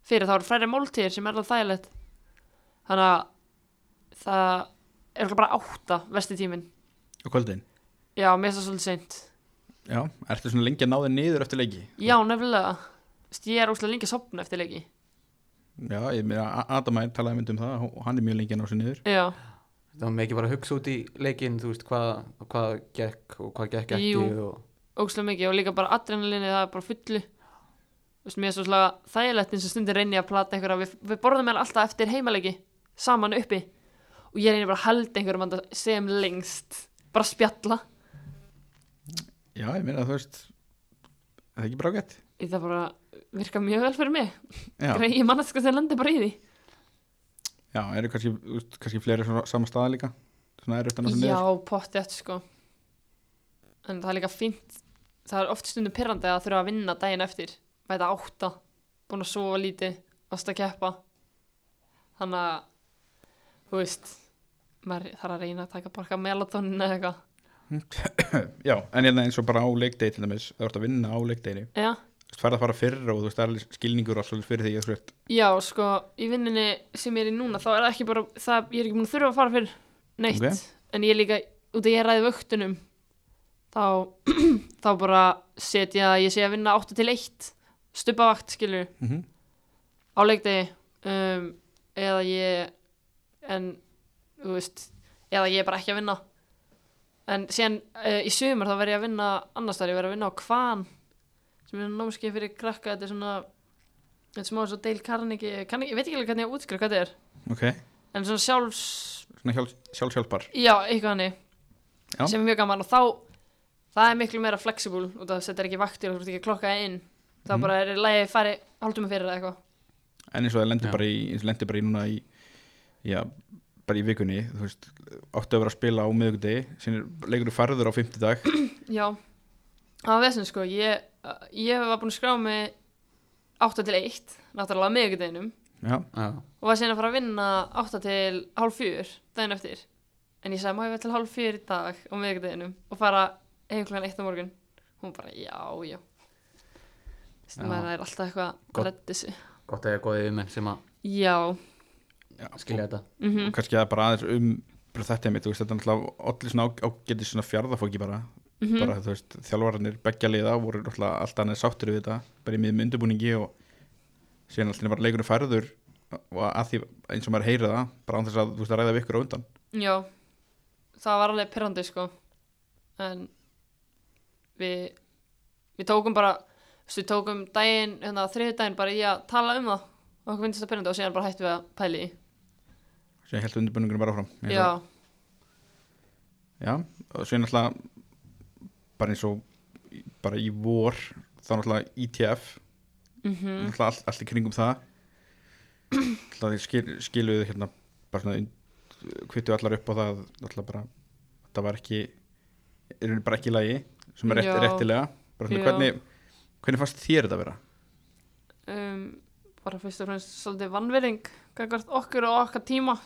[SPEAKER 3] fyrir þá eru færri máltíðir sem er alveg þægilegt þannig að það er örugglega bara átta vesti tíminn
[SPEAKER 1] Og kvöldin?
[SPEAKER 3] já, mér er það svolítið seint
[SPEAKER 1] Já, ertu svona lengi að ná þér niður eftir leiki?
[SPEAKER 3] já, nefnilega, Vist, ég er ógslag lengi að sopna eftir leiki
[SPEAKER 1] Já, ég meina A- Adamær talaði mynd um það og hann er mjög lengi að ná sér niður
[SPEAKER 3] já,
[SPEAKER 2] Það var mikið bara að hugsa út í leikinn Þú veist hvað, hvað gekk og hvað gekk ekki
[SPEAKER 3] Jú.
[SPEAKER 2] og,
[SPEAKER 3] ógslag mikið og líka bara adrenalinni það er bara fullu Vist, mér er svo þægilegt eins og stundir reyni ég að plata einhverja við, við borðum mér alltaf eftir heimaleiki saman uppi og ég reyni bara að halda einhverjum að sem lengst bara að spjalla
[SPEAKER 1] Já, ég meina þú veist, það er ekki bara ágætt
[SPEAKER 3] það bara virka mjög vel fyrir mig
[SPEAKER 1] Já,
[SPEAKER 3] Grei, ég manna sko sem lendi bara í því
[SPEAKER 1] já eru kannski, þú veist, kannski fleiri svona sama staða líka? Svona eru eftir að ná sér
[SPEAKER 3] já,
[SPEAKER 1] niður?
[SPEAKER 3] pottjætt sko en það er líka fínt það er oft stundum pyrrandi að þurfa að vinna daginn eftir mæta átta, búin að sofa lítið varst að keppa þannig að þú veist maður þarf að reyna að taka bara eitthvað melatonin eða eitthvað
[SPEAKER 1] Já, en hérna eins og bara á leikdegi til dæmis, það ertu að vinna á leikdegi
[SPEAKER 3] já,
[SPEAKER 1] Þú veist, færð að fara fyrr og þú veist, það er alveg skilningur og svolítið fyrir því að þú veist
[SPEAKER 3] já sko í vinninni sem ég er í núna þá er það ekki bara það, ég er ekki búin að þurfa að fara fyrir neitt
[SPEAKER 1] Ok.
[SPEAKER 3] en ég er líka, út af ég ræði vöktunum þá [CLEARS THROAT] þá bara setja að ég sé að vinna 8 til 1 stupavakt skilur
[SPEAKER 1] mm
[SPEAKER 3] á leikdegi um, eða ég en, þú veist eða ég er bara ekki að vinna en síðan uh, í sumar þá verð ég að vinna annars þar, ég verð að vinna á Kvan sem er námskeið fyrir krakka þetta er svona, þetta er smá svo Dale Carnegie, kann, ég veit ekki alveg hvernig ég útskrifa hvað þetta er,
[SPEAKER 1] Ok,
[SPEAKER 3] en svona sjálfs
[SPEAKER 1] svona sjálf, sjálfshjálpar
[SPEAKER 3] já, eitthvað hannig
[SPEAKER 1] Já.
[SPEAKER 3] sem er mjög gaman og þá það er miklu meira flexible og það setur ekki vaktir og þú ert ekki að klokka inn þá
[SPEAKER 1] Mhm.
[SPEAKER 3] bara er í lagi að fara hálftum að fyrir eða eitthvað
[SPEAKER 1] En eins og það lendir
[SPEAKER 2] Já.
[SPEAKER 1] bara í, eins og lendir bara í núna í, já, bara í vikunni Þú veist, áttu að vera að spila á miðvikudegi Sýnir, leikur þú farður á fimmtudag
[SPEAKER 3] Já, það var vesinn sko, ég, ég var búin að skrá mig 8 til 1, náttúrulega meðugudeginum
[SPEAKER 1] Já,
[SPEAKER 2] já.
[SPEAKER 3] og var síðan að fara að vinna 8 til hálf 4 daginn eftir en ég sagði, má ég vera til hálf 4 í dag á meðugudeginum og fara heim klukkan 1 á morgun hún bara, já, já
[SPEAKER 2] Já.
[SPEAKER 3] Þessi maður er alltaf eitthvað
[SPEAKER 2] Gott.
[SPEAKER 3] að redda þessu
[SPEAKER 2] Gott að ég er góðið um sem að
[SPEAKER 3] Já,
[SPEAKER 1] já sko.
[SPEAKER 2] skilja þetta
[SPEAKER 3] mhm
[SPEAKER 1] og kannski að bara aðeins um bara þetta mitt, þú veist, þetta er náttúrulega allir svona ágetið svona fjárðafóki bara
[SPEAKER 3] mhm.
[SPEAKER 1] bara, þú veist, þjálfararnir beggja liða voru náttúrulega alltaf annað sáttur við þetta bara í miðum undirbúningi og síðan alltaf var leikurinn um færður og að því eins og maður heyri það bara án þess að þú veist að ræða við ykkur á undan
[SPEAKER 3] Já, það var alveg pyrrandi sko en við við tókum bara þú veist, við tókum daginn, hérna þriðu daginn bara í að tala um það og okkur finnst það pyrrandi og síðan bara hættum við að pæli í
[SPEAKER 1] síðan held undirbúningunum bara áfram Eins og-
[SPEAKER 3] Já,
[SPEAKER 1] Já, og svo er náttúrulega bara eins og í- bara í vor þá náttúrulega E ITF
[SPEAKER 3] mhm,
[SPEAKER 1] náttúrulega allt, allt í kringum það náttúrulega þeir skil, skiluðu hérna bara svona kvittu allar upp á það náttúrulega bara þetta var ekki er bara ekki í lagi sem er rétt,
[SPEAKER 3] Já.
[SPEAKER 1] réttilega bara svona
[SPEAKER 3] Já.
[SPEAKER 1] hvernig hvernig fannst þér þetta að vera?
[SPEAKER 3] um, bara fyrst og fremst svolítið vannvering gangvart okkur og okkar tíma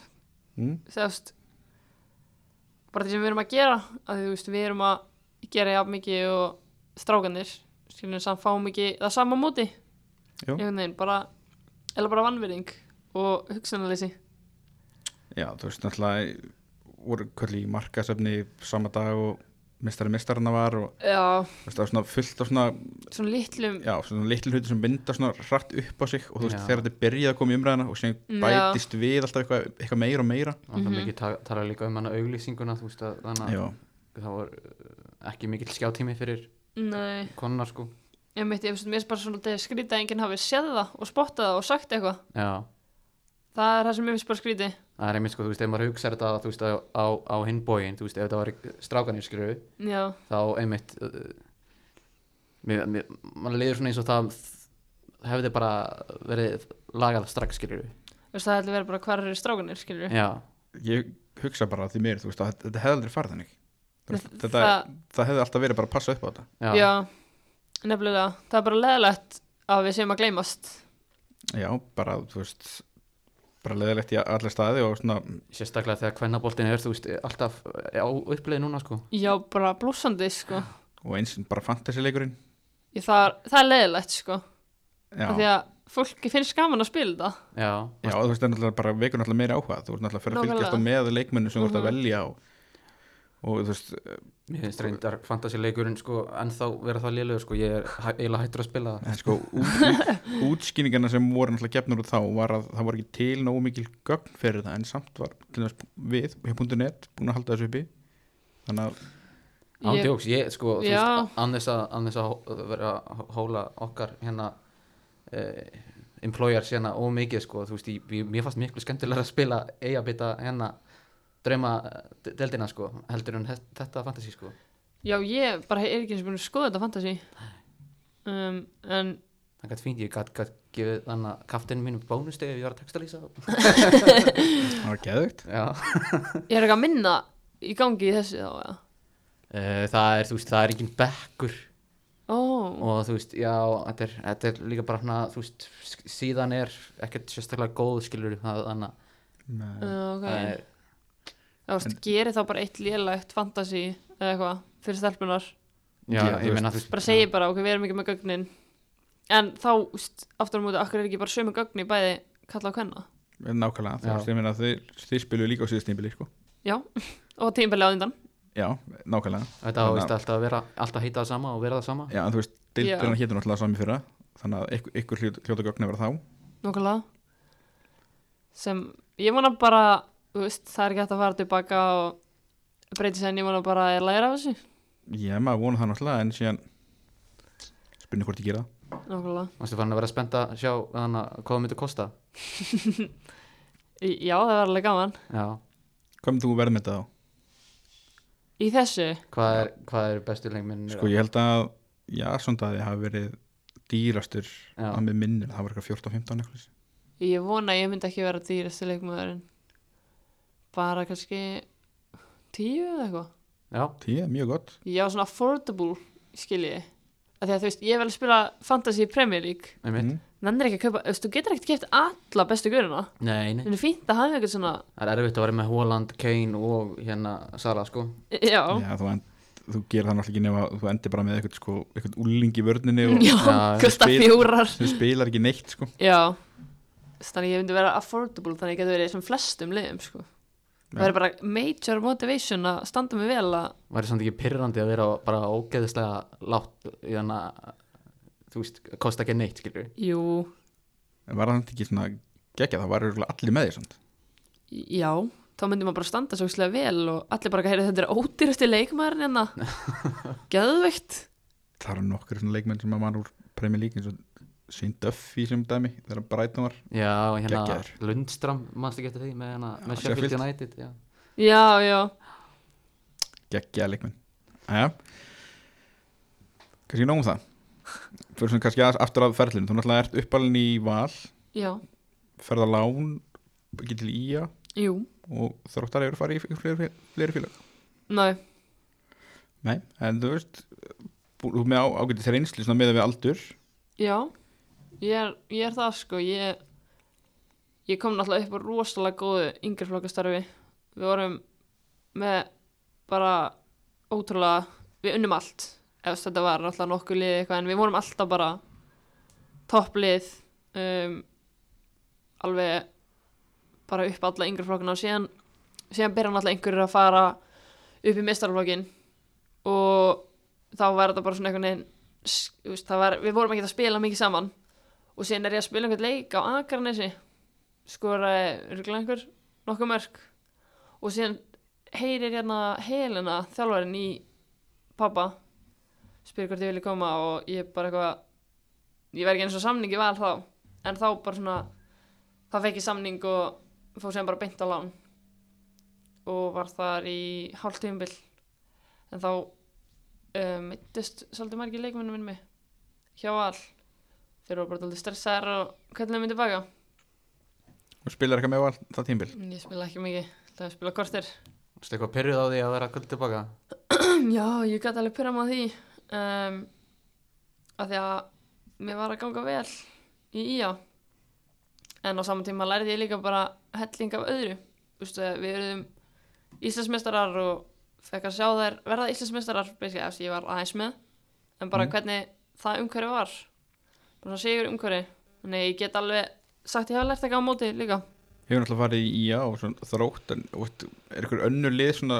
[SPEAKER 1] Mm?
[SPEAKER 3] þegast bara því sem við erum að gera að því, þú veist, við erum að gera jafn mikið og strákanir skilur samt fáum ekki það sama á móti
[SPEAKER 1] Jú.
[SPEAKER 3] einhvern veginn, bara eða bara vannverðing og hugsanaleysi
[SPEAKER 1] Já, þú veist, náttúrulega voru kvöldi í markasöfni sama dag og mistari mistarina var og
[SPEAKER 3] Já,
[SPEAKER 1] þú veist, það var svona fullt af svona,
[SPEAKER 3] svona litlum
[SPEAKER 1] já, svona litlu hluti sem mynda svona rætt upp á sig og þú veist,
[SPEAKER 2] Já.
[SPEAKER 1] þegar þetta byrjaði að koma í umræðina og sem
[SPEAKER 3] Já.
[SPEAKER 1] bætist við alltaf eitthvað, eitthvað meira og meira
[SPEAKER 2] Alltaf
[SPEAKER 3] Mhm.
[SPEAKER 2] mikið ta- tala líka um hana auglýsinguna þú veist að þannig
[SPEAKER 1] Já,
[SPEAKER 2] að það var uh, ekki mikill skjátími fyrir
[SPEAKER 3] Nei,
[SPEAKER 2] konar sko
[SPEAKER 3] ég meitt, ég finnst mér finnst bara svona þegar skrítið að enginn hafi séð það og spottað það og sagt eitthvað
[SPEAKER 2] Já,
[SPEAKER 3] Það er það sem mér finnst bara skrítið
[SPEAKER 2] það er einmitt sko, þú veist, ef maður hugsaði þetta þú veist, á, á, á hinn bógin, þú veist, ef þetta var strákanir skrifu,
[SPEAKER 3] Já,
[SPEAKER 2] þá einmitt uh, mér, mér, mann leiður svona eins og það hefði bara verið lagað strax skrifu.
[SPEAKER 3] þú veist, það ætla að vera bara hvar eru strákunir, skilur við
[SPEAKER 2] Já,
[SPEAKER 1] ég hugsa bara því mér, þú veist, að þetta hefði aldrei farið þannig Þú veist,
[SPEAKER 3] Nei,
[SPEAKER 1] Þetta,
[SPEAKER 3] það-
[SPEAKER 1] það hefði alltaf verið bara að passa upp á þetta
[SPEAKER 2] já,
[SPEAKER 3] Já, nefnilega, það er bara leðalegt að við séum að gleymast
[SPEAKER 1] Já, bara, þú veist bara leðilegt í alla staði og svona
[SPEAKER 2] sérstaklega þegar kvennaboltin er, þú veist, alltaf eh, á uppleið núna sko.
[SPEAKER 3] Já, bara blúsandi, sko
[SPEAKER 1] og eins bara fantasileikurinn
[SPEAKER 3] ég, það, er, það er leðilegt, sko
[SPEAKER 1] Já,
[SPEAKER 3] af Því að fólki finnst gaman að spila þetta
[SPEAKER 2] Já,
[SPEAKER 1] já þú veist, það er náttúrulega bara vekur náttúrulega meira áhuga þú veist náttúrulega fyrir að
[SPEAKER 3] Nákvæmlega.
[SPEAKER 1] fylgjast á með leikmennu sem þú ert að
[SPEAKER 3] Mhm.
[SPEAKER 1] velja og, og þú veist,
[SPEAKER 2] mér finnst reyndar fantasileikurinn sko, en þá vera það lélugur sko, ég er hæ- eiginlega hættur að spila það.
[SPEAKER 1] en sko út, [LAUGHS] útskýningarna sem voru náttúrulega gefnur út þá var að það voru ekki til nógu mikil gögn fyrir það en samt var til dæmis við hjá .net búin að halda þessu uppi þannig að
[SPEAKER 3] Ég-
[SPEAKER 2] Ándjóks, ég sko, þú
[SPEAKER 3] Já.
[SPEAKER 2] veist, án þess að, án þess að hó- vera að hóla okkar hérna eh, employer sérna ómikið sko, þú veist, ég, ég- mér fannst miklu skemmtilega að spila eiga bita hérna drauma eh, deildina sko, heldur en þe- þetta fantasy sko.
[SPEAKER 3] Já, ég bara er ekki eins og búin að skoða þetta fantasy um, En
[SPEAKER 2] Það gæti fínt, ég gæti gæt gefið þannig að kaftinu mínum bónustegi ef ég var að textalýsa.
[SPEAKER 1] það var geðveikt
[SPEAKER 2] Já.
[SPEAKER 3] ég er ekki að minna í gangi í þessu þá eða?
[SPEAKER 2] [LAUGHS] Eh, það er, þú veist, það er engin bekkur.
[SPEAKER 3] Ó,
[SPEAKER 2] og þú veist, já, þetta er, þetta er líka bara hana, þú veist, s- síðan er ekkert sérstaklega góð skilur það, þannig að
[SPEAKER 3] uh, ok
[SPEAKER 2] það er,
[SPEAKER 3] Þú veist, gerir þá bara eitt lélegt fantasy eða eitthvað fyrir stelpunar
[SPEAKER 2] já,
[SPEAKER 1] Já, þú
[SPEAKER 2] ég
[SPEAKER 1] veist,
[SPEAKER 2] meina, þú veist
[SPEAKER 3] bara segir bara, ok, við erum ekki með gögnin en þá, þú veist, aftur á móti akkur er ekki bara sömu gögn í bæði kalla á hvenna
[SPEAKER 1] nákvæmlega, þú
[SPEAKER 2] Já.
[SPEAKER 1] veist, ég meina að þið, þið spilu líka á síðustýmbili, sko
[SPEAKER 3] já, [LAUGHS] og tímbeli á undan
[SPEAKER 1] já, nákvæmlega,
[SPEAKER 2] þetta á
[SPEAKER 1] Þannig að-
[SPEAKER 2] veist alltaf að vera, alltaf heita það sama og vera það sama
[SPEAKER 1] já, en þú veist, deildirna
[SPEAKER 3] Já.
[SPEAKER 1] hétur náttúrulega sami fyrra þannig að ykkur, ykkur hljó- hljóta gögn að vera þá
[SPEAKER 3] nokkulega sem, ég vona bara þú veist, það er ekki hægt að fara tilbaka og breyti sér en ég vona bara að læra af þessu
[SPEAKER 1] Já, maður vona það náttúrulega en síðan spurning hvort ég gera það
[SPEAKER 3] nokkulega,
[SPEAKER 2] Mástu fann að vera spennt að sjá þannig að hvað það myndi kosta
[SPEAKER 3] já, það var alveg gaman
[SPEAKER 2] já,
[SPEAKER 1] Hvað myndir þú verð með þetta þá?
[SPEAKER 3] í þessu,
[SPEAKER 2] hvað er, hvað er bestu lengminn
[SPEAKER 1] Sko ég held að Jasondaði hafi verið dýrastur
[SPEAKER 2] Já.
[SPEAKER 1] að með minnir, það var eitthvað 14-15 eitthvað svoleiðis.
[SPEAKER 3] ég vona að ég myndi ekki vera dýrasti leikmaðurinn bara kannski tíu eða eitthvað
[SPEAKER 2] já,
[SPEAKER 1] Tíu, mjög gott
[SPEAKER 3] Já, svona affordable, skilji að Því að þú veist, ég vel að spila Fantasy Premier League
[SPEAKER 2] einmitt
[SPEAKER 1] Mm.
[SPEAKER 3] Nennir ekki að kaupa, þú veist, þú getur ekkert keft alla bestu göruna
[SPEAKER 2] nei, nei,
[SPEAKER 3] En það er fínt að hafa eitthvað svona
[SPEAKER 2] það er erfitt að vera með Holland, Kane og hérna Sala sko
[SPEAKER 3] Já,
[SPEAKER 1] Já, þú, end, þú gerir það náttúrulega ekki nema þú endir bara með eitthvað, sko, eitthvað úling í
[SPEAKER 3] [LAUGHS]
[SPEAKER 1] vörninni og
[SPEAKER 3] já,
[SPEAKER 2] Já,
[SPEAKER 3] kosta
[SPEAKER 1] spil-
[SPEAKER 3] fjórar
[SPEAKER 1] sem spilar ekki neitt sko.
[SPEAKER 3] Já Þannig að ég myndi vera affordable Þannig að ég getur verið í sem flestum liðum, sko Það
[SPEAKER 1] Já.
[SPEAKER 3] er bara major motivation að standa mig vel að
[SPEAKER 2] væri samt ekki pyrrandi að vera bara ógeðislega látt í þannig að þú veist, kosta ekki neitt skilur
[SPEAKER 3] Jú,
[SPEAKER 1] En var það samt ekki svona gegja, það var örugglega allir með því samt.
[SPEAKER 3] já Þá myndi maður bara standa svo slega vel og allir bara heyrðu þetta er ódýrasti leikmaðurinn hérna Geðveikt
[SPEAKER 1] Það eru nokkur svona leikmenn sem að mann úr Premier League eins og Shane Duffy sem dæmi þegar Brighton var
[SPEAKER 2] Já, hérna
[SPEAKER 1] Geggjaður.
[SPEAKER 2] Lundstram, mannstu ekki eftir því með, hérna, með
[SPEAKER 1] Já,
[SPEAKER 2] Sheffield
[SPEAKER 1] Sheffield.
[SPEAKER 2] United já.
[SPEAKER 3] Já, já
[SPEAKER 1] geggja leikmenn Æja Kannski nóg um það Fyrir svona kannski aðeins aftur að ferlinu Þú náttúrulega ert uppalinn í val
[SPEAKER 3] Já,
[SPEAKER 1] ferð á lán, getur í IA
[SPEAKER 3] jú,
[SPEAKER 1] og þróttar eru farið í fleiri, fleiri félag
[SPEAKER 3] næ,
[SPEAKER 1] Nei, en þú veist bú- þú ert með á- ágætis reynslu svona meða við aldur
[SPEAKER 3] já ég er, ég er það sko ég, ég kom náttúrulega upp á rosalega góðu yngjaflokkastarfi við vorum með bara ótrúlega við unnum allt ef þess þetta var náttúrulega nokkuð lið eitthvað en við vorum alltaf bara topplið um, alveg bara upp alla yngri flokkuna og síðan, síðan byrja náttúrulega einhverjir að fara upp í mestarflokkin og þá var þetta bara svona einhvern veginn s- þú veist, það var, við vorum ekki að spila mikið saman og síðan er ég að spila einhvern leik á Akarnesi skoraði rugglega einhver nokkuð mörg og síðan heyrir hérna Helena þjálfarinn í pappa spyr hvort ég vilja koma og ég bara eitthvað ég verð ekki eins og samningi val þá en þá bara svona þá fekk ég samning og fór sem bara beint á lán og var þar í hálft tímabil en þá um, meittist svolítið margir leikmennu minni hjá all þeir voru bara svolítið stressaðar og hvernig þeir myndi baka
[SPEAKER 1] og spilar eitthvað með á allt það tímbil
[SPEAKER 3] ég spila ekki mikið, það spila kortir
[SPEAKER 2] Vistu eitthvað perjuð á því að vera kvöld tilbaka?
[SPEAKER 3] Já, ég gæti alveg pyrra maður því um, að því að mér var að ganga vel í ía en á saman tíma lærði ég líka bara helling af öðru Ústu, við erum Íslandsmeistarar og fekk að sjá þær verða Íslandsmeistarar basically, eftir ég var aðeins með en bara
[SPEAKER 1] Mm.
[SPEAKER 3] hvernig það umhverfi var bara svona sigur umhverfi þannig að ég get alveg sagt ég hafa lært eitthvað á móti líka
[SPEAKER 1] hefur náttúrulega farið í IA og svona þrótt en og veit, er ykkur önnur lið svona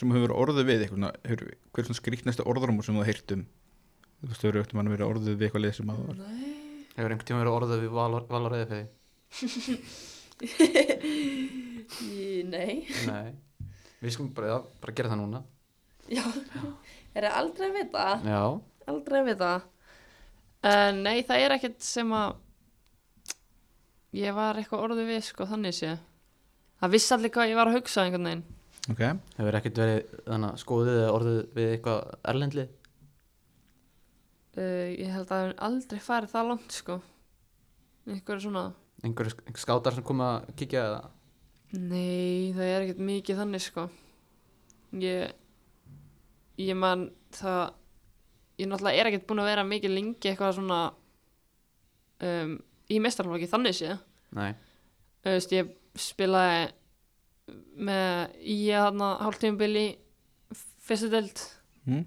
[SPEAKER 1] sem hefur orðið við eitthvað svona, hefur, hver er svona skrýtnasta orðrumur sem þú hefur heyrt um þú veist, hefur öllum hann verið orðið við eitthvað lið sem að það var
[SPEAKER 2] Hefur einhvern tíma verið orðað við valorðið fyrir því?
[SPEAKER 4] Nei,
[SPEAKER 2] Nei. Við skulum bara, já, bara gera það núna.
[SPEAKER 4] já, er það aldrei að vita,
[SPEAKER 2] Já.
[SPEAKER 4] aldrei að vita.
[SPEAKER 3] Uh, nei, það er ekkert sem að ég var eitthvað orðu við sko þannig sé það vissi allir hvað ég var að hugsa einhvern veginn
[SPEAKER 1] ok,
[SPEAKER 2] Hefur ekkert verið þannig, skoðið eða orðið við eitthvað erlendlið?
[SPEAKER 3] uh, ég held að það hef aldrei farið það langt sko einhverju svona
[SPEAKER 2] Einhver, einhver skátar sem kom að kíkja eða?
[SPEAKER 3] nei, það er ekkert mikið þannig sko ég ég man það ég náttúrulega er ekkert búin að vera mikið lengi eitthvað svona um, í mestarflokki þannig sé
[SPEAKER 2] Nei.
[SPEAKER 3] þú veist, ég spilaði með í þarna hálftímabili fyrstu deild
[SPEAKER 1] mm.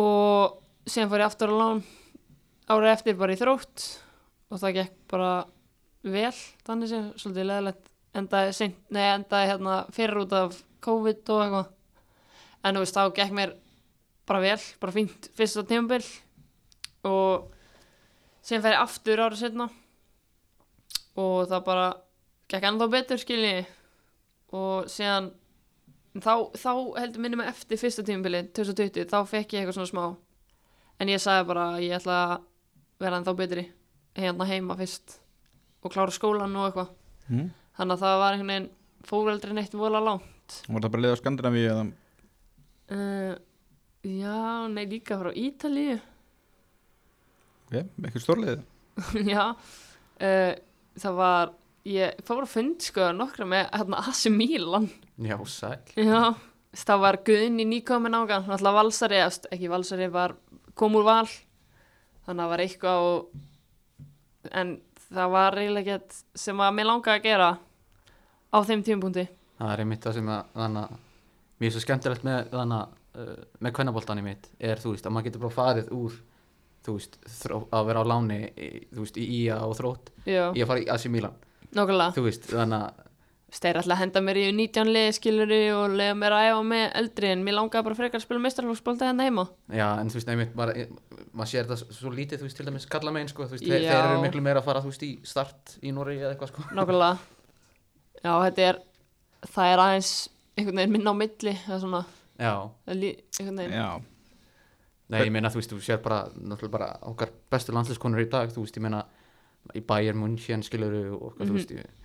[SPEAKER 3] og síðan fór ég aftur á lán ára eftir bara í þrótt og það gekk bara vel þannig sem svolítið leðilegt endaði, seint, nei, endaði hérna fyrir út af COVID og eitthvað en þú veist þá gekk mér bara vel, bara fínt fyrsta tímabil og síðan fer ég aftur ára setna og það bara gekk ennþá betur skilji og síðan þá, þá heldur minni mig eftir fyrsta tímabili 2020, þá fekk ég eitthvað svona smá en ég sagði bara að ég ætla að vera ennþá betri hérna heima fyrst og klára skólan og eitthvað
[SPEAKER 1] Mm.
[SPEAKER 3] þannig að það var einhvern veginn fóraldri neitt vola lá
[SPEAKER 1] var það bara lið á Skandinavíu eða
[SPEAKER 3] uh, já, nei líka frá Ítalíu [LAUGHS]
[SPEAKER 1] ok, eitthvað stórlið
[SPEAKER 3] já uh, það var ég fór að fund sko nokkra með hérna AC Milan
[SPEAKER 2] Já, sæl.
[SPEAKER 3] Já, þess, það var Guðni nýkomin ágan, náttúrulega Valsari, eða, þú veist, ekki Valsari, var, kom úr val, þannig að það var eitthvað og, en það var eiginlega ekkert sem að mér langaði að gera á þeim tímpúndi.
[SPEAKER 2] Það er einmitt það sem að þannig að mér er svo skemmtilegt með þannig að uh, með kvennaboltan í mitt er þú veist að maður getur bara farið úr þú veist þró, að vera á láni í, þú veist í IA og þrótt
[SPEAKER 3] Já,
[SPEAKER 2] í að fara í AC Milan
[SPEAKER 3] nokkulega.
[SPEAKER 2] þú veist þannig að
[SPEAKER 3] Það er alltaf að henda mér í 19 liðskiluru og lega mér að æfa með eldri, en mér langaði bara frekar að spila meistarflóksbólta hérna heima.
[SPEAKER 2] já en þú veist einmitt e, maður mað sér þetta svo- svo lítið þú veist til dæmis kalla megin sko þú veist þeir,
[SPEAKER 3] Já.
[SPEAKER 2] þeir eru miklu meira að fara þú veist í start í Noregi eða eitthvað sko
[SPEAKER 3] Nokkulega. Já, þetta er, það er aðeins einhvern veginn minna á milli, það er svona,
[SPEAKER 2] já
[SPEAKER 3] það er lí- einhvern veginn.
[SPEAKER 1] já,
[SPEAKER 2] nei ég meina þú veist þú sér bara náttúrulega bara okkar bestu landsliskonur í dag þú veist ég meina í Bayern München skiluru og okkar, þú veist ég-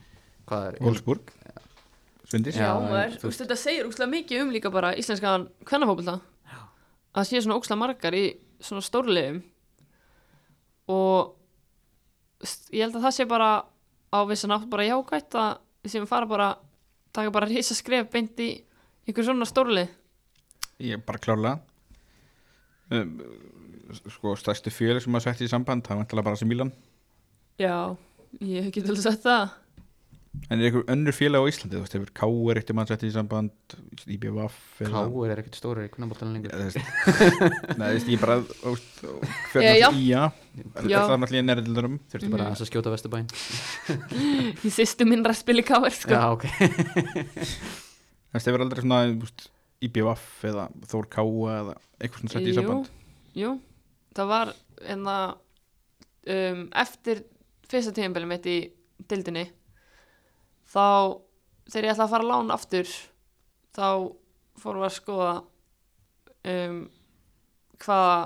[SPEAKER 2] hvað er
[SPEAKER 1] Wolfsburg Svindis
[SPEAKER 2] Já,
[SPEAKER 3] Já,
[SPEAKER 2] en
[SPEAKER 3] maður,
[SPEAKER 2] þú
[SPEAKER 3] þú veist, þetta segir úkslega mikið um líka bara íslenskan kvennafókbalta að sé svona úkslega margar í svona stórlegum og þú veist, ég held að það sé bara á vissan átt bara jákvætt að sem fara bara, taka bara risa skref beint í einhver svona stórleg
[SPEAKER 1] Ég bara klárlega um, Sko, stærsti fjöli sem maður setti í samband Það er vantilega bara sem Mílan
[SPEAKER 3] Já, ég hef ekki til að setja það
[SPEAKER 1] En er einhver önnur félag á Íslandi, þú veist, hefur K.R. eftir mann sett í samband, IBVF eða-
[SPEAKER 2] Káur er ekkert stórar í kvennabóltanum lengur
[SPEAKER 1] Eða, þú veist, Nei, þú veist, ég bara
[SPEAKER 3] Eh,
[SPEAKER 1] fyrir náttúrulega
[SPEAKER 3] já.
[SPEAKER 1] í að það
[SPEAKER 3] Já. Mhm.
[SPEAKER 1] er náttúrulega í nærildunum
[SPEAKER 2] Þurfti bara aðeins að skjóta Vesturbæn
[SPEAKER 3] Í sýstu minn er að spila í káir sko
[SPEAKER 2] Já, ok
[SPEAKER 1] Það stefur aldrei svona þú veist, IBVF eða Þór Káa eða eitthvað svona sett í
[SPEAKER 3] Jú,
[SPEAKER 1] samband
[SPEAKER 3] Jú, það var enna um, eftir fyrsta tíðanbili mitt í dildinni þá þegar ég ætlaði að fara að lána aftur þá fórum við að skoða um, hvaða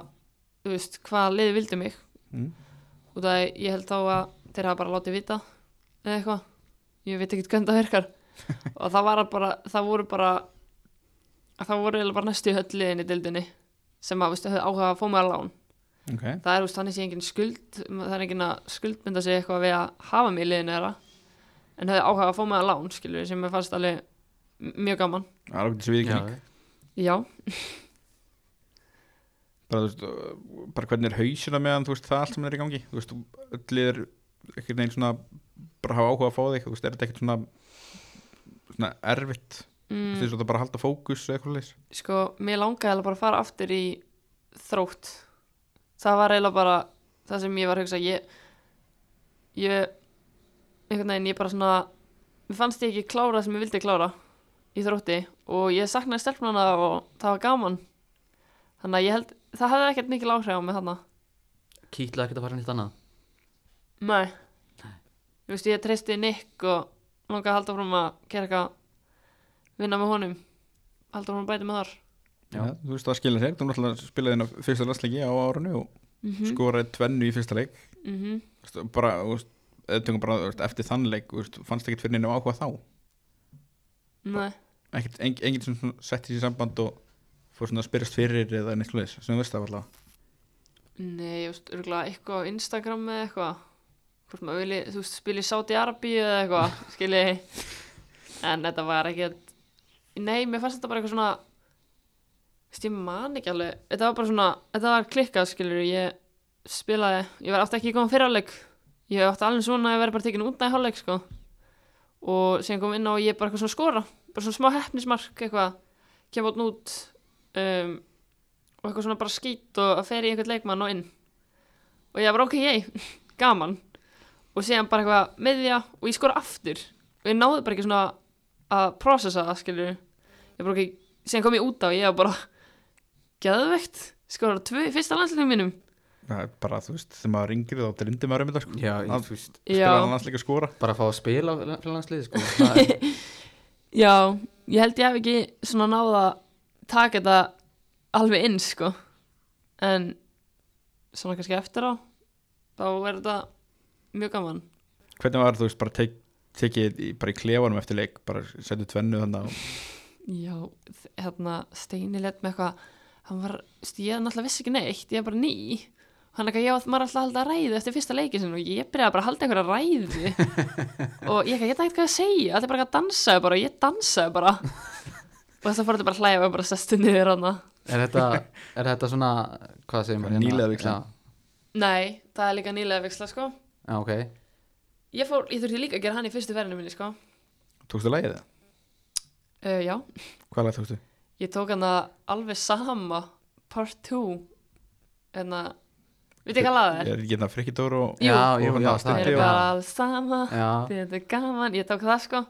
[SPEAKER 3] þú veist, hvaða liði vildi mig
[SPEAKER 1] Mm.
[SPEAKER 3] út af að ég held þá að þeir hafa bara látið vita eða eitthvað, ég veit ekkert hvernig það virkar og það var bara, það voru bara það voru eiginlega bara næstu höll liðin í dildinni sem að, veist, höfðu áhuga að fá mig að lán
[SPEAKER 1] Ok,
[SPEAKER 3] það er, veist, þannig sé engin skuld það er engin að skuldbinda sig eitthvað við að hafa mig í liðinu þeirra en höfðu áhuga að fá mig að lán, skilur sem mér fannst alveg m- mjög gaman
[SPEAKER 1] það er okkur sem við ekki
[SPEAKER 2] Já,
[SPEAKER 3] já,
[SPEAKER 1] bara, þú veist, uh, bara hvernig er hausina meðan þú veist það allt sem er í gangi þú veist, öll er ekkert neginn svona bara hafa áhuga að fá þig þú veist, er þetta ekkert svona svona erfitt þú veist,
[SPEAKER 3] mm,
[SPEAKER 1] þess að það bara að halda fókus eða eitthvað leys
[SPEAKER 3] sko, mér langaði eiginlega bara að fara aftur í þrótt það var eiginlega bara það sem ég var að hugsa ég, ég einhvern veginn, ég bara svona mér fannst ég ekki klára það sem ég vildi klára í þrótti og ég saknaði stelpnana og það var gaman þannig að ég held, það hefði ekkert mikil áhrif á mig þarna
[SPEAKER 2] ok Kýtla ekkert að fara nýtt annað
[SPEAKER 3] Nei Þú veist, ég treysti Nick og langaði að halda fram að gera eitthvað vinna með honum halda fram að bæta með þar
[SPEAKER 2] Já.
[SPEAKER 1] ja, þú veist, það skilja sér, þú náttúrulega spilaði þinn á fyrsta landsleiki á árunu og
[SPEAKER 3] mm
[SPEAKER 1] skoraði tvennu í fyrsta leik
[SPEAKER 3] mm
[SPEAKER 1] Þú veist, bara, þú veist, eða tökum bara þú veist, eftir þann leik, þú veist, fannst ekkert fyrir neina áhuga þá
[SPEAKER 3] Nei,
[SPEAKER 1] ekkert, en, enginn sem svona setti sér í samband og fór svona að spyrjast fyrir eða neitt slúðis, sem þú veist það var allavega
[SPEAKER 3] nei, þú veist, örgulega eitthvað á Instagram eða eitthvað hvort maður vilji, þú veist, spila í Saudi Arabi eða eitthvað, skilji en þetta var ekki nei, mér fannst þetta bara eitthvað svona þú veist, ég man ekki alveg þetta var bara svona, þetta var klikkað, skiljur ég spilaði, ég var átti ekki góðan fyrirháleik ég átti alveg svona að ég verið bara tekin út af háleik, sko og síðan kom inn á og ég bara eitthvað svona skora bara svona smá hefnismark, eitthvað kem átn út um, og eitthvað svona bara skýt og að fer í einhvern leikmann og inn og ég var ok, ég, [LAUGHS] gaman og síðan bara eitthvað meðja og ég skora aftur og ég náði bara ekki svona að processa það skilur ég bara ekki, síðan kom ég út á og ég var bara [LAUGHS] geðvegt, skora tvö í fyrsta landsleikum mínum
[SPEAKER 1] það er bara, þú veist, þegar maður yngri þá drindi maður um þetta, sko,
[SPEAKER 2] Já,
[SPEAKER 1] Að-
[SPEAKER 2] ég, þú veist
[SPEAKER 1] spilaði hann landsleik að skora
[SPEAKER 2] Bara að fá að spila á landsliði sko Það er-
[SPEAKER 3] Já, ég held ég hef ekki svona náða að taka þetta alveg inn, sko. En svona kannski eftir á, þá er þetta mjög gaman.
[SPEAKER 1] hvernig var, þú veist, bara tek, tekið í, bara í klefanum eftir leik, bara settu tvennu þannig og
[SPEAKER 3] Já, þ- hérna Steini lett með eitthvað, hann var, veist, ég náttúrulega vissi ekki neitt, ég er bara ný. Hann er eitthvað, já, maður er alltaf að halda ræðu eftir fyrsta leiki sinn og ég byrjaði bara að halda einhverja ræðu. og ég eitthvað, ég veit ekki hvað að segja, þetta er bara eitthvað að dansaði bara og ég dansaði bara. og þess að fór þetta bara að hlæja og ég bara sestu niður hana.
[SPEAKER 2] Er þetta, er þetta svona, hvað segir maður? hérna?
[SPEAKER 1] Nýlega víxla.
[SPEAKER 2] Já,
[SPEAKER 3] Nei, það er líka nýlega viksla, sko.
[SPEAKER 2] já, ok.
[SPEAKER 3] Ég, fór, ég þurfti líka að gera hann í fyrstu verðinu minni, sko.
[SPEAKER 1] tókstu lagið það?
[SPEAKER 3] Uh, já,
[SPEAKER 1] Hvað lag tókstu?
[SPEAKER 3] ég tók hann að alveg sama, part 2, en að, veit ekki hvað laðið er?
[SPEAKER 1] Ég er getað frikidór og
[SPEAKER 3] Jú.
[SPEAKER 2] já,
[SPEAKER 1] Og
[SPEAKER 2] jú,
[SPEAKER 1] hún
[SPEAKER 2] já,
[SPEAKER 1] á
[SPEAKER 2] það
[SPEAKER 3] Það
[SPEAKER 1] stundi
[SPEAKER 2] er
[SPEAKER 3] er bara
[SPEAKER 2] bara...
[SPEAKER 3] alveg sama,
[SPEAKER 2] Já,
[SPEAKER 3] þetta er gaman, ég tók það, sko.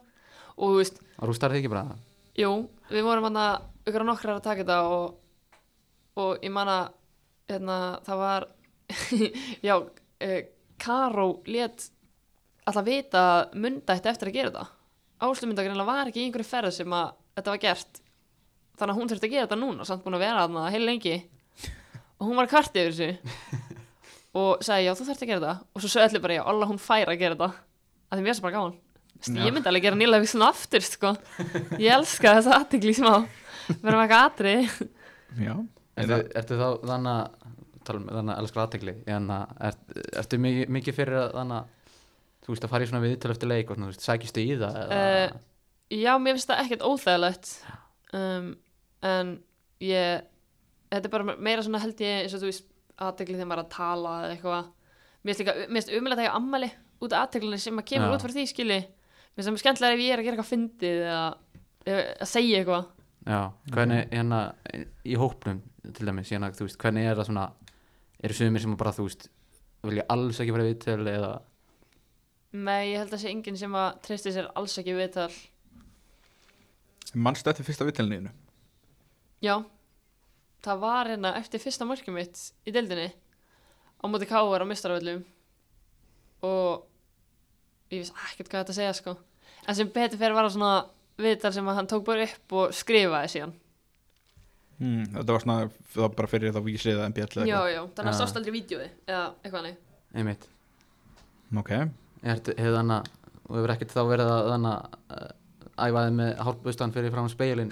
[SPEAKER 3] Og, þú veist,
[SPEAKER 2] rústar þið ekki bara?
[SPEAKER 3] jú, við vorum hann að, ykkur nokkrar að taka þetta og, og ég man að, hérna, það var, [LAUGHS] já, uh, Karó lét alltaf vita að munda þetta eftir að gera þetta. Áslumunda greinlega var ekki í einhverju ferð sem að þetta var gert. Þannig að hún þurfti að gera þetta núna, samt búin að vera þarna heil lengi. Og hún var kvart yfir þessu. Og sagði, já, þú þurfti að gera þetta. Og svo sögðu allir bara, já, alla hún fær að gera þetta. Það er mjög sem bara gaman. Vist,
[SPEAKER 1] Já.
[SPEAKER 3] ég myndi alveg gera nýlega viksin aftur, sko. Ég elska þessa aðtikli smá. Verðum eitthvað atri.
[SPEAKER 1] Já, Hérna, Er
[SPEAKER 2] Ertu, ertu þá þannig að, tala um þannig að elskar aðtegli, en að, er, ertu mikið, mikið fyrir að þannig að, þú veist, að fara í svona viðtölu eftir leik og svona, þú veist, sækistu í það? Eða,
[SPEAKER 3] Eh, Já, mér finnst það ekkert óþægilegt um, en ég þetta er bara meira svona held ég eins og þú veist aðteglið þegar maður er að tala eða eitthvað mér finnst líka, mér finnst umlega að taka ammali út af aðteglinni sem maður kemur
[SPEAKER 2] Já.
[SPEAKER 3] út fyrir því skili Mér sem er skemmtilega ef ég er að gera eitthvað fyndið eða eða að segja eitthvað.
[SPEAKER 2] Já, hvernig hérna í hópnum til dæmis, hérna, þú veist, hvernig er það svona eru sumir sem bara, þú veist vilja alls ekki fara í viðtöl eða
[SPEAKER 3] Nei, ég held að sé enginn sem að treysti sér alls ekki við tal.
[SPEAKER 1] Manstu eftir fyrsta vittelniðinu?
[SPEAKER 3] Já, það var hérna eftir fyrsta markið mitt í deildinni á móti káver á mistaröfellum og ég vissi ekkert hvað þetta segja sko en sem betur fyrir var það svona viðtal sem að hann tók bara upp og skrifaði síðan
[SPEAKER 2] Hmm.
[SPEAKER 1] Mm. Þetta var svona, það var bara fyrir það vísið eða MBL eða
[SPEAKER 3] Já, já, þannig að
[SPEAKER 2] Ah.
[SPEAKER 3] sást aldrei vídjói eða eitthvað nei
[SPEAKER 2] einmitt,
[SPEAKER 1] Ok,
[SPEAKER 2] er, hefur þannig að og hefur ekkert þá verið að þannig að æfaði með hálpustan fyrir fram speilin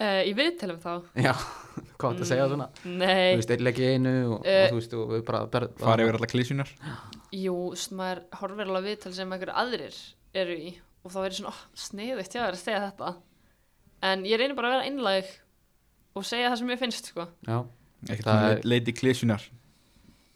[SPEAKER 3] uh, Í viðtalum þá
[SPEAKER 2] já, hvað mm. að segja svona þú
[SPEAKER 3] Nei,
[SPEAKER 2] veist, einn legg í einu og,
[SPEAKER 3] Eh.
[SPEAKER 2] og þú veist, og við bara ber,
[SPEAKER 1] farið yfir alla klísjunar
[SPEAKER 3] jú, svona maður horfir alveg á viðtal sem einhver aðrir eru í og þá verður svona, oh, sniðugt, já, það er að segja þetta en ég reynir bara að vera einlæg og segja það sem ég finnst sko
[SPEAKER 2] já,
[SPEAKER 1] Ekkert
[SPEAKER 2] Það
[SPEAKER 1] svona
[SPEAKER 2] er-
[SPEAKER 1] leit- leit í klísjunar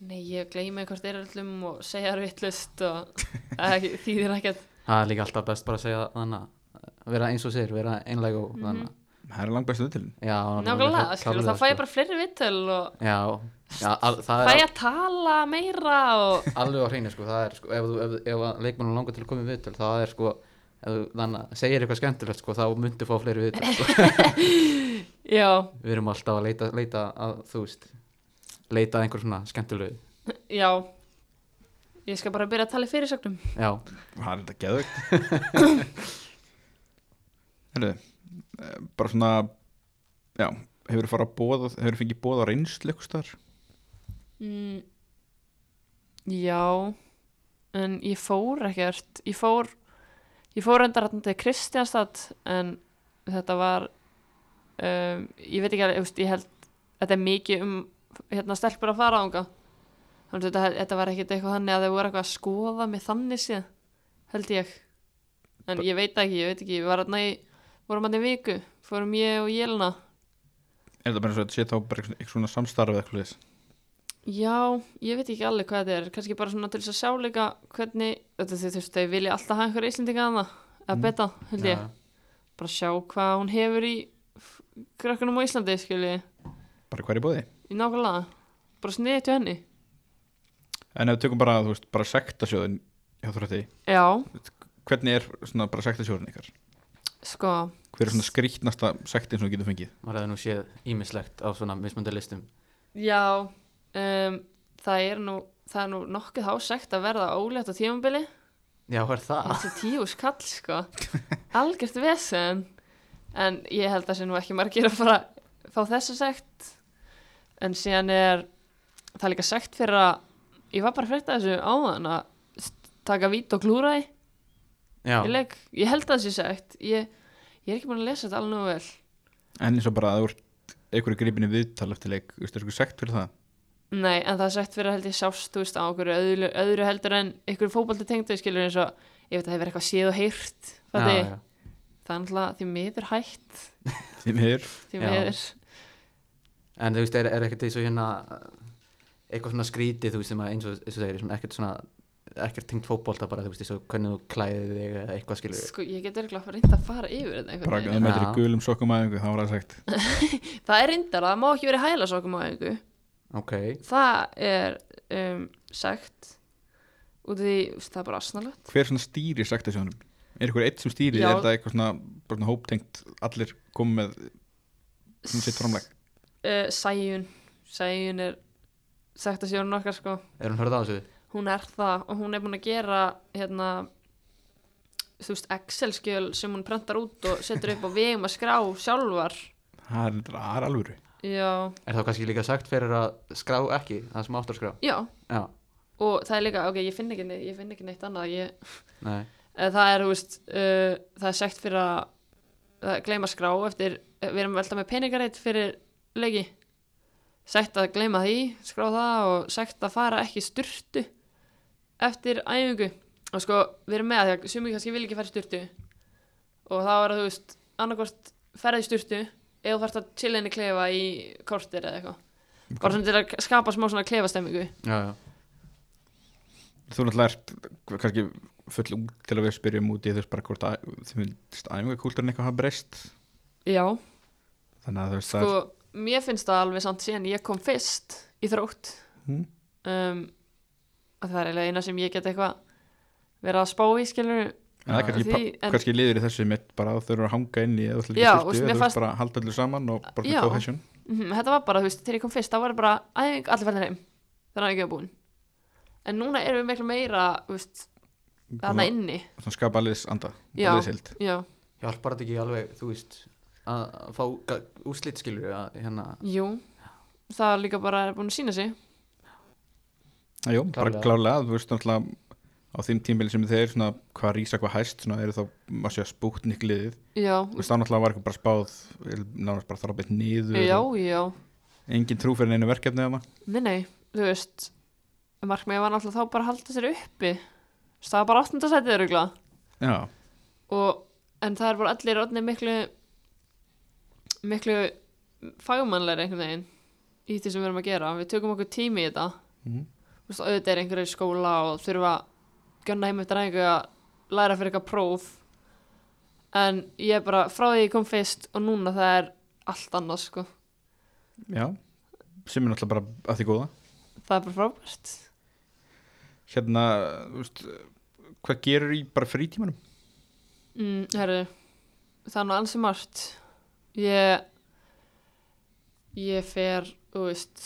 [SPEAKER 3] Nei, ég gleymi hvort er öllum og segja þær vittlust
[SPEAKER 2] [LAUGHS]
[SPEAKER 3] og eða ekki- þýðir ekkert.
[SPEAKER 2] það er líka alltaf best bara að segja þannig að vera eins og sér, vera einlæg og þannig að
[SPEAKER 1] Það er langbestu vittelin
[SPEAKER 2] Já,
[SPEAKER 3] Mhm. Nákvæmlega, skilur, þá fæ ég bara fleiri vittöl og
[SPEAKER 2] Já, já al, það
[SPEAKER 3] fæ
[SPEAKER 2] er
[SPEAKER 3] ég að tala meira og
[SPEAKER 2] alveg á hreinu sko, það er sko, ef, þú- ef, ef að leikmannum langar til að koma í viðtöl, það er sko, ef þú þannig að segir eitthvað skemmtilegt sko, þá myndu fá fleiri viðtöl
[SPEAKER 3] [LAUGHS]
[SPEAKER 2] sko.
[SPEAKER 3] já,
[SPEAKER 2] Við erum alltaf að leita, leita að, þú veist, leita að einhver svona skemmtilegu,
[SPEAKER 3] já. Ég skal bara byrja að tala í fyrirsögnum.
[SPEAKER 2] já,
[SPEAKER 1] Það er þetta geðvögt [LAUGHS] Herðu, eh, bara svona Já, hefur þú farið að bóða Hefur þú fengið bóða reynslu eitthvað star
[SPEAKER 3] Mm, já, en ég fór ekkert. Ég fór, ég fór endar hann til Kristjánstad en þetta var, um, ég veit ekki að, ég, veist, ég held, þetta er mikið um hérna stelpur að fara ánga. Þannig að þetta, þetta var ekkert eitthvað þannig að þau voru eitthvað að skoða mig þannig síðan, held ég. En ég veit ekki, ég veit ekki, við varum hann í, vorum hann í viku, fórum ég og Jelna.
[SPEAKER 1] Er þetta bara eins og þetta sé þá bara eitthvað svona samstarfið eitthvað leis
[SPEAKER 3] Já, ég veit ekki alveg hvað þetta er kannski bara svona til þess að sjá líka hvernig, þetta þau þurftu að vilja alltaf hafa einhverja Íslendinga að það að beta, held ég,
[SPEAKER 2] já,
[SPEAKER 3] bara sjá hvað hún hefur í f- krökkunum á Íslandi, skilji,
[SPEAKER 1] Bara hver í bóði
[SPEAKER 3] í nákvæmlega bara sniðið til henni
[SPEAKER 1] En ef við tökum bara, þú veist, bara sektasjóðin hjá Þrótti,
[SPEAKER 3] Já,
[SPEAKER 1] hvernig er svona bara sektasjóðin ykkar?
[SPEAKER 3] sko,
[SPEAKER 1] Hver er svona skrýtnasta sektin sem þú getur fengið?
[SPEAKER 2] maður hefði nú séð ímislegt á svona mismöndu listum,
[SPEAKER 3] já um, það er nú það er nú nokkuð hásegt að verða ólétt á tímabili
[SPEAKER 2] já, hvað er það?
[SPEAKER 3] þessi tíu skall, sko algjört vesen en ég held að sé nú ekki margir að fara fá þessu sekt en síðan er það er líka sekt fyrir að ég var bara að frétta þessu áðan að st- taka vít og klúra í
[SPEAKER 2] Já,
[SPEAKER 3] í leik, ég held að það sé sekt ég, ég er ekki búin að lesa þetta alveg nógu vel
[SPEAKER 1] En eins og bara að þú ert einhverju gripinni viðtal eftir leik, þú veist, er eitthvað sekt fyrir það?
[SPEAKER 3] Nei, en það er sett fyrir að held ég sást, þú veist, á okkur öðru, öðru heldur en ykkur fótbolti tengdu, skilur eins og ég veit að það hefur eitthvað séð og heyrt, það
[SPEAKER 2] já,
[SPEAKER 3] er
[SPEAKER 2] já.
[SPEAKER 3] náttúrulega því miður hægt,
[SPEAKER 1] Því miður,
[SPEAKER 3] því
[SPEAKER 2] Já.
[SPEAKER 3] miður.
[SPEAKER 2] En þú veist, er, er ekkert eins og hérna eitthvað svona skrítið, þú veist, sem að eins og eins og segir, svona ekkert svona ekkert tengt fótbolta bara, þú veist, eins og hvernig þú klæðið þig eða eitthvað skilur
[SPEAKER 3] Sko, ég get örgulega að fara reynda að fara yfir þetta einhvern
[SPEAKER 1] bara að
[SPEAKER 3] veginn.
[SPEAKER 1] þú mætir í
[SPEAKER 2] Já.
[SPEAKER 1] gulum sokkum aðeins, þá var það sekt.
[SPEAKER 3] Það er reyndar, það má ekki verið hæla sokum á einhver.
[SPEAKER 2] Ok,
[SPEAKER 3] Það er um, sagt út af því, þú veist, það er bara asnalegt.
[SPEAKER 1] Hver svona stýri sektasjóðunum? Er einhverju eitt sem stýri,
[SPEAKER 3] Já.
[SPEAKER 1] er það eitthvað svona, bara svona hóptengt, allir kom með svona sitt framleg?
[SPEAKER 3] Uh, Sæjun, Sæjun er sagt að sjónu okkar, sko.
[SPEAKER 2] er hún hörð á þessu?
[SPEAKER 3] Hún er það og hún er búin að gera, hérna, þú veist, Excel-skjöl sem hún prentar út og setur upp á vegum að skrá sjálfar.
[SPEAKER 1] Það er- það er alvöru.
[SPEAKER 3] Já,
[SPEAKER 2] Er þá kannski líka sagt fyrir að skrá ekki, það sem áttur að skrá?
[SPEAKER 3] já.
[SPEAKER 2] Já,
[SPEAKER 3] Og það er líka, ok, ég finn ekki, neitt- ég finn ekki neitt annað, ég...
[SPEAKER 2] nei,
[SPEAKER 3] Eða það er, þú veist, uh, það er sekt fyrir að að gleyma skrá eftir, eh, við erum velta með peningareitt fyrir leiki. Sekt að gleyma því, skrá það og sekt að fara ekki í sturtu eftir æfingu. Og sko, við erum með að því að sumi kannski vil ekki fara í sturtu og þá er það, þú veist, annarkvort ferði í sturtu eða þú þarfst að chilla inn í klefa í kortir eða eitthvað. Bara svona til að skapa smá svona klefastemmingu.
[SPEAKER 2] já, já
[SPEAKER 1] Þú náttúrulega ert kannski full ung til að við spyrjum út í þess bara hvort að- þið finnst æfingakúltúrin eitthvað hafa breyst
[SPEAKER 3] Já,
[SPEAKER 1] þannig að þú veist
[SPEAKER 3] sko, mér finnst það alveg samt síðan ég kom fyrst í þrótt
[SPEAKER 1] Mhm.
[SPEAKER 3] um, og það er eiginlega eina sem ég get eitthvað verið að spá í skilur
[SPEAKER 1] það er kannski,
[SPEAKER 3] því-
[SPEAKER 1] pa-
[SPEAKER 3] en-
[SPEAKER 1] kannski liður í þessu mitt bara að þau eru að hanga inn í eða þú ætlar ekki
[SPEAKER 3] Já,
[SPEAKER 1] í
[SPEAKER 3] og
[SPEAKER 1] sturtu,
[SPEAKER 3] mér
[SPEAKER 1] eða þú
[SPEAKER 3] fannst-
[SPEAKER 1] veist bara að halda öllu saman og bara
[SPEAKER 3] Já.
[SPEAKER 1] fyrir cohesion
[SPEAKER 3] mm þetta var bara, þú veist, þegar ég kom fyrst þá var það bara æfing allir færðin heim þannig að ég var búin en núna erum við miklu meira, þú veist, þarna
[SPEAKER 1] Svona-
[SPEAKER 3] inni
[SPEAKER 1] svona skapa liðs anda
[SPEAKER 3] Já.
[SPEAKER 1] liðsild
[SPEAKER 3] Já,
[SPEAKER 2] Hjálpar þetta ekki alveg, þú veist að að fá ga- úrslit skilur að hérna
[SPEAKER 3] jú það líka bara er búin að sína sig
[SPEAKER 1] Jó, bara
[SPEAKER 2] Klárlega.
[SPEAKER 1] klálega, þú veist náttúrulega á þeim tímil sem þeir, svona, hvað rísa hvað hæst svona, eru þá, maður sé að spútt liðið
[SPEAKER 3] Já,
[SPEAKER 1] þú veist, þá náttúrulega var eitthvað bara spáð eh, nánast bara þarf að beitt niður
[SPEAKER 3] já, já
[SPEAKER 1] engin trú fyrir neinu verkefni eða
[SPEAKER 3] Nei, nei, þú veist markmiðið var náttúrulega þá bara að halda sér uppi Þú veist, það var bara 8. sætið örugla
[SPEAKER 1] já,
[SPEAKER 3] og, en það er bara allir orðni miklu miklu fagmannleiri einhvern veginn í því sem við erum að gera við tökum okkur tími í þetta
[SPEAKER 1] Mhm.
[SPEAKER 3] þú veist, auðvitað er einhverju skóla og þurfa að gönna heim eftir einhverju að læra fyrir eitthvað próf en ég er bara frá því ég kom fyrst og núna það er allt annars sko,
[SPEAKER 1] já sem er náttúrulega bara að því góða
[SPEAKER 3] það er bara frábært
[SPEAKER 1] hérna, þú veist hvað gerur í bara frítímanum?
[SPEAKER 3] Mm, herru, það er nú ansi margt. Ég, ég fer, þú veist,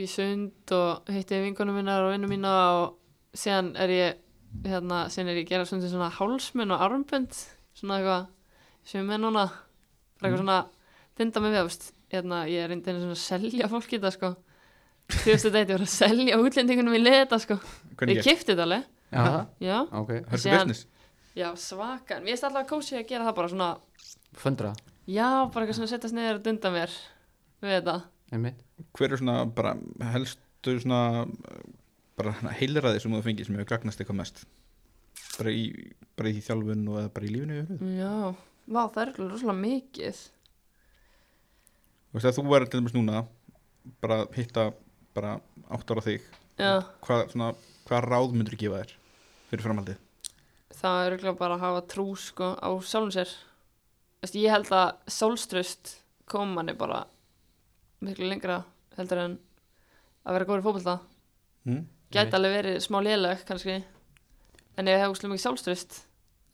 [SPEAKER 3] í sund og hitti vingunum minnar og vinnum mína og síðan er ég, hérna, síðan er ég að gera svona, svona hálsmenn og armbönd, svona eitthvað sem er núna, bara eitthvað svona, dinda mig við, þú veist, hérna, ég reyndi einu svona að selja fólki þetta, sko. Þú veist þetta, ég var að selja útlendingunum í leta, sko.
[SPEAKER 1] hvernig
[SPEAKER 3] Ég kipti þetta alveg,
[SPEAKER 2] [LAUGHS] Já,
[SPEAKER 3] já.
[SPEAKER 2] ok,
[SPEAKER 1] hörku
[SPEAKER 3] síðan-
[SPEAKER 1] business?
[SPEAKER 3] Já, svakan. Mér finnst alltaf kósi að gera það bara svona,
[SPEAKER 2] föndra
[SPEAKER 3] já, bara eitthvað svona setjast niður og dunda mér við þetta.
[SPEAKER 2] einmitt
[SPEAKER 1] hver er svona bara helstu svona bara heilræði sem þú fengið sem hefur gagnast eitthvað mest bara í, bara í þjálfun og eða bara í lífinu yfir höfuð?
[SPEAKER 3] Já, vá, það er alveg rosalega mikið.
[SPEAKER 1] þú veist að þú verður til dæmis núna bara hitta bara átt ára þig
[SPEAKER 3] Já,
[SPEAKER 1] hvað, svona, hvað ráð myndur gefa þér fyrir framhaldið
[SPEAKER 3] það er auðvitað bara að hafa trú sko á sjálfum sér. Þess, ég held að sjálfströst kom manni bara miklu lengra heldur en að vera góður í fótbolta.
[SPEAKER 1] mm?
[SPEAKER 2] Einmitt.
[SPEAKER 3] Gæti alveg verið smá léleg kannski, en ef ég hef úslega mikið sjálfströst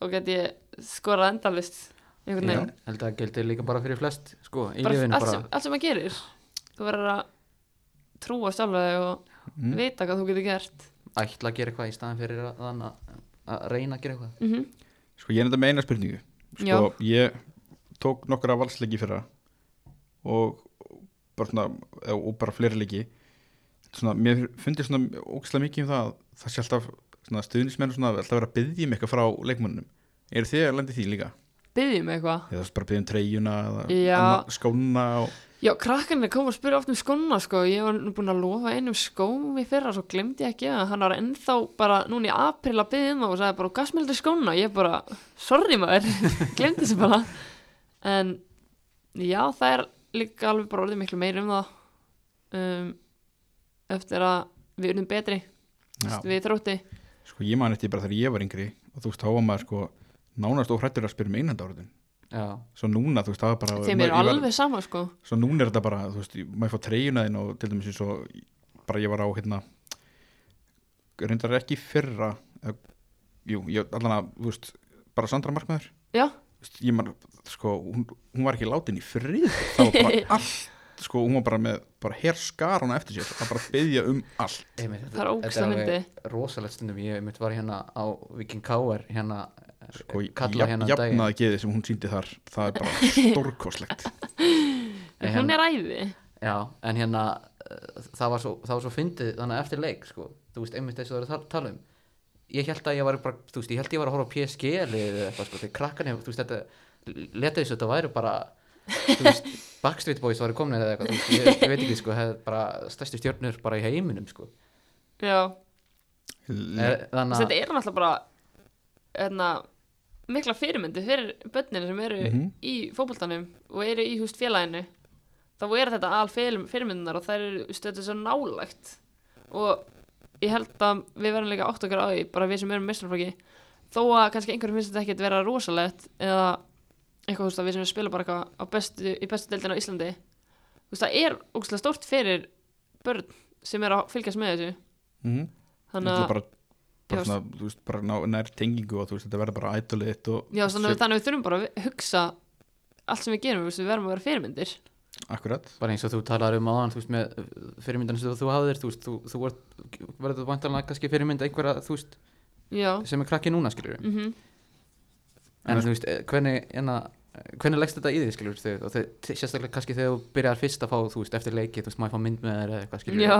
[SPEAKER 3] og get ég skorað endalist einhvern veginn.
[SPEAKER 1] Já.
[SPEAKER 2] Held að það gildi líka bara fyrir flest sko, í
[SPEAKER 3] bara,
[SPEAKER 2] lífinu
[SPEAKER 3] allt,
[SPEAKER 2] bara
[SPEAKER 3] sem, allt sem maður gerir þú verður að trúa sjálfa þig og
[SPEAKER 1] Mm?
[SPEAKER 3] vita hvað þú getur gert
[SPEAKER 2] ætla að gera eitthvað í staðan fyrir að, þann að, að reyna að gera eitthvað
[SPEAKER 3] mm
[SPEAKER 1] sko ég er þetta með eina spurningu
[SPEAKER 3] Já.
[SPEAKER 1] sko ég tók nokkra valsleiki fyrra og bara svona eða- og bara fleiri leiki svona, mér fundið svona ógæslega mikið um það að það sé alltaf svona stuðnismenn og svona alltaf vera að byggja um eitthvað frá leikmönnum eru þið að landi því líka?
[SPEAKER 3] byggjum eitthvað
[SPEAKER 1] eða bara byggja um treyjuna eða
[SPEAKER 3] Já.
[SPEAKER 1] annað- skóna og
[SPEAKER 3] já, krakkarnir koma og spyrja oft um skóna sko. ég var nú búin að lofa einum skóm í fyrra svo glemdi ég ekki að hann var ennþá bara núna í april að byggja um það og sagði bara gasmeldur skóna, ég bara sorry maður, [LAUGHS] glemdi þessu bara en já, það er líka alveg bara orðið miklu meir um það um, eftir að við erum betri
[SPEAKER 1] Já.
[SPEAKER 3] við þrótti
[SPEAKER 1] Sko ég man eftir bara þegar ég var yngri og þú veist, þá var maður sko nánast óhrættur að spyrja um einhandáruðin
[SPEAKER 2] Já,
[SPEAKER 1] Svo núna, þú veist, það var bara
[SPEAKER 3] Þeim er
[SPEAKER 1] ég var-
[SPEAKER 3] alveg sama sko
[SPEAKER 1] Svo núna er þetta bara, þú veist, ég- maður fá treyjuna þinn og til dæmis eins og bara ég var á hérna reyndar ekki í fyrra eða, jú, ég, allan að, þú veist bara Sandra Markmaður
[SPEAKER 3] Já,
[SPEAKER 1] þú veist, ég man, sko, hún, hún var ekki látin í frið þá var
[SPEAKER 3] [LAUGHS]
[SPEAKER 1] bara allt sko, hún var bara með, bara herskar hana eftir sér að bara byggja um allt
[SPEAKER 2] einmitt
[SPEAKER 3] Það er ógeðslega
[SPEAKER 2] rosalegt stundum, ég einmitt var hérna á Viking Káar hérna
[SPEAKER 1] sko,
[SPEAKER 2] kalla
[SPEAKER 1] jafn,
[SPEAKER 2] hérna um daginn
[SPEAKER 1] jafnaði geði sem hún síndi þar það er bara
[SPEAKER 2] [LAUGHS]
[SPEAKER 1] stórkoslegt
[SPEAKER 2] En
[SPEAKER 3] hún
[SPEAKER 2] hérna-
[SPEAKER 3] er æði
[SPEAKER 2] Já, en hérna uh, það var svo, það var svo fyndið þannig að eftir leik sko, þú veist einmitt þess að það er að tal- tala um ég held að ég var bara, þú veist, ég held að ég var að horfa á PSG liðið eða eitthvað, sko, þegar krakkan þú veist, þetta, leta þessu, þetta væri bara þú veist,
[SPEAKER 3] [LAUGHS]
[SPEAKER 2] Backstreet Boys væri komin eða eitthvað, þú veist, ég, ég veit ekki, sko hefði bara stærstu stjórnur bara í heiminum, sko
[SPEAKER 3] Já,
[SPEAKER 1] Le
[SPEAKER 2] Eh, þannig
[SPEAKER 3] þetta
[SPEAKER 2] að,
[SPEAKER 3] er náttúrulega bara hérna, mikla fyrirmyndi fyrir börninu sem eru
[SPEAKER 1] Mhm.
[SPEAKER 3] í fótboltanum og eru í húst félaginu þá er þetta al fyrirmyndunar og þær eru þú veist, þetta er svo nálægt og ég held að við verðum líka átt okkar á því bara við sem erum mestrarflokki þó að kannski einhverjum finnst þetta ekkert vera rosalegt eða eitthvað þú veist að við sem við spila bara eitthvað á bestu, í bestu deildin á Íslandi þú veist það er ógustlega stórt fyrir börn sem er að fylgjast með þessu
[SPEAKER 1] Mhm.
[SPEAKER 3] þannig
[SPEAKER 1] Þetta er
[SPEAKER 3] að
[SPEAKER 1] bara, bara,
[SPEAKER 3] Já,
[SPEAKER 1] svona, þú veist, bara ná, nær tengingu og þú veist, þetta verður bara ætlið þitt og
[SPEAKER 3] Já, þannig, þannig að við þurfum bara að hugsa allt sem við gerum, þú veist, við verðum að vera fyrirmyndir
[SPEAKER 1] akkurat
[SPEAKER 2] bara eins og þú talar um áðan þú veist með fyrirmyndan sem þú hafðir þú veist þú, þú ert, verður vantanlega kannski fyrirmynd einhverja þú veist
[SPEAKER 3] Já,
[SPEAKER 2] sem er krakki núna skilur
[SPEAKER 3] mhm
[SPEAKER 1] Mm.
[SPEAKER 2] en þú veist eh, hvernig enna, hvernig leggst þetta í því skilur þau og þau, sérstaklega kannski þegar þú byrjar fyrst að fá þú veist eftir leiki þú veist maður fá mynd með þér eða eitthvað skilur
[SPEAKER 3] Já,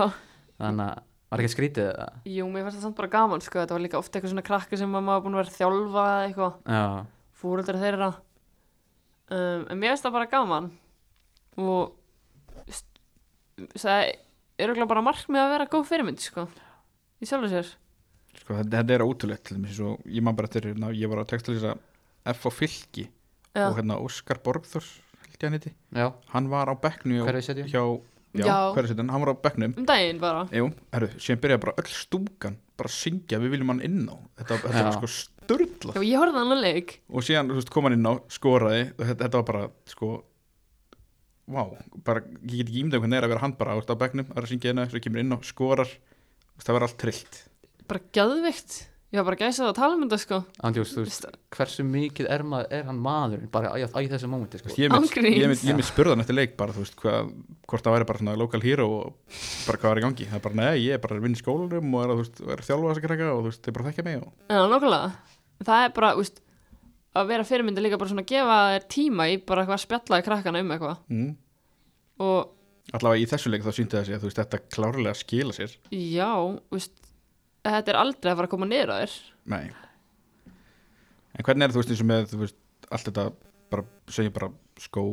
[SPEAKER 2] þannig að var ekki skrítið eða?
[SPEAKER 3] jú, mér fannst það samt bara gaman, sko Þetta var líka ofta eitthvað svona krakka sem maður var búin að vera að þjálfa eða eitthvað,
[SPEAKER 2] já,
[SPEAKER 3] fúreldar þeirra um, En mér finnst það bara gaman Og st- það er okkur bara markmið að vera góð fyrirmynd, sko Í sjálfu sér
[SPEAKER 1] sko, þetta, þetta er ótrúlegt til dæmis og ég man bara eftir, hérna, ég var að textalýsa F og Fylki
[SPEAKER 3] Já,
[SPEAKER 1] og hérna Óskar Borgþórs held ég hann heiti,
[SPEAKER 2] já,
[SPEAKER 1] hann var á bekknu
[SPEAKER 2] hverju setju
[SPEAKER 1] hjá, já, já.
[SPEAKER 3] Já.
[SPEAKER 1] hverju setjan, hann var á bekknum
[SPEAKER 3] um daginn bara
[SPEAKER 1] Jú, herru, síðan byrjaði bara öll stúkan bara að syngja, við viljum hann inn á þetta, þetta var
[SPEAKER 2] Já.
[SPEAKER 1] sko störla
[SPEAKER 3] Já, ég horfði á annan leik
[SPEAKER 1] og síðan þú veist, kom hann inn á, skoraði og þetta, þetta var bara, sko vá, bara, ég get ekki ímdað hvernig er að vera hann bara ást á bekknum, að syngja inn á svo kemur inn á, skorar, þú veist, það verður allt trillt
[SPEAKER 3] Bara geðveikt Ég var bara gæsað að tala um þetta, sko
[SPEAKER 2] Andjós, þú veist, hversu mikið er, maður, er hann maðurinn bara í, í þessu
[SPEAKER 1] Þú
[SPEAKER 2] mómenti sko?
[SPEAKER 1] veist, ég mynd,
[SPEAKER 3] Ángríns.
[SPEAKER 1] ég mynd, ég mynd spurðan eftir leik bara, þú veist, hvað, hvort það væri bara svona local hero og bara hvað var í gangi það er bara, nei, ég er bara að vinna í skólanum og er að, þú veist, er að þjálfa þess að krakka og þú veist, þeir bara þekkja mig og
[SPEAKER 3] Já, nokkulega. Það er bara, úst, að vera fyrirmyndi líka bara svona að gefa þér tíma í bara eitthvað að spjalla í krakkana um eitthvað.
[SPEAKER 1] mm.
[SPEAKER 3] Og
[SPEAKER 1] allavega í þessu leik þá sýndi það sig að þú veist, þetta klárlega skila sér
[SPEAKER 3] já, úst, þetta er aldrei að fara að koma niður á þér.
[SPEAKER 1] nei en hvernig er þú veist, eins og með, þú veist, allt þetta bara, segja bara skó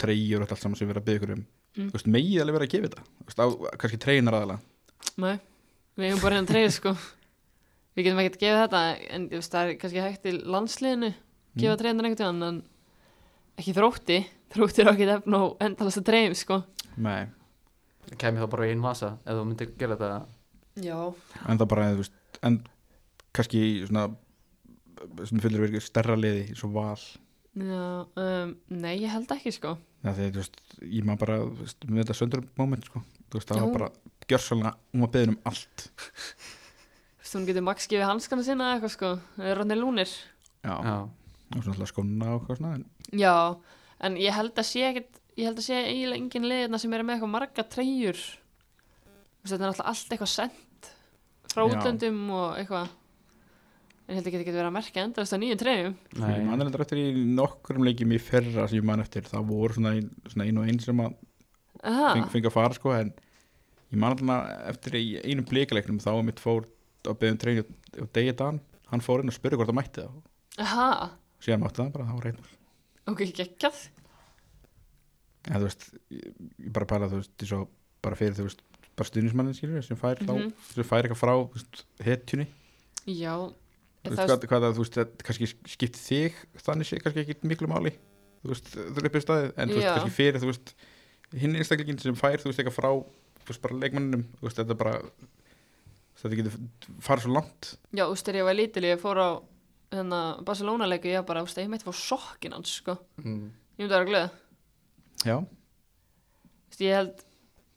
[SPEAKER 1] treyjur og allt saman sem við erum að byggja ykkur um
[SPEAKER 3] Mm.
[SPEAKER 1] þú veist, megið alveg verið að gefa þetta þú veist, á, kannski treynar aðalega
[SPEAKER 3] Nei, við hefum bara hérna treyð, sko. Við getum ekkert að gefa þetta, en úst, það er kannski hægt í landsliðinu, gefa
[SPEAKER 1] Mm.
[SPEAKER 3] mm. treyðan einhvern tíðan, en ekki þrótti. Þrótti er okkur efn og endalast að treyðum, sko.
[SPEAKER 1] nei,
[SPEAKER 2] kæmi þá bara í einn vasa eða þú myndir gera þetta
[SPEAKER 4] Já.
[SPEAKER 1] en það bara, þú veist, en kannski í svona sem fyllir verið stærra liði svo val
[SPEAKER 3] Já, um, nei, ég held ekki, sko.
[SPEAKER 1] Já, því, þú veist, ég maður bara, þú veist, með þetta söndur moment, sko, þú veist, það
[SPEAKER 3] Já.
[SPEAKER 1] var bara gjörsalna, hún var beðin um allt
[SPEAKER 3] Þú veist, hún getur max gefið hanskana sinna eða eitthvað, sko. Rónir lúnir.
[SPEAKER 1] já,
[SPEAKER 2] já,
[SPEAKER 1] og svona alltaf skóna og hvað svona en,
[SPEAKER 3] Já, en ég held að sé ekkit, ég held að sé eiginlega engin liðina sem eru með eitthvað marga treyjur Þú veist, Þetta er alltaf allt eitthvað sent frá
[SPEAKER 1] Já.
[SPEAKER 3] útlöndum og eitthvað En ég held ekki að þetta getur verið að merkja endast á nýju treyjum
[SPEAKER 1] ég
[SPEAKER 2] nei,
[SPEAKER 1] man er eftir í nokkrum leikjum í fyrra sem ég man eftir, það voru svona, ein, svona ein og ein sem að
[SPEAKER 3] Aha,
[SPEAKER 1] feng, fengi að fara, sko, en ég man alltaf eftir í einum blíkaleiknum þá mitt fór á beðin treyni og degi dan, hann fór inn og spurði hvort það mætti það,
[SPEAKER 3] aha,
[SPEAKER 1] síðan mátti það bara, það var reynur
[SPEAKER 3] ok, geggjað
[SPEAKER 1] en þú veist, ég, ég bara pæla þú veist, eins og bara fyrir þú veist bara stuðnismannin skilur sem fær,
[SPEAKER 3] Mhm.
[SPEAKER 1] þá, sem fær eitthvað frá þú veist, hetjunni
[SPEAKER 3] Já,
[SPEAKER 1] Þú
[SPEAKER 3] það
[SPEAKER 1] veist, hvað, hvað að, þú veist, það kannski skipti þig þannig sé kannski ekki miklu máli þú veist, þú leipir staðið, en þú veist,
[SPEAKER 3] Já.
[SPEAKER 1] kannski fyrir þú veist, hinn einstaklingin sem fær þú veist, eitthvað frá, þú veist, bara leikmanninum þú veist, þetta bara þetta getur farið svo langt
[SPEAKER 3] Já, þú veist, þegar ég var lítil, ég fór á hérna, Barcelona-leiku, ég bara, þú veist, ég meitt fór sokkin hans, sko
[SPEAKER 2] Mm.
[SPEAKER 3] Ég myndi að vera glöð
[SPEAKER 1] já,
[SPEAKER 3] Þú veist, ég held,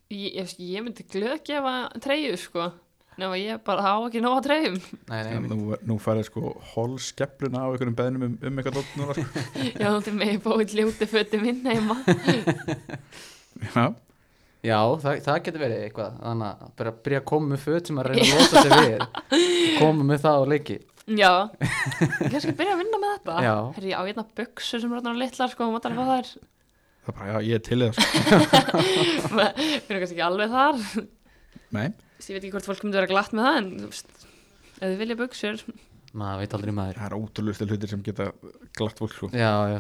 [SPEAKER 3] ég, ég, ég myndi glöð gefa treyju, sko Nefn að ég bara á ekki nóg að treyjum
[SPEAKER 2] nei, nei,
[SPEAKER 1] en
[SPEAKER 2] nei.
[SPEAKER 1] nú, nú færið sko hol skefluna á einhverjum beðnum um, um eitthvað dótt núna, sko.
[SPEAKER 3] Já, þú megi bóið ljóti fötum minn heima.
[SPEAKER 1] [LAUGHS] já,
[SPEAKER 2] já, það, það getur verið eitthvað þannig að bara byrja að koma með föt sem að reyna að losa sig
[SPEAKER 3] [LAUGHS]
[SPEAKER 2] við koma með það á leiki
[SPEAKER 3] Já. Kanski byrja að vinna með þetta.
[SPEAKER 2] Já.
[SPEAKER 3] Herri, ég á hérna buksur sem er hérna litlar, sko, maður þarf að það er,
[SPEAKER 1] það bara, já, ég er til það, sko.
[SPEAKER 3] við erum kannski ekki alveg þar.
[SPEAKER 1] nei,
[SPEAKER 3] Þess, ég veit ekki hvort fólk myndi vera glatt með það, en, þú veist, ef þið vilja buksur.
[SPEAKER 2] maður veit aldrei maður
[SPEAKER 1] það er ótrúlega hlutir sem geta glatt fólk, sko
[SPEAKER 2] já, já,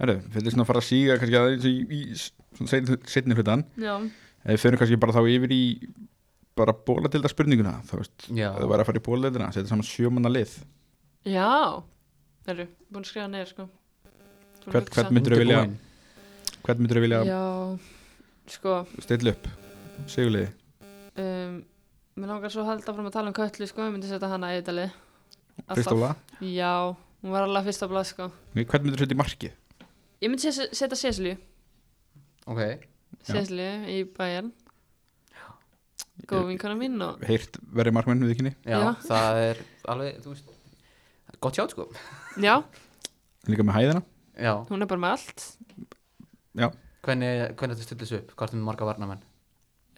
[SPEAKER 1] herru, við erum svona að fara að síga kannski aðeins í, í svona seinni- seinni hlutan
[SPEAKER 3] Já.
[SPEAKER 1] Ef við fyrir kannski bara þá yfir í bara bólatilda spurninguna þá veist,
[SPEAKER 2] já.
[SPEAKER 1] ef það væri að fara í bólatildina setja saman sjömanna lið
[SPEAKER 3] Já. Herri, búin að skrifa neður, sko. Búin
[SPEAKER 1] Hvern-
[SPEAKER 3] að hugsa.
[SPEAKER 1] hvern myndirðu vilja-
[SPEAKER 2] Undirbúin.
[SPEAKER 1] hvern myndur þú vilja
[SPEAKER 3] Já, sko,
[SPEAKER 1] stilla upp, sigurliði
[SPEAKER 3] um, Mér langar svo að halda fram að tala um Köllu sko, ég myndi setja hana í þetta lið Alltaf.
[SPEAKER 1] Fyrst af það,
[SPEAKER 3] Já, hún var alveg fyrst á blað sko
[SPEAKER 1] hvernig myndir þetta í markið?
[SPEAKER 3] Ég myndi ses- setja Seslíu
[SPEAKER 2] ok,
[SPEAKER 1] Já.
[SPEAKER 3] Seslíu í bæjan Góð vinkona mín og
[SPEAKER 1] Heyrt verið markmenn við kynni
[SPEAKER 2] já,
[SPEAKER 3] Já.
[SPEAKER 2] það er alveg, þú veist gott hjátt sko
[SPEAKER 3] Já,
[SPEAKER 1] Líka með hæðina
[SPEAKER 2] já,
[SPEAKER 3] hún er bara með allt
[SPEAKER 1] Já,
[SPEAKER 2] hvernig, hvernig þetta stillis upp, hvort er með marga varnamenn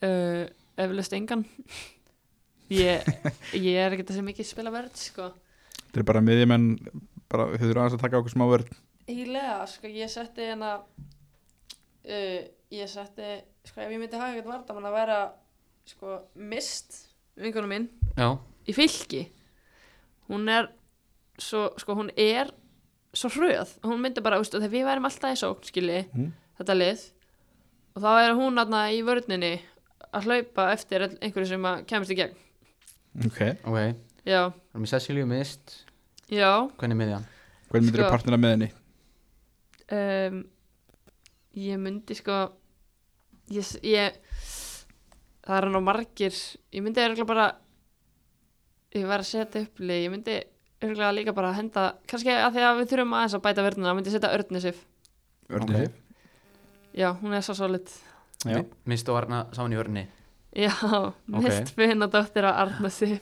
[SPEAKER 3] uh, Eflaust engan Ég, ég er ekki þessi mikið spila verð sko
[SPEAKER 1] þetta er bara miðjumenn bara, þau þurfa aðeins að taka okkur smá vörð
[SPEAKER 4] Ílega, sko, ég setti hérna uh, ég setti sko, ef ég myndi hafa eitthvað vardamann að vera sko, mist
[SPEAKER 3] Vinkona mín
[SPEAKER 2] já,
[SPEAKER 3] í fylki hún er svo, sko hún er svo hröð, hún myndi bara, veist, þegar við værum alltaf í sókn, skilji,
[SPEAKER 1] Mhm.
[SPEAKER 3] þetta lið og þá er hún aðna í vörninni að hlaupa eftir öll- einhverju sem að kemst í gegn
[SPEAKER 1] Ok,
[SPEAKER 2] ok, erum
[SPEAKER 3] já,
[SPEAKER 2] við Cecilíu mist
[SPEAKER 3] já
[SPEAKER 2] hvernig með hann,
[SPEAKER 1] hvernig myndir
[SPEAKER 3] Sko.
[SPEAKER 1] sko. partnera með henni?
[SPEAKER 3] um, ég myndi sko ég, s- ég það er nú margir ég myndi örgulega bara ég var að setja upp lið, ég myndi örgulega líka bara henda, kannski að því að við þurfum aðeins að bæta verðina, myndi ég setja Örnisif
[SPEAKER 1] Örnir
[SPEAKER 2] Ok.
[SPEAKER 1] okay.
[SPEAKER 3] já, hún er svo solid
[SPEAKER 1] Já.
[SPEAKER 2] mist og varna saman í örni
[SPEAKER 3] já, mest finna dóttir á Arnasif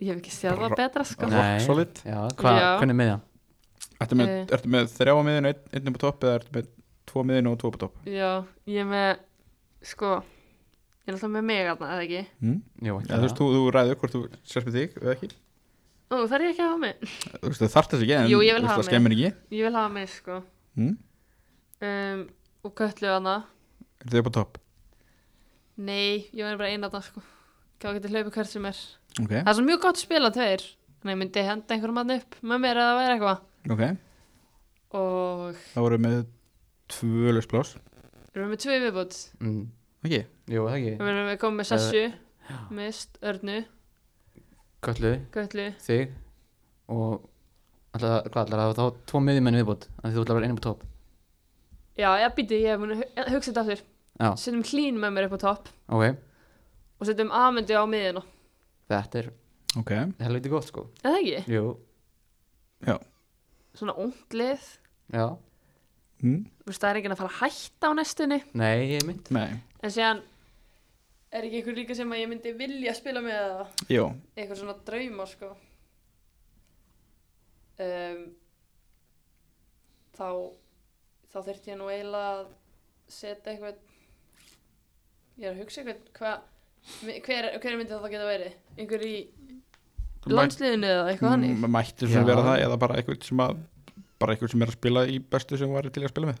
[SPEAKER 3] ég hef ekki séð það
[SPEAKER 1] Bara-
[SPEAKER 3] betra sko
[SPEAKER 1] Rock solid.
[SPEAKER 2] já, hva,
[SPEAKER 3] Já.
[SPEAKER 2] hvernig með hann
[SPEAKER 1] Ertu með,
[SPEAKER 3] Eh.
[SPEAKER 1] ertu með þrjá á miðinu, einn, einn upp á topp eða ertu með tvo á miðinu og tvo upp á topp?
[SPEAKER 3] já, ég er með sko, ég er alltaf með mig aðna, eða ekki
[SPEAKER 1] Mm?
[SPEAKER 2] Jú,
[SPEAKER 1] Ja, þú veist, þú, þú ræður hvort þú sérst með þig eða ekki
[SPEAKER 3] ó, þarf ég ekki að hafa mig?
[SPEAKER 1] Þú veist, það þarft þess ekki en
[SPEAKER 3] Jú, ég vil
[SPEAKER 1] þú veist,
[SPEAKER 3] hafa
[SPEAKER 1] það skemmir ekki
[SPEAKER 3] ég vil hafa mig sko
[SPEAKER 1] mm?
[SPEAKER 3] um, og köllu hana
[SPEAKER 1] Er þið upp á topp?
[SPEAKER 3] nei, ég verður bara eina þarna sko hvað getur hlaupið hvert sem er
[SPEAKER 1] Ok,
[SPEAKER 3] það er svo mjög gott að spila tveir þannig að ég myndi henda einhverjum hann upp með mér eða vera eitthvað
[SPEAKER 1] ok,
[SPEAKER 3] og
[SPEAKER 1] þá voru með tvö lausplás
[SPEAKER 3] við erum með tvö í viðbútt
[SPEAKER 2] mm,
[SPEAKER 1] Ok,
[SPEAKER 2] jú, það
[SPEAKER 3] við
[SPEAKER 2] ekki,
[SPEAKER 3] erum með komið með Sassu Mist, Örnu,
[SPEAKER 2] köllu
[SPEAKER 3] Göllu
[SPEAKER 2] þig og alltaf, hvað allar, það var þá tvo miðjumenn viðbútt þannig að þú ætlar að vera einu på topp
[SPEAKER 3] já, ég býti, ég hef muni hugsa þetta aftur
[SPEAKER 2] já,
[SPEAKER 3] setjum hlín með mér upp á topp
[SPEAKER 2] ok,
[SPEAKER 3] og setjum aðmyndi á miðina
[SPEAKER 2] þetta er
[SPEAKER 1] ok,
[SPEAKER 2] helviti gott sko
[SPEAKER 3] eða ekki,
[SPEAKER 2] jú,
[SPEAKER 1] já
[SPEAKER 3] svona unglið
[SPEAKER 2] já,
[SPEAKER 1] mm?
[SPEAKER 3] það er enginn að fara að hætta á næstunni
[SPEAKER 2] nei, ég mynd
[SPEAKER 1] Nei,
[SPEAKER 3] en síðan,
[SPEAKER 4] er ekki einhver líka sem að ég myndi vilja spila með eða
[SPEAKER 1] jú,
[SPEAKER 4] eitthvað svona drauma sko um, þá þá þurfti ég nú eiginlega að setja eitthvað ég er að hugsa eitthvað hva, mi- hver, hver myndi það þá geta verið einhver í
[SPEAKER 3] landsliðinu eða eitthvað hannig
[SPEAKER 1] M- mætti svona
[SPEAKER 2] Já.
[SPEAKER 1] vera það eða bara eitthvað sem að bara eitthvað sem er að spila í bestu sem var til að spila með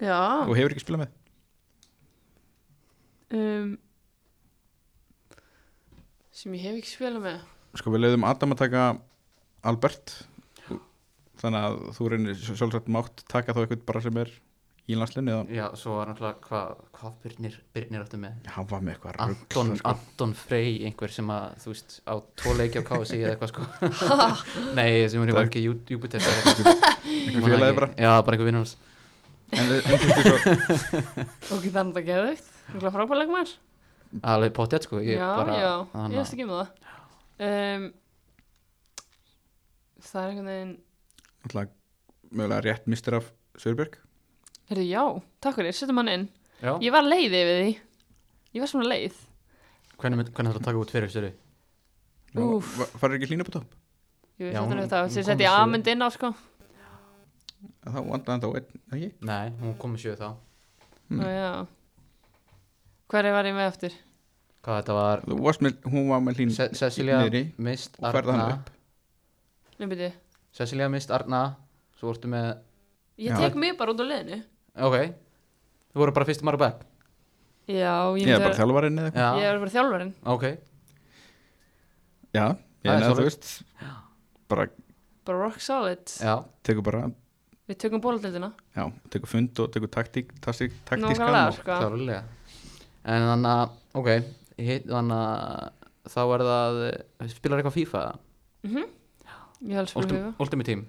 [SPEAKER 3] já,
[SPEAKER 1] og hefur ekki spilað með
[SPEAKER 4] ehm,
[SPEAKER 3] um, sem ég hef ekki spilað með
[SPEAKER 1] sko við leiðum Adam að taka Albert þannig að þú reynir sj- sjálfsagt mátt taka þá eitthvað bara sem er í landslinu eða
[SPEAKER 2] já, svo var náttúrulega hvað hva Byrnir, Byrnir áttu með
[SPEAKER 1] hafa með eitthvað rugl,
[SPEAKER 2] Anton,
[SPEAKER 1] sko.
[SPEAKER 2] Anton Frey einhver sem að, þú veist, á tvo leiki á KFC eða eitthvað sko [LAUGHS] nei, sem hún er
[SPEAKER 1] Það-
[SPEAKER 2] ekki [LAUGHS] Júpiter
[SPEAKER 1] einhver félagi bara
[SPEAKER 2] já, bara einhver vinnur hans
[SPEAKER 1] en, en þú veist svo,
[SPEAKER 3] ok, þannig að það geðveikt það er frábæðlega maður
[SPEAKER 2] alveg pottet sko ég
[SPEAKER 3] já,
[SPEAKER 2] bara,
[SPEAKER 3] já,
[SPEAKER 2] þannig
[SPEAKER 3] ég
[SPEAKER 2] að-
[SPEAKER 3] veist ekki um það um, það er einhvern veginn
[SPEAKER 1] náttúrulega mögulega rétt mistur af Sörbjörg
[SPEAKER 3] heyrðu, já, takk fyrir, setjum hann inn
[SPEAKER 2] já,
[SPEAKER 3] ég var leið yfir því ég var svona leið
[SPEAKER 2] hvernig, mynd- hvernig ætlar að taka út fyrir þessu
[SPEAKER 3] Úff.
[SPEAKER 1] farið ekki hlýna upp á topp
[SPEAKER 3] ég veist
[SPEAKER 2] Já,
[SPEAKER 3] þetta
[SPEAKER 2] hún-
[SPEAKER 3] þetta,
[SPEAKER 2] hún
[SPEAKER 3] sem
[SPEAKER 2] kom
[SPEAKER 3] setja
[SPEAKER 2] sér-
[SPEAKER 3] amund inn á sko
[SPEAKER 1] En þá vandaði hann þá einn, ekki?
[SPEAKER 2] nei, hún kom með sjöðu þá
[SPEAKER 1] Mm.
[SPEAKER 2] Hmm.
[SPEAKER 3] mm. já hverju var ég með eftir?
[SPEAKER 2] hvað þetta var
[SPEAKER 1] Þú varst með, hún var með hlýn
[SPEAKER 2] Se Cecilia
[SPEAKER 1] niðri
[SPEAKER 2] mist
[SPEAKER 1] og færði hann
[SPEAKER 2] Arna
[SPEAKER 1] upp.
[SPEAKER 3] Nei, byrju.
[SPEAKER 2] Cecilia mist Arna svo vortu með
[SPEAKER 3] ég
[SPEAKER 1] Já.
[SPEAKER 3] tek mig bara út á leiðinu
[SPEAKER 2] ok þú voru bara fyrstum ára back
[SPEAKER 3] já, ég,
[SPEAKER 1] Ég er
[SPEAKER 3] myndi
[SPEAKER 1] bara
[SPEAKER 3] vera-
[SPEAKER 1] þjálfarinn eða eitthvað.
[SPEAKER 2] já
[SPEAKER 3] ég er bara þjálfarinn
[SPEAKER 2] ok
[SPEAKER 1] Já, ég
[SPEAKER 2] Það er
[SPEAKER 1] nefnir þú
[SPEAKER 2] svoleiðis.
[SPEAKER 1] veist bara
[SPEAKER 3] bara rock solid
[SPEAKER 2] já
[SPEAKER 1] tekur bara
[SPEAKER 3] við tökum bóladeildina
[SPEAKER 1] já, tekur fund og tekur taktík taktík,
[SPEAKER 3] Nákvæmlega,
[SPEAKER 1] taktískan og,
[SPEAKER 3] sko.
[SPEAKER 2] klárlega en þannig að ok hitt þannig að þá er það eh, spilar eitthvað FIFA
[SPEAKER 3] Ég vil spila
[SPEAKER 2] Ultim-
[SPEAKER 3] FIFA
[SPEAKER 2] Ultimate Team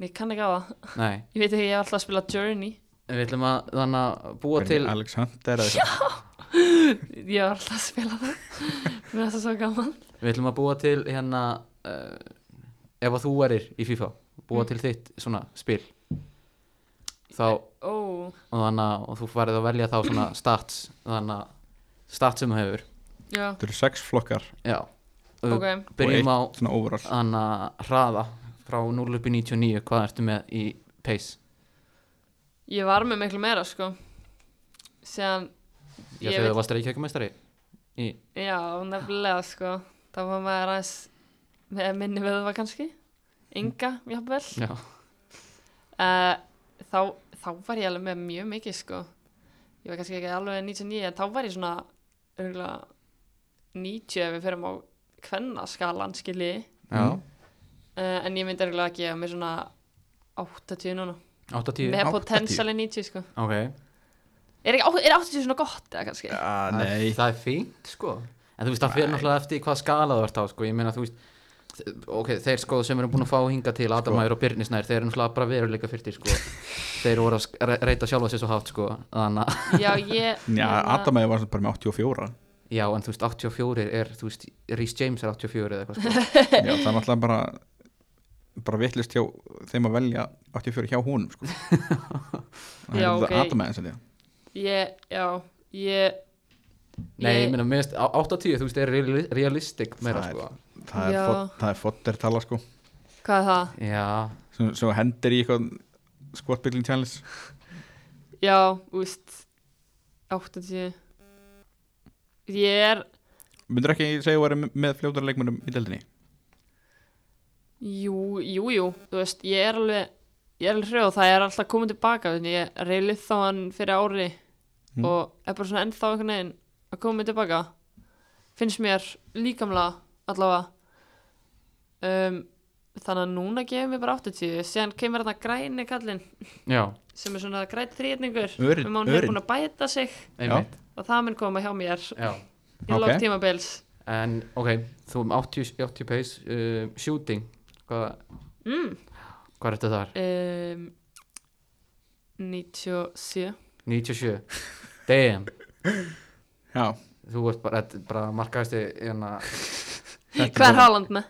[SPEAKER 3] Nei, ég kann ekki á það
[SPEAKER 2] nei
[SPEAKER 3] Ég veit ekki, ég hef alltaf að spila Journey
[SPEAKER 2] við ætlum að þannig að búa
[SPEAKER 1] Hvernig
[SPEAKER 2] til
[SPEAKER 1] Alexander eða eitthvað.
[SPEAKER 3] Ég var alltaf að spila það Mér er það svo gaman
[SPEAKER 2] Við ætlum að búa til hérna uh, ef að þú erir í FIFA búa
[SPEAKER 3] Mm.
[SPEAKER 2] til þitt svona spil þá og
[SPEAKER 3] Ó,
[SPEAKER 2] þannig að og þú farið að velja þá svona stats þannig að stats sem þú hefur
[SPEAKER 3] já,
[SPEAKER 1] Þetta eru sex flokkar
[SPEAKER 2] já og við
[SPEAKER 3] ok
[SPEAKER 1] og eitt
[SPEAKER 2] byrjum á
[SPEAKER 1] svona overall
[SPEAKER 2] þannig að hraða frá 0 upp í 99 hvað ertu með í pace
[SPEAKER 3] Ég var með miklu meira sko Síðan,
[SPEAKER 2] já
[SPEAKER 3] Ég
[SPEAKER 2] þegar
[SPEAKER 3] veit-
[SPEAKER 2] þú varst reykjökumestari í
[SPEAKER 3] já, nefnilega sko Það var maður aðeins með minni veðva kannski Inga, jafnvel
[SPEAKER 2] já
[SPEAKER 3] uh, þá, þá var ég alveg með mjög mikið sko ég var kannski ekki alveg 99 en þá var ég svona örgulega 90 ef við fyrir á kvennaskalan skilji
[SPEAKER 2] já
[SPEAKER 1] Mm.
[SPEAKER 3] uh, en ég myndi örgulega að gefa mér svona 80 núna
[SPEAKER 2] 80
[SPEAKER 3] með
[SPEAKER 1] 80?
[SPEAKER 3] potensiali 90 sko
[SPEAKER 2] ok
[SPEAKER 3] er, ekki, á- er 80 svona gott eða kannski
[SPEAKER 1] Já, Ah, nei
[SPEAKER 2] það er fínt sko en þú veist það fyrir náttúrulega eftir hvað skala þú ert á sko ég meina þú veist ok, þeir sko sem eru búin að fá hinga til
[SPEAKER 1] Sko.
[SPEAKER 2] Adamæður og Byrnisnær, þeir eru náttúrulega bara veruleika fyrir
[SPEAKER 1] [LAUGHS]
[SPEAKER 2] sko þeir voru að sk- re- reyta sjálfa sér svo hátt sko þannig að,
[SPEAKER 3] já ég
[SPEAKER 1] Já,
[SPEAKER 3] hérna,
[SPEAKER 1] Adamæði var bara með 84
[SPEAKER 2] já en þú veist 84 er, þú veist, Rhys James er 84
[SPEAKER 1] [LAUGHS]
[SPEAKER 2] eða eitthvað sko
[SPEAKER 1] Já, það er náttúrulega bara bara vittlist hjá þeim að velja 84 hjá honum sko. Það
[SPEAKER 3] Já,
[SPEAKER 1] er
[SPEAKER 3] ok.
[SPEAKER 1] þetta Adamæði sem þetta
[SPEAKER 3] ég, já ég
[SPEAKER 2] nei, ég
[SPEAKER 3] Ég-
[SPEAKER 2] meina, mér finnst á- 80 þú veist, er reali- realistic meira
[SPEAKER 1] Það er-
[SPEAKER 2] sko
[SPEAKER 1] Það
[SPEAKER 3] Já.
[SPEAKER 1] er fot- það er fodder tala sko
[SPEAKER 3] hvað er það?
[SPEAKER 2] já,
[SPEAKER 1] sem, sem hendir í eitthvað skvortbyggling challenge
[SPEAKER 3] já, úst 80 ég er
[SPEAKER 1] myndur ekki segja að vera með fljótara leikmönnum í deldinni
[SPEAKER 3] Jú, jú, jú, þú veist, ég er alveg, ég er alveg hrjóð, það er alltaf komið tilbaka, þannig ég reylið þá hann fyrir ári
[SPEAKER 1] Mm.
[SPEAKER 3] og er bara svona ennþá einhvern veginn að komið tilbaka, finnst mér líkamlega allavega, um, þannig að núna gefum við bara 80, síðan kemur þarna græni kallinn
[SPEAKER 2] já,
[SPEAKER 3] sem er svona græn þrýtningur,
[SPEAKER 1] Örin-
[SPEAKER 3] um hann er
[SPEAKER 1] örin.
[SPEAKER 3] búin að bæta sig
[SPEAKER 2] einmitt
[SPEAKER 3] og það mun koma hjá mér í
[SPEAKER 2] já.
[SPEAKER 1] Ok.
[SPEAKER 3] lók tímabils.
[SPEAKER 2] en ok, þú um 80, 80 pace uh, shooting, hvað
[SPEAKER 3] Mm,
[SPEAKER 2] hvað er þetta þar?
[SPEAKER 3] um, 97,
[SPEAKER 1] [LAUGHS]
[SPEAKER 2] 97 damn,
[SPEAKER 1] Já,
[SPEAKER 2] þú ert bara, þetta er bara markaðasti hérna,
[SPEAKER 3] hvað er Haaland með?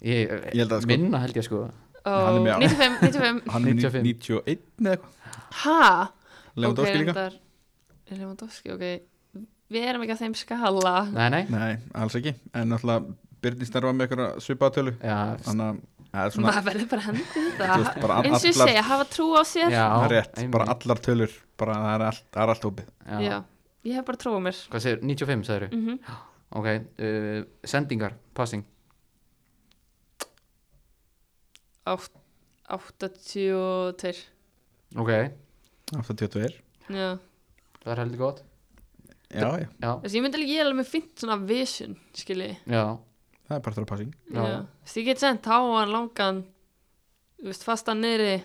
[SPEAKER 2] ég,
[SPEAKER 1] Ég held að sko-
[SPEAKER 2] minna held ég sko
[SPEAKER 1] Hann er með á-
[SPEAKER 3] 95,
[SPEAKER 1] [LAUGHS]
[SPEAKER 3] 95
[SPEAKER 1] hann er
[SPEAKER 2] 95.
[SPEAKER 1] 91 eða eitthvað
[SPEAKER 3] Hæ?
[SPEAKER 1] Lewandowski líka?
[SPEAKER 3] Lewandowski, ok Við erum ekki á þeim skala
[SPEAKER 2] nei nei,
[SPEAKER 1] Nei, alls ekki En náttúrulega Byrnistar var með eitthvað svipaðatölu
[SPEAKER 2] já,
[SPEAKER 1] Þannig að það er svona
[SPEAKER 3] Maður verður bara að hendi
[SPEAKER 1] þú veist,
[SPEAKER 3] þetta
[SPEAKER 1] bara all-
[SPEAKER 3] Eins og ég
[SPEAKER 1] allar,
[SPEAKER 3] segja, hafa trú á sér
[SPEAKER 2] já,
[SPEAKER 1] það er rétt,
[SPEAKER 2] einmitt.
[SPEAKER 1] bara allar tölur bara það er allt, það er allt opið
[SPEAKER 2] já.
[SPEAKER 3] Já, Ég hef bara trú á mér
[SPEAKER 2] hvað segir, 95 sagður
[SPEAKER 3] mm
[SPEAKER 2] ok, uh, sendingar, passing
[SPEAKER 3] 82
[SPEAKER 2] ok,
[SPEAKER 1] 82
[SPEAKER 3] Já
[SPEAKER 2] það er heldur gott
[SPEAKER 1] Já, já,
[SPEAKER 2] já,
[SPEAKER 3] Þessi, ég myndi alveg, ég er alveg með fint svona vision, skilji
[SPEAKER 2] já,
[SPEAKER 1] það er bara þar að passing
[SPEAKER 2] Já.
[SPEAKER 3] Þessi, ég get sent háan, langan Þú veist, fastan niðri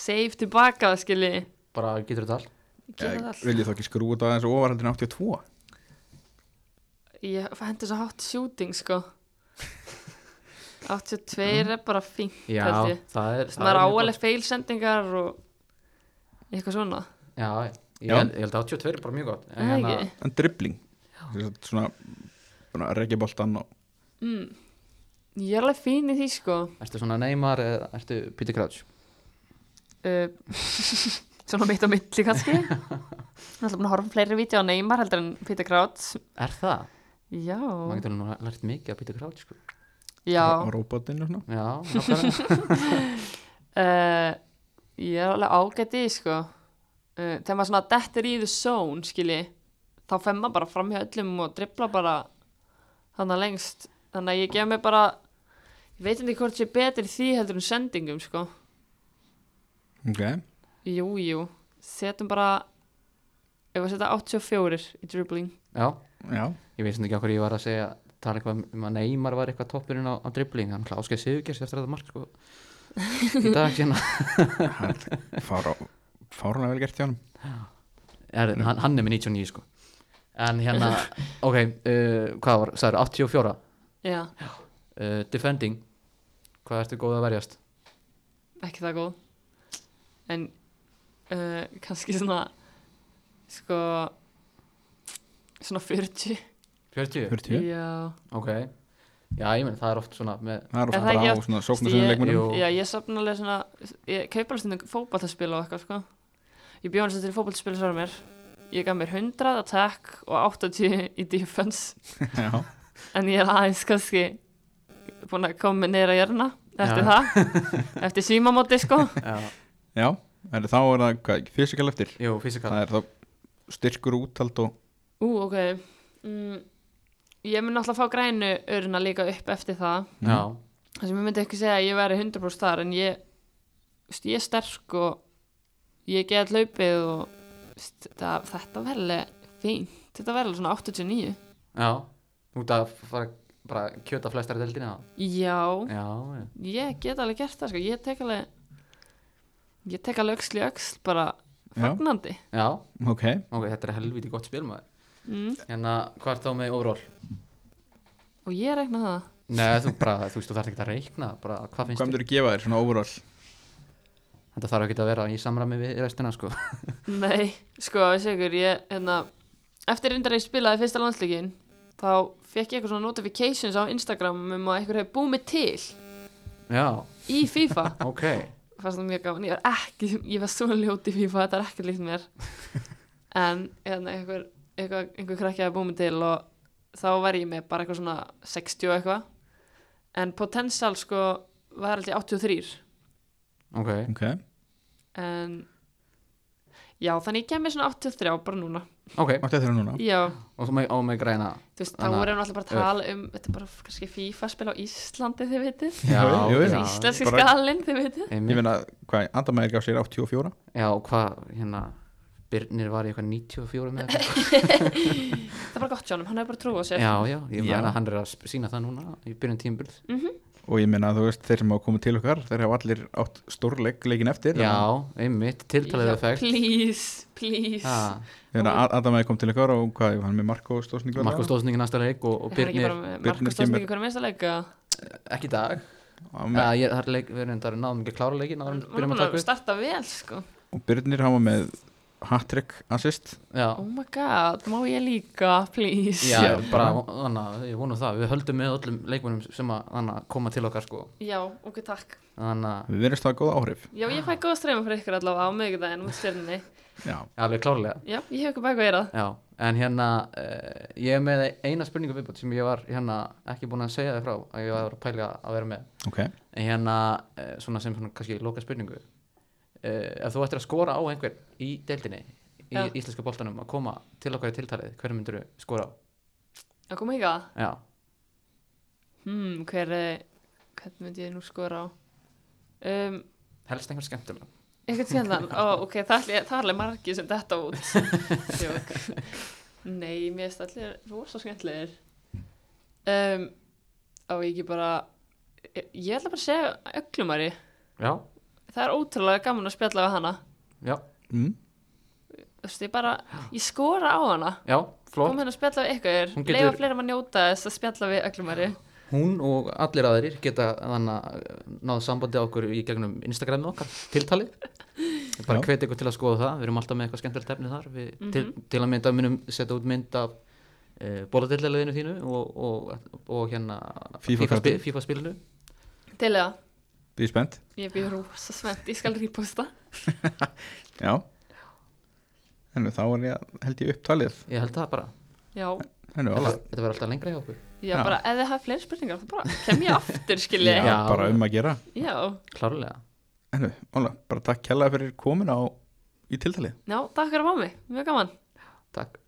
[SPEAKER 3] Save tilbaka, skilji
[SPEAKER 2] bara getur þetta allt
[SPEAKER 3] Gera það allt
[SPEAKER 1] Vil ég þá ekki skrúa þetta aðeins ofar heldur en 82
[SPEAKER 3] Ég hendur svo hátt shooting sko 82 er bara fínt
[SPEAKER 2] já,
[SPEAKER 3] held ég.
[SPEAKER 2] það er
[SPEAKER 3] Þess, maður á
[SPEAKER 2] mjög
[SPEAKER 3] alveg feilsendingar og eitthvað svona
[SPEAKER 2] gott. já, já, ég
[SPEAKER 1] Já.
[SPEAKER 2] held, ég held að 82 er bara mjög gott en
[SPEAKER 3] Eða
[SPEAKER 2] hérna,
[SPEAKER 3] ekki?
[SPEAKER 1] En dribbling Sem sagt Svona, svona regja boltan og
[SPEAKER 3] mm. Ég er alveg fín í því sko
[SPEAKER 2] ertu svona neymar eða ertu Peter Crouch
[SPEAKER 3] uh, [LAUGHS] Svona mitt á milli
[SPEAKER 2] [LAUGHS]
[SPEAKER 3] kannski Ég er alltaf búin að horfa á fleiri vídeo á Neymar heldur en Peter Crouch
[SPEAKER 2] er það?
[SPEAKER 3] Já,
[SPEAKER 2] maður getur nú lært mikið að Peter Crouch sko.
[SPEAKER 3] já
[SPEAKER 1] og robotinn og svona
[SPEAKER 2] já, nákvæmlega [LAUGHS]
[SPEAKER 3] uh, Ég er alveg ágætt í því, sko uh, Þegar maður svona dettur í the zone skilji Þá fer maður bara fram hjá öllum og dribla bara Þannig lengst Þannig að ég gef mér bara Ég veit ekki hvort sé betur í því heldur en sendingum sko
[SPEAKER 1] Ok,
[SPEAKER 3] Jú, jú Setum bara Ef að setja 84 í dribbling
[SPEAKER 2] já,
[SPEAKER 1] já
[SPEAKER 2] Ég veist ekki okkur ég var að segja tala eitthvað um að Neymar var eitthvað toppurinn á, á dribbling, hann hláskeið Sigurgers eftir þetta mark sko. í [LAUGHS] dag hérna. sína
[SPEAKER 1] Fára, Fáranlega vel gert hjá hann
[SPEAKER 2] er, hann, hann er með 99 sko. en [LAUGHS] hérna, ok uh, hvað var, sagður, 84 uh,
[SPEAKER 3] Já,
[SPEAKER 2] defending, hvað ertu góð að verjast
[SPEAKER 3] ekki það góð En eh, uh, kannski svona Sko svona 40
[SPEAKER 2] 40?
[SPEAKER 1] 40?
[SPEAKER 3] Já,
[SPEAKER 2] Ok Já, ég meni, það er oft svona með
[SPEAKER 1] Það er
[SPEAKER 3] Er
[SPEAKER 1] ofta
[SPEAKER 3] það
[SPEAKER 1] bara
[SPEAKER 3] ekki
[SPEAKER 1] á
[SPEAKER 3] oft-
[SPEAKER 1] svona
[SPEAKER 3] Ég-
[SPEAKER 1] sóknarsöðum leikmennum
[SPEAKER 2] Jú.
[SPEAKER 3] já ég safna alveg svona ég kaupar alveg stundum fótballtaspil og eitthvað sko. ég bjóð hans til fótballtaspil svarar mér ég gaf mér 100 attack og 80 í defense
[SPEAKER 1] Já,
[SPEAKER 3] en ég er aðeins kannski búin að koma mér neyra hjörna eftir
[SPEAKER 2] Já.
[SPEAKER 3] það, eftir símamóti sko
[SPEAKER 2] Já,
[SPEAKER 1] já en þá er það hvað, fysikal eftir
[SPEAKER 2] jú, fysikal
[SPEAKER 1] Það er þá styrkur úttald og
[SPEAKER 3] Ú, ok mm, ég mun alltaf fá grænu öruna líka upp eftir það
[SPEAKER 2] Já,
[SPEAKER 1] Mhm.
[SPEAKER 3] það sem ég myndi ekki segja að ég væri 100% þar en ég, þú veist, ég er sterk og ég get hlaupið og þú veist, þetta, þetta verði fínt, þetta verði svona 89
[SPEAKER 2] já Út að fara bara að kjöta flestari deildina
[SPEAKER 3] já,
[SPEAKER 2] Já, já
[SPEAKER 3] ég get alveg gert það sko. ég tek alveg ég tek alveg öxl í öxl bara
[SPEAKER 1] Mm, Já.
[SPEAKER 3] fagnandi
[SPEAKER 2] Já,
[SPEAKER 1] ok
[SPEAKER 2] ok, þetta er helviti gott spil maður
[SPEAKER 3] mm.
[SPEAKER 2] Hérna, hvað er þá með overall?
[SPEAKER 3] og ég rekna það
[SPEAKER 2] Nei, þú bara, þú veist, þú þarf ekki að reikna bara, hvað
[SPEAKER 1] Hvað
[SPEAKER 2] finnst
[SPEAKER 1] myndur þú gefa þér svona overall?
[SPEAKER 2] þér? Þetta þarf ekki að vera í samræmi við restina, sko
[SPEAKER 3] Nei, sko, ég segur, ég, hérna, eftir reyndar að ég spilaði fyrsta landsleikin, þá fekk ég eitthvað svona notifications á Instagram um að eitthvað hefði búið mig til
[SPEAKER 2] Já,
[SPEAKER 3] í FIFA.
[SPEAKER 2] ok
[SPEAKER 3] Fannst það mjög gaman, ég var ekki, ég var svona ljóti í FIFA, þetta er ekki líkt
[SPEAKER 2] [LAUGHS]
[SPEAKER 3] mér. En, hérna, eitthvað, eitthvað, einhver krakki hefði búið mig til og þá var ég með bara eitthvað svona 60 og eitthvað. En potential, sko, var held ég 83.
[SPEAKER 2] Ok,
[SPEAKER 1] Ok,
[SPEAKER 3] En, já, þannig ég kemur svona 83 bara núna.
[SPEAKER 2] ok,
[SPEAKER 1] átti þetta núna
[SPEAKER 3] Já.
[SPEAKER 2] og þú með, og með græna
[SPEAKER 3] þú veist, þá
[SPEAKER 2] Þannig að-
[SPEAKER 3] voru hann alltaf bara að tala um þetta er bara kannski FIFA-spil á Íslandi þið veitir,
[SPEAKER 1] jú, jú.
[SPEAKER 2] já,
[SPEAKER 3] íslenski
[SPEAKER 1] bara-
[SPEAKER 3] skalinn þið veitir
[SPEAKER 1] Ég
[SPEAKER 2] einmitt.
[SPEAKER 1] meina, hvað, Andamæður gaf sér 84
[SPEAKER 2] Já, og hvað, hérna Birnir var í eitthvað 94 með eitthvað
[SPEAKER 3] það er bara gott hjá honum, hann hefur bara trúið á sér
[SPEAKER 2] Já, já,
[SPEAKER 1] Já.
[SPEAKER 2] ég meina að hann er að sína það núna í byrjun tímbil
[SPEAKER 1] Og ég meina, þú veist, þeir sem hafa komið til okkar Þeir hafa allir átt stórleik leikin eftir
[SPEAKER 2] Já, einmitt, tiltalið
[SPEAKER 3] Já,
[SPEAKER 2] effekt
[SPEAKER 3] please, please
[SPEAKER 2] Já,
[SPEAKER 1] Andamæður kom til okkar og hvað, hann með Marko Stósningur
[SPEAKER 2] Marko Stóðsningi næsta leik og, og
[SPEAKER 3] Er hann ekki
[SPEAKER 2] Birnir
[SPEAKER 3] bara með
[SPEAKER 1] Birnir
[SPEAKER 3] Markus
[SPEAKER 1] kemur-
[SPEAKER 3] Stóðsmikið hvernig minnst að leika
[SPEAKER 2] ekki í dag Já,
[SPEAKER 1] Og
[SPEAKER 2] ég, það er leik, við erum þetta náðum ekki að klára leikin áður
[SPEAKER 3] hann
[SPEAKER 2] en við
[SPEAKER 3] hann er
[SPEAKER 2] byrjum að
[SPEAKER 3] búin
[SPEAKER 2] taka
[SPEAKER 3] að
[SPEAKER 2] upp
[SPEAKER 3] starta vel sko
[SPEAKER 1] Byrnir hafa með hat-trick assist
[SPEAKER 2] Já,
[SPEAKER 3] oh my god, má ég líka, please
[SPEAKER 2] já,
[SPEAKER 1] Já.
[SPEAKER 2] bara, þannig að ég vonum það við höldum með öllum leikmennum sem að þannig að koma til okkar sko
[SPEAKER 3] Já, ok, takk
[SPEAKER 2] þannig að,
[SPEAKER 1] Við verðumst það góð áhrif
[SPEAKER 3] já, ég fæ góða streyma fyrir ykkur allavega á miðvikudaginn út stjörnunni
[SPEAKER 1] Já,
[SPEAKER 2] já, alveg klárlega
[SPEAKER 3] já, ég hef ykkur bæk og eirað
[SPEAKER 2] Já, en hérna uh, ég er með eina spurningu viðbútt sem ég var hérna ekki búin að segja þið frá að ég var að pælja að vera með
[SPEAKER 1] ok
[SPEAKER 2] en hérna uh, svona sem svona kannski loka spurningu uh, ef þú ættir að skora á einhver í deildinni í
[SPEAKER 3] Já.
[SPEAKER 2] íslenska boltanum að koma til okkar í tiltalið hverju myndur þú skora á?
[SPEAKER 3] já, kom ekki að
[SPEAKER 2] Já,
[SPEAKER 3] hmm, hver, eh, hvern myndi ég nú skora á um,
[SPEAKER 2] helst einhver skemmtilega
[SPEAKER 3] Eitthvað skemmtan, ó, ok, það ætli- það er alveg margið sem detta út Jók. Nei, mér finnst allir rosa skemmtilegir um, Á ég ekki bara Ég ég ætla bara að segja öglumari
[SPEAKER 2] Já,
[SPEAKER 3] Það er ótrúlega gaman að spjalla við hana
[SPEAKER 2] já,
[SPEAKER 1] mm.
[SPEAKER 3] Þú veist, ég bara, ég skora á hana
[SPEAKER 2] já,
[SPEAKER 3] Kom
[SPEAKER 2] flott
[SPEAKER 3] hérna að spjalla við ykkur
[SPEAKER 2] Hún
[SPEAKER 3] getur...
[SPEAKER 2] getur-
[SPEAKER 3] Leifa fleira um að njóta þess að spjalla við öglumari
[SPEAKER 2] Hún og allir aðrir geta þannig að náðu sambandi á okkur í gegnum Instagramið okkar,
[SPEAKER 3] [LAUGHS]
[SPEAKER 2] tiltalið Ég bara
[SPEAKER 1] Já.
[SPEAKER 2] hveti ykkur til að skoða það, við erum alltaf með eitthvað skemmtilegt efni þar við,
[SPEAKER 3] Mhm.
[SPEAKER 2] til, til að mynda munum setja út mynd af uh, bóladellaliðinu þínu og, og, og, hérna
[SPEAKER 1] FIFA
[SPEAKER 2] FIFA-spi-
[SPEAKER 1] karti.
[SPEAKER 2] FIFA-spilinu
[SPEAKER 3] Til það,
[SPEAKER 1] Býð spennt
[SPEAKER 3] ég býð rosa svennt, ég skal ríposta
[SPEAKER 1] Já En þá er ég, held ég upptalið
[SPEAKER 2] ég held það bara,
[SPEAKER 3] Já,
[SPEAKER 1] Hennu,
[SPEAKER 2] þetta,
[SPEAKER 1] alveg
[SPEAKER 2] þetta verður alltaf lengra hjá okkur
[SPEAKER 3] já,
[SPEAKER 1] Já.
[SPEAKER 3] bara, ef þið hafa fleiri spurningar þá bara kem ég aftur, skilji
[SPEAKER 1] Já,
[SPEAKER 3] Já,
[SPEAKER 2] Já.
[SPEAKER 1] bara um að gera
[SPEAKER 3] já.
[SPEAKER 2] klárlega,
[SPEAKER 1] Hennu, alveg, bara takk kjærlega fyrir komin á í tiltalið
[SPEAKER 3] já takk fyrir að fá mig, mjög gaman
[SPEAKER 2] takk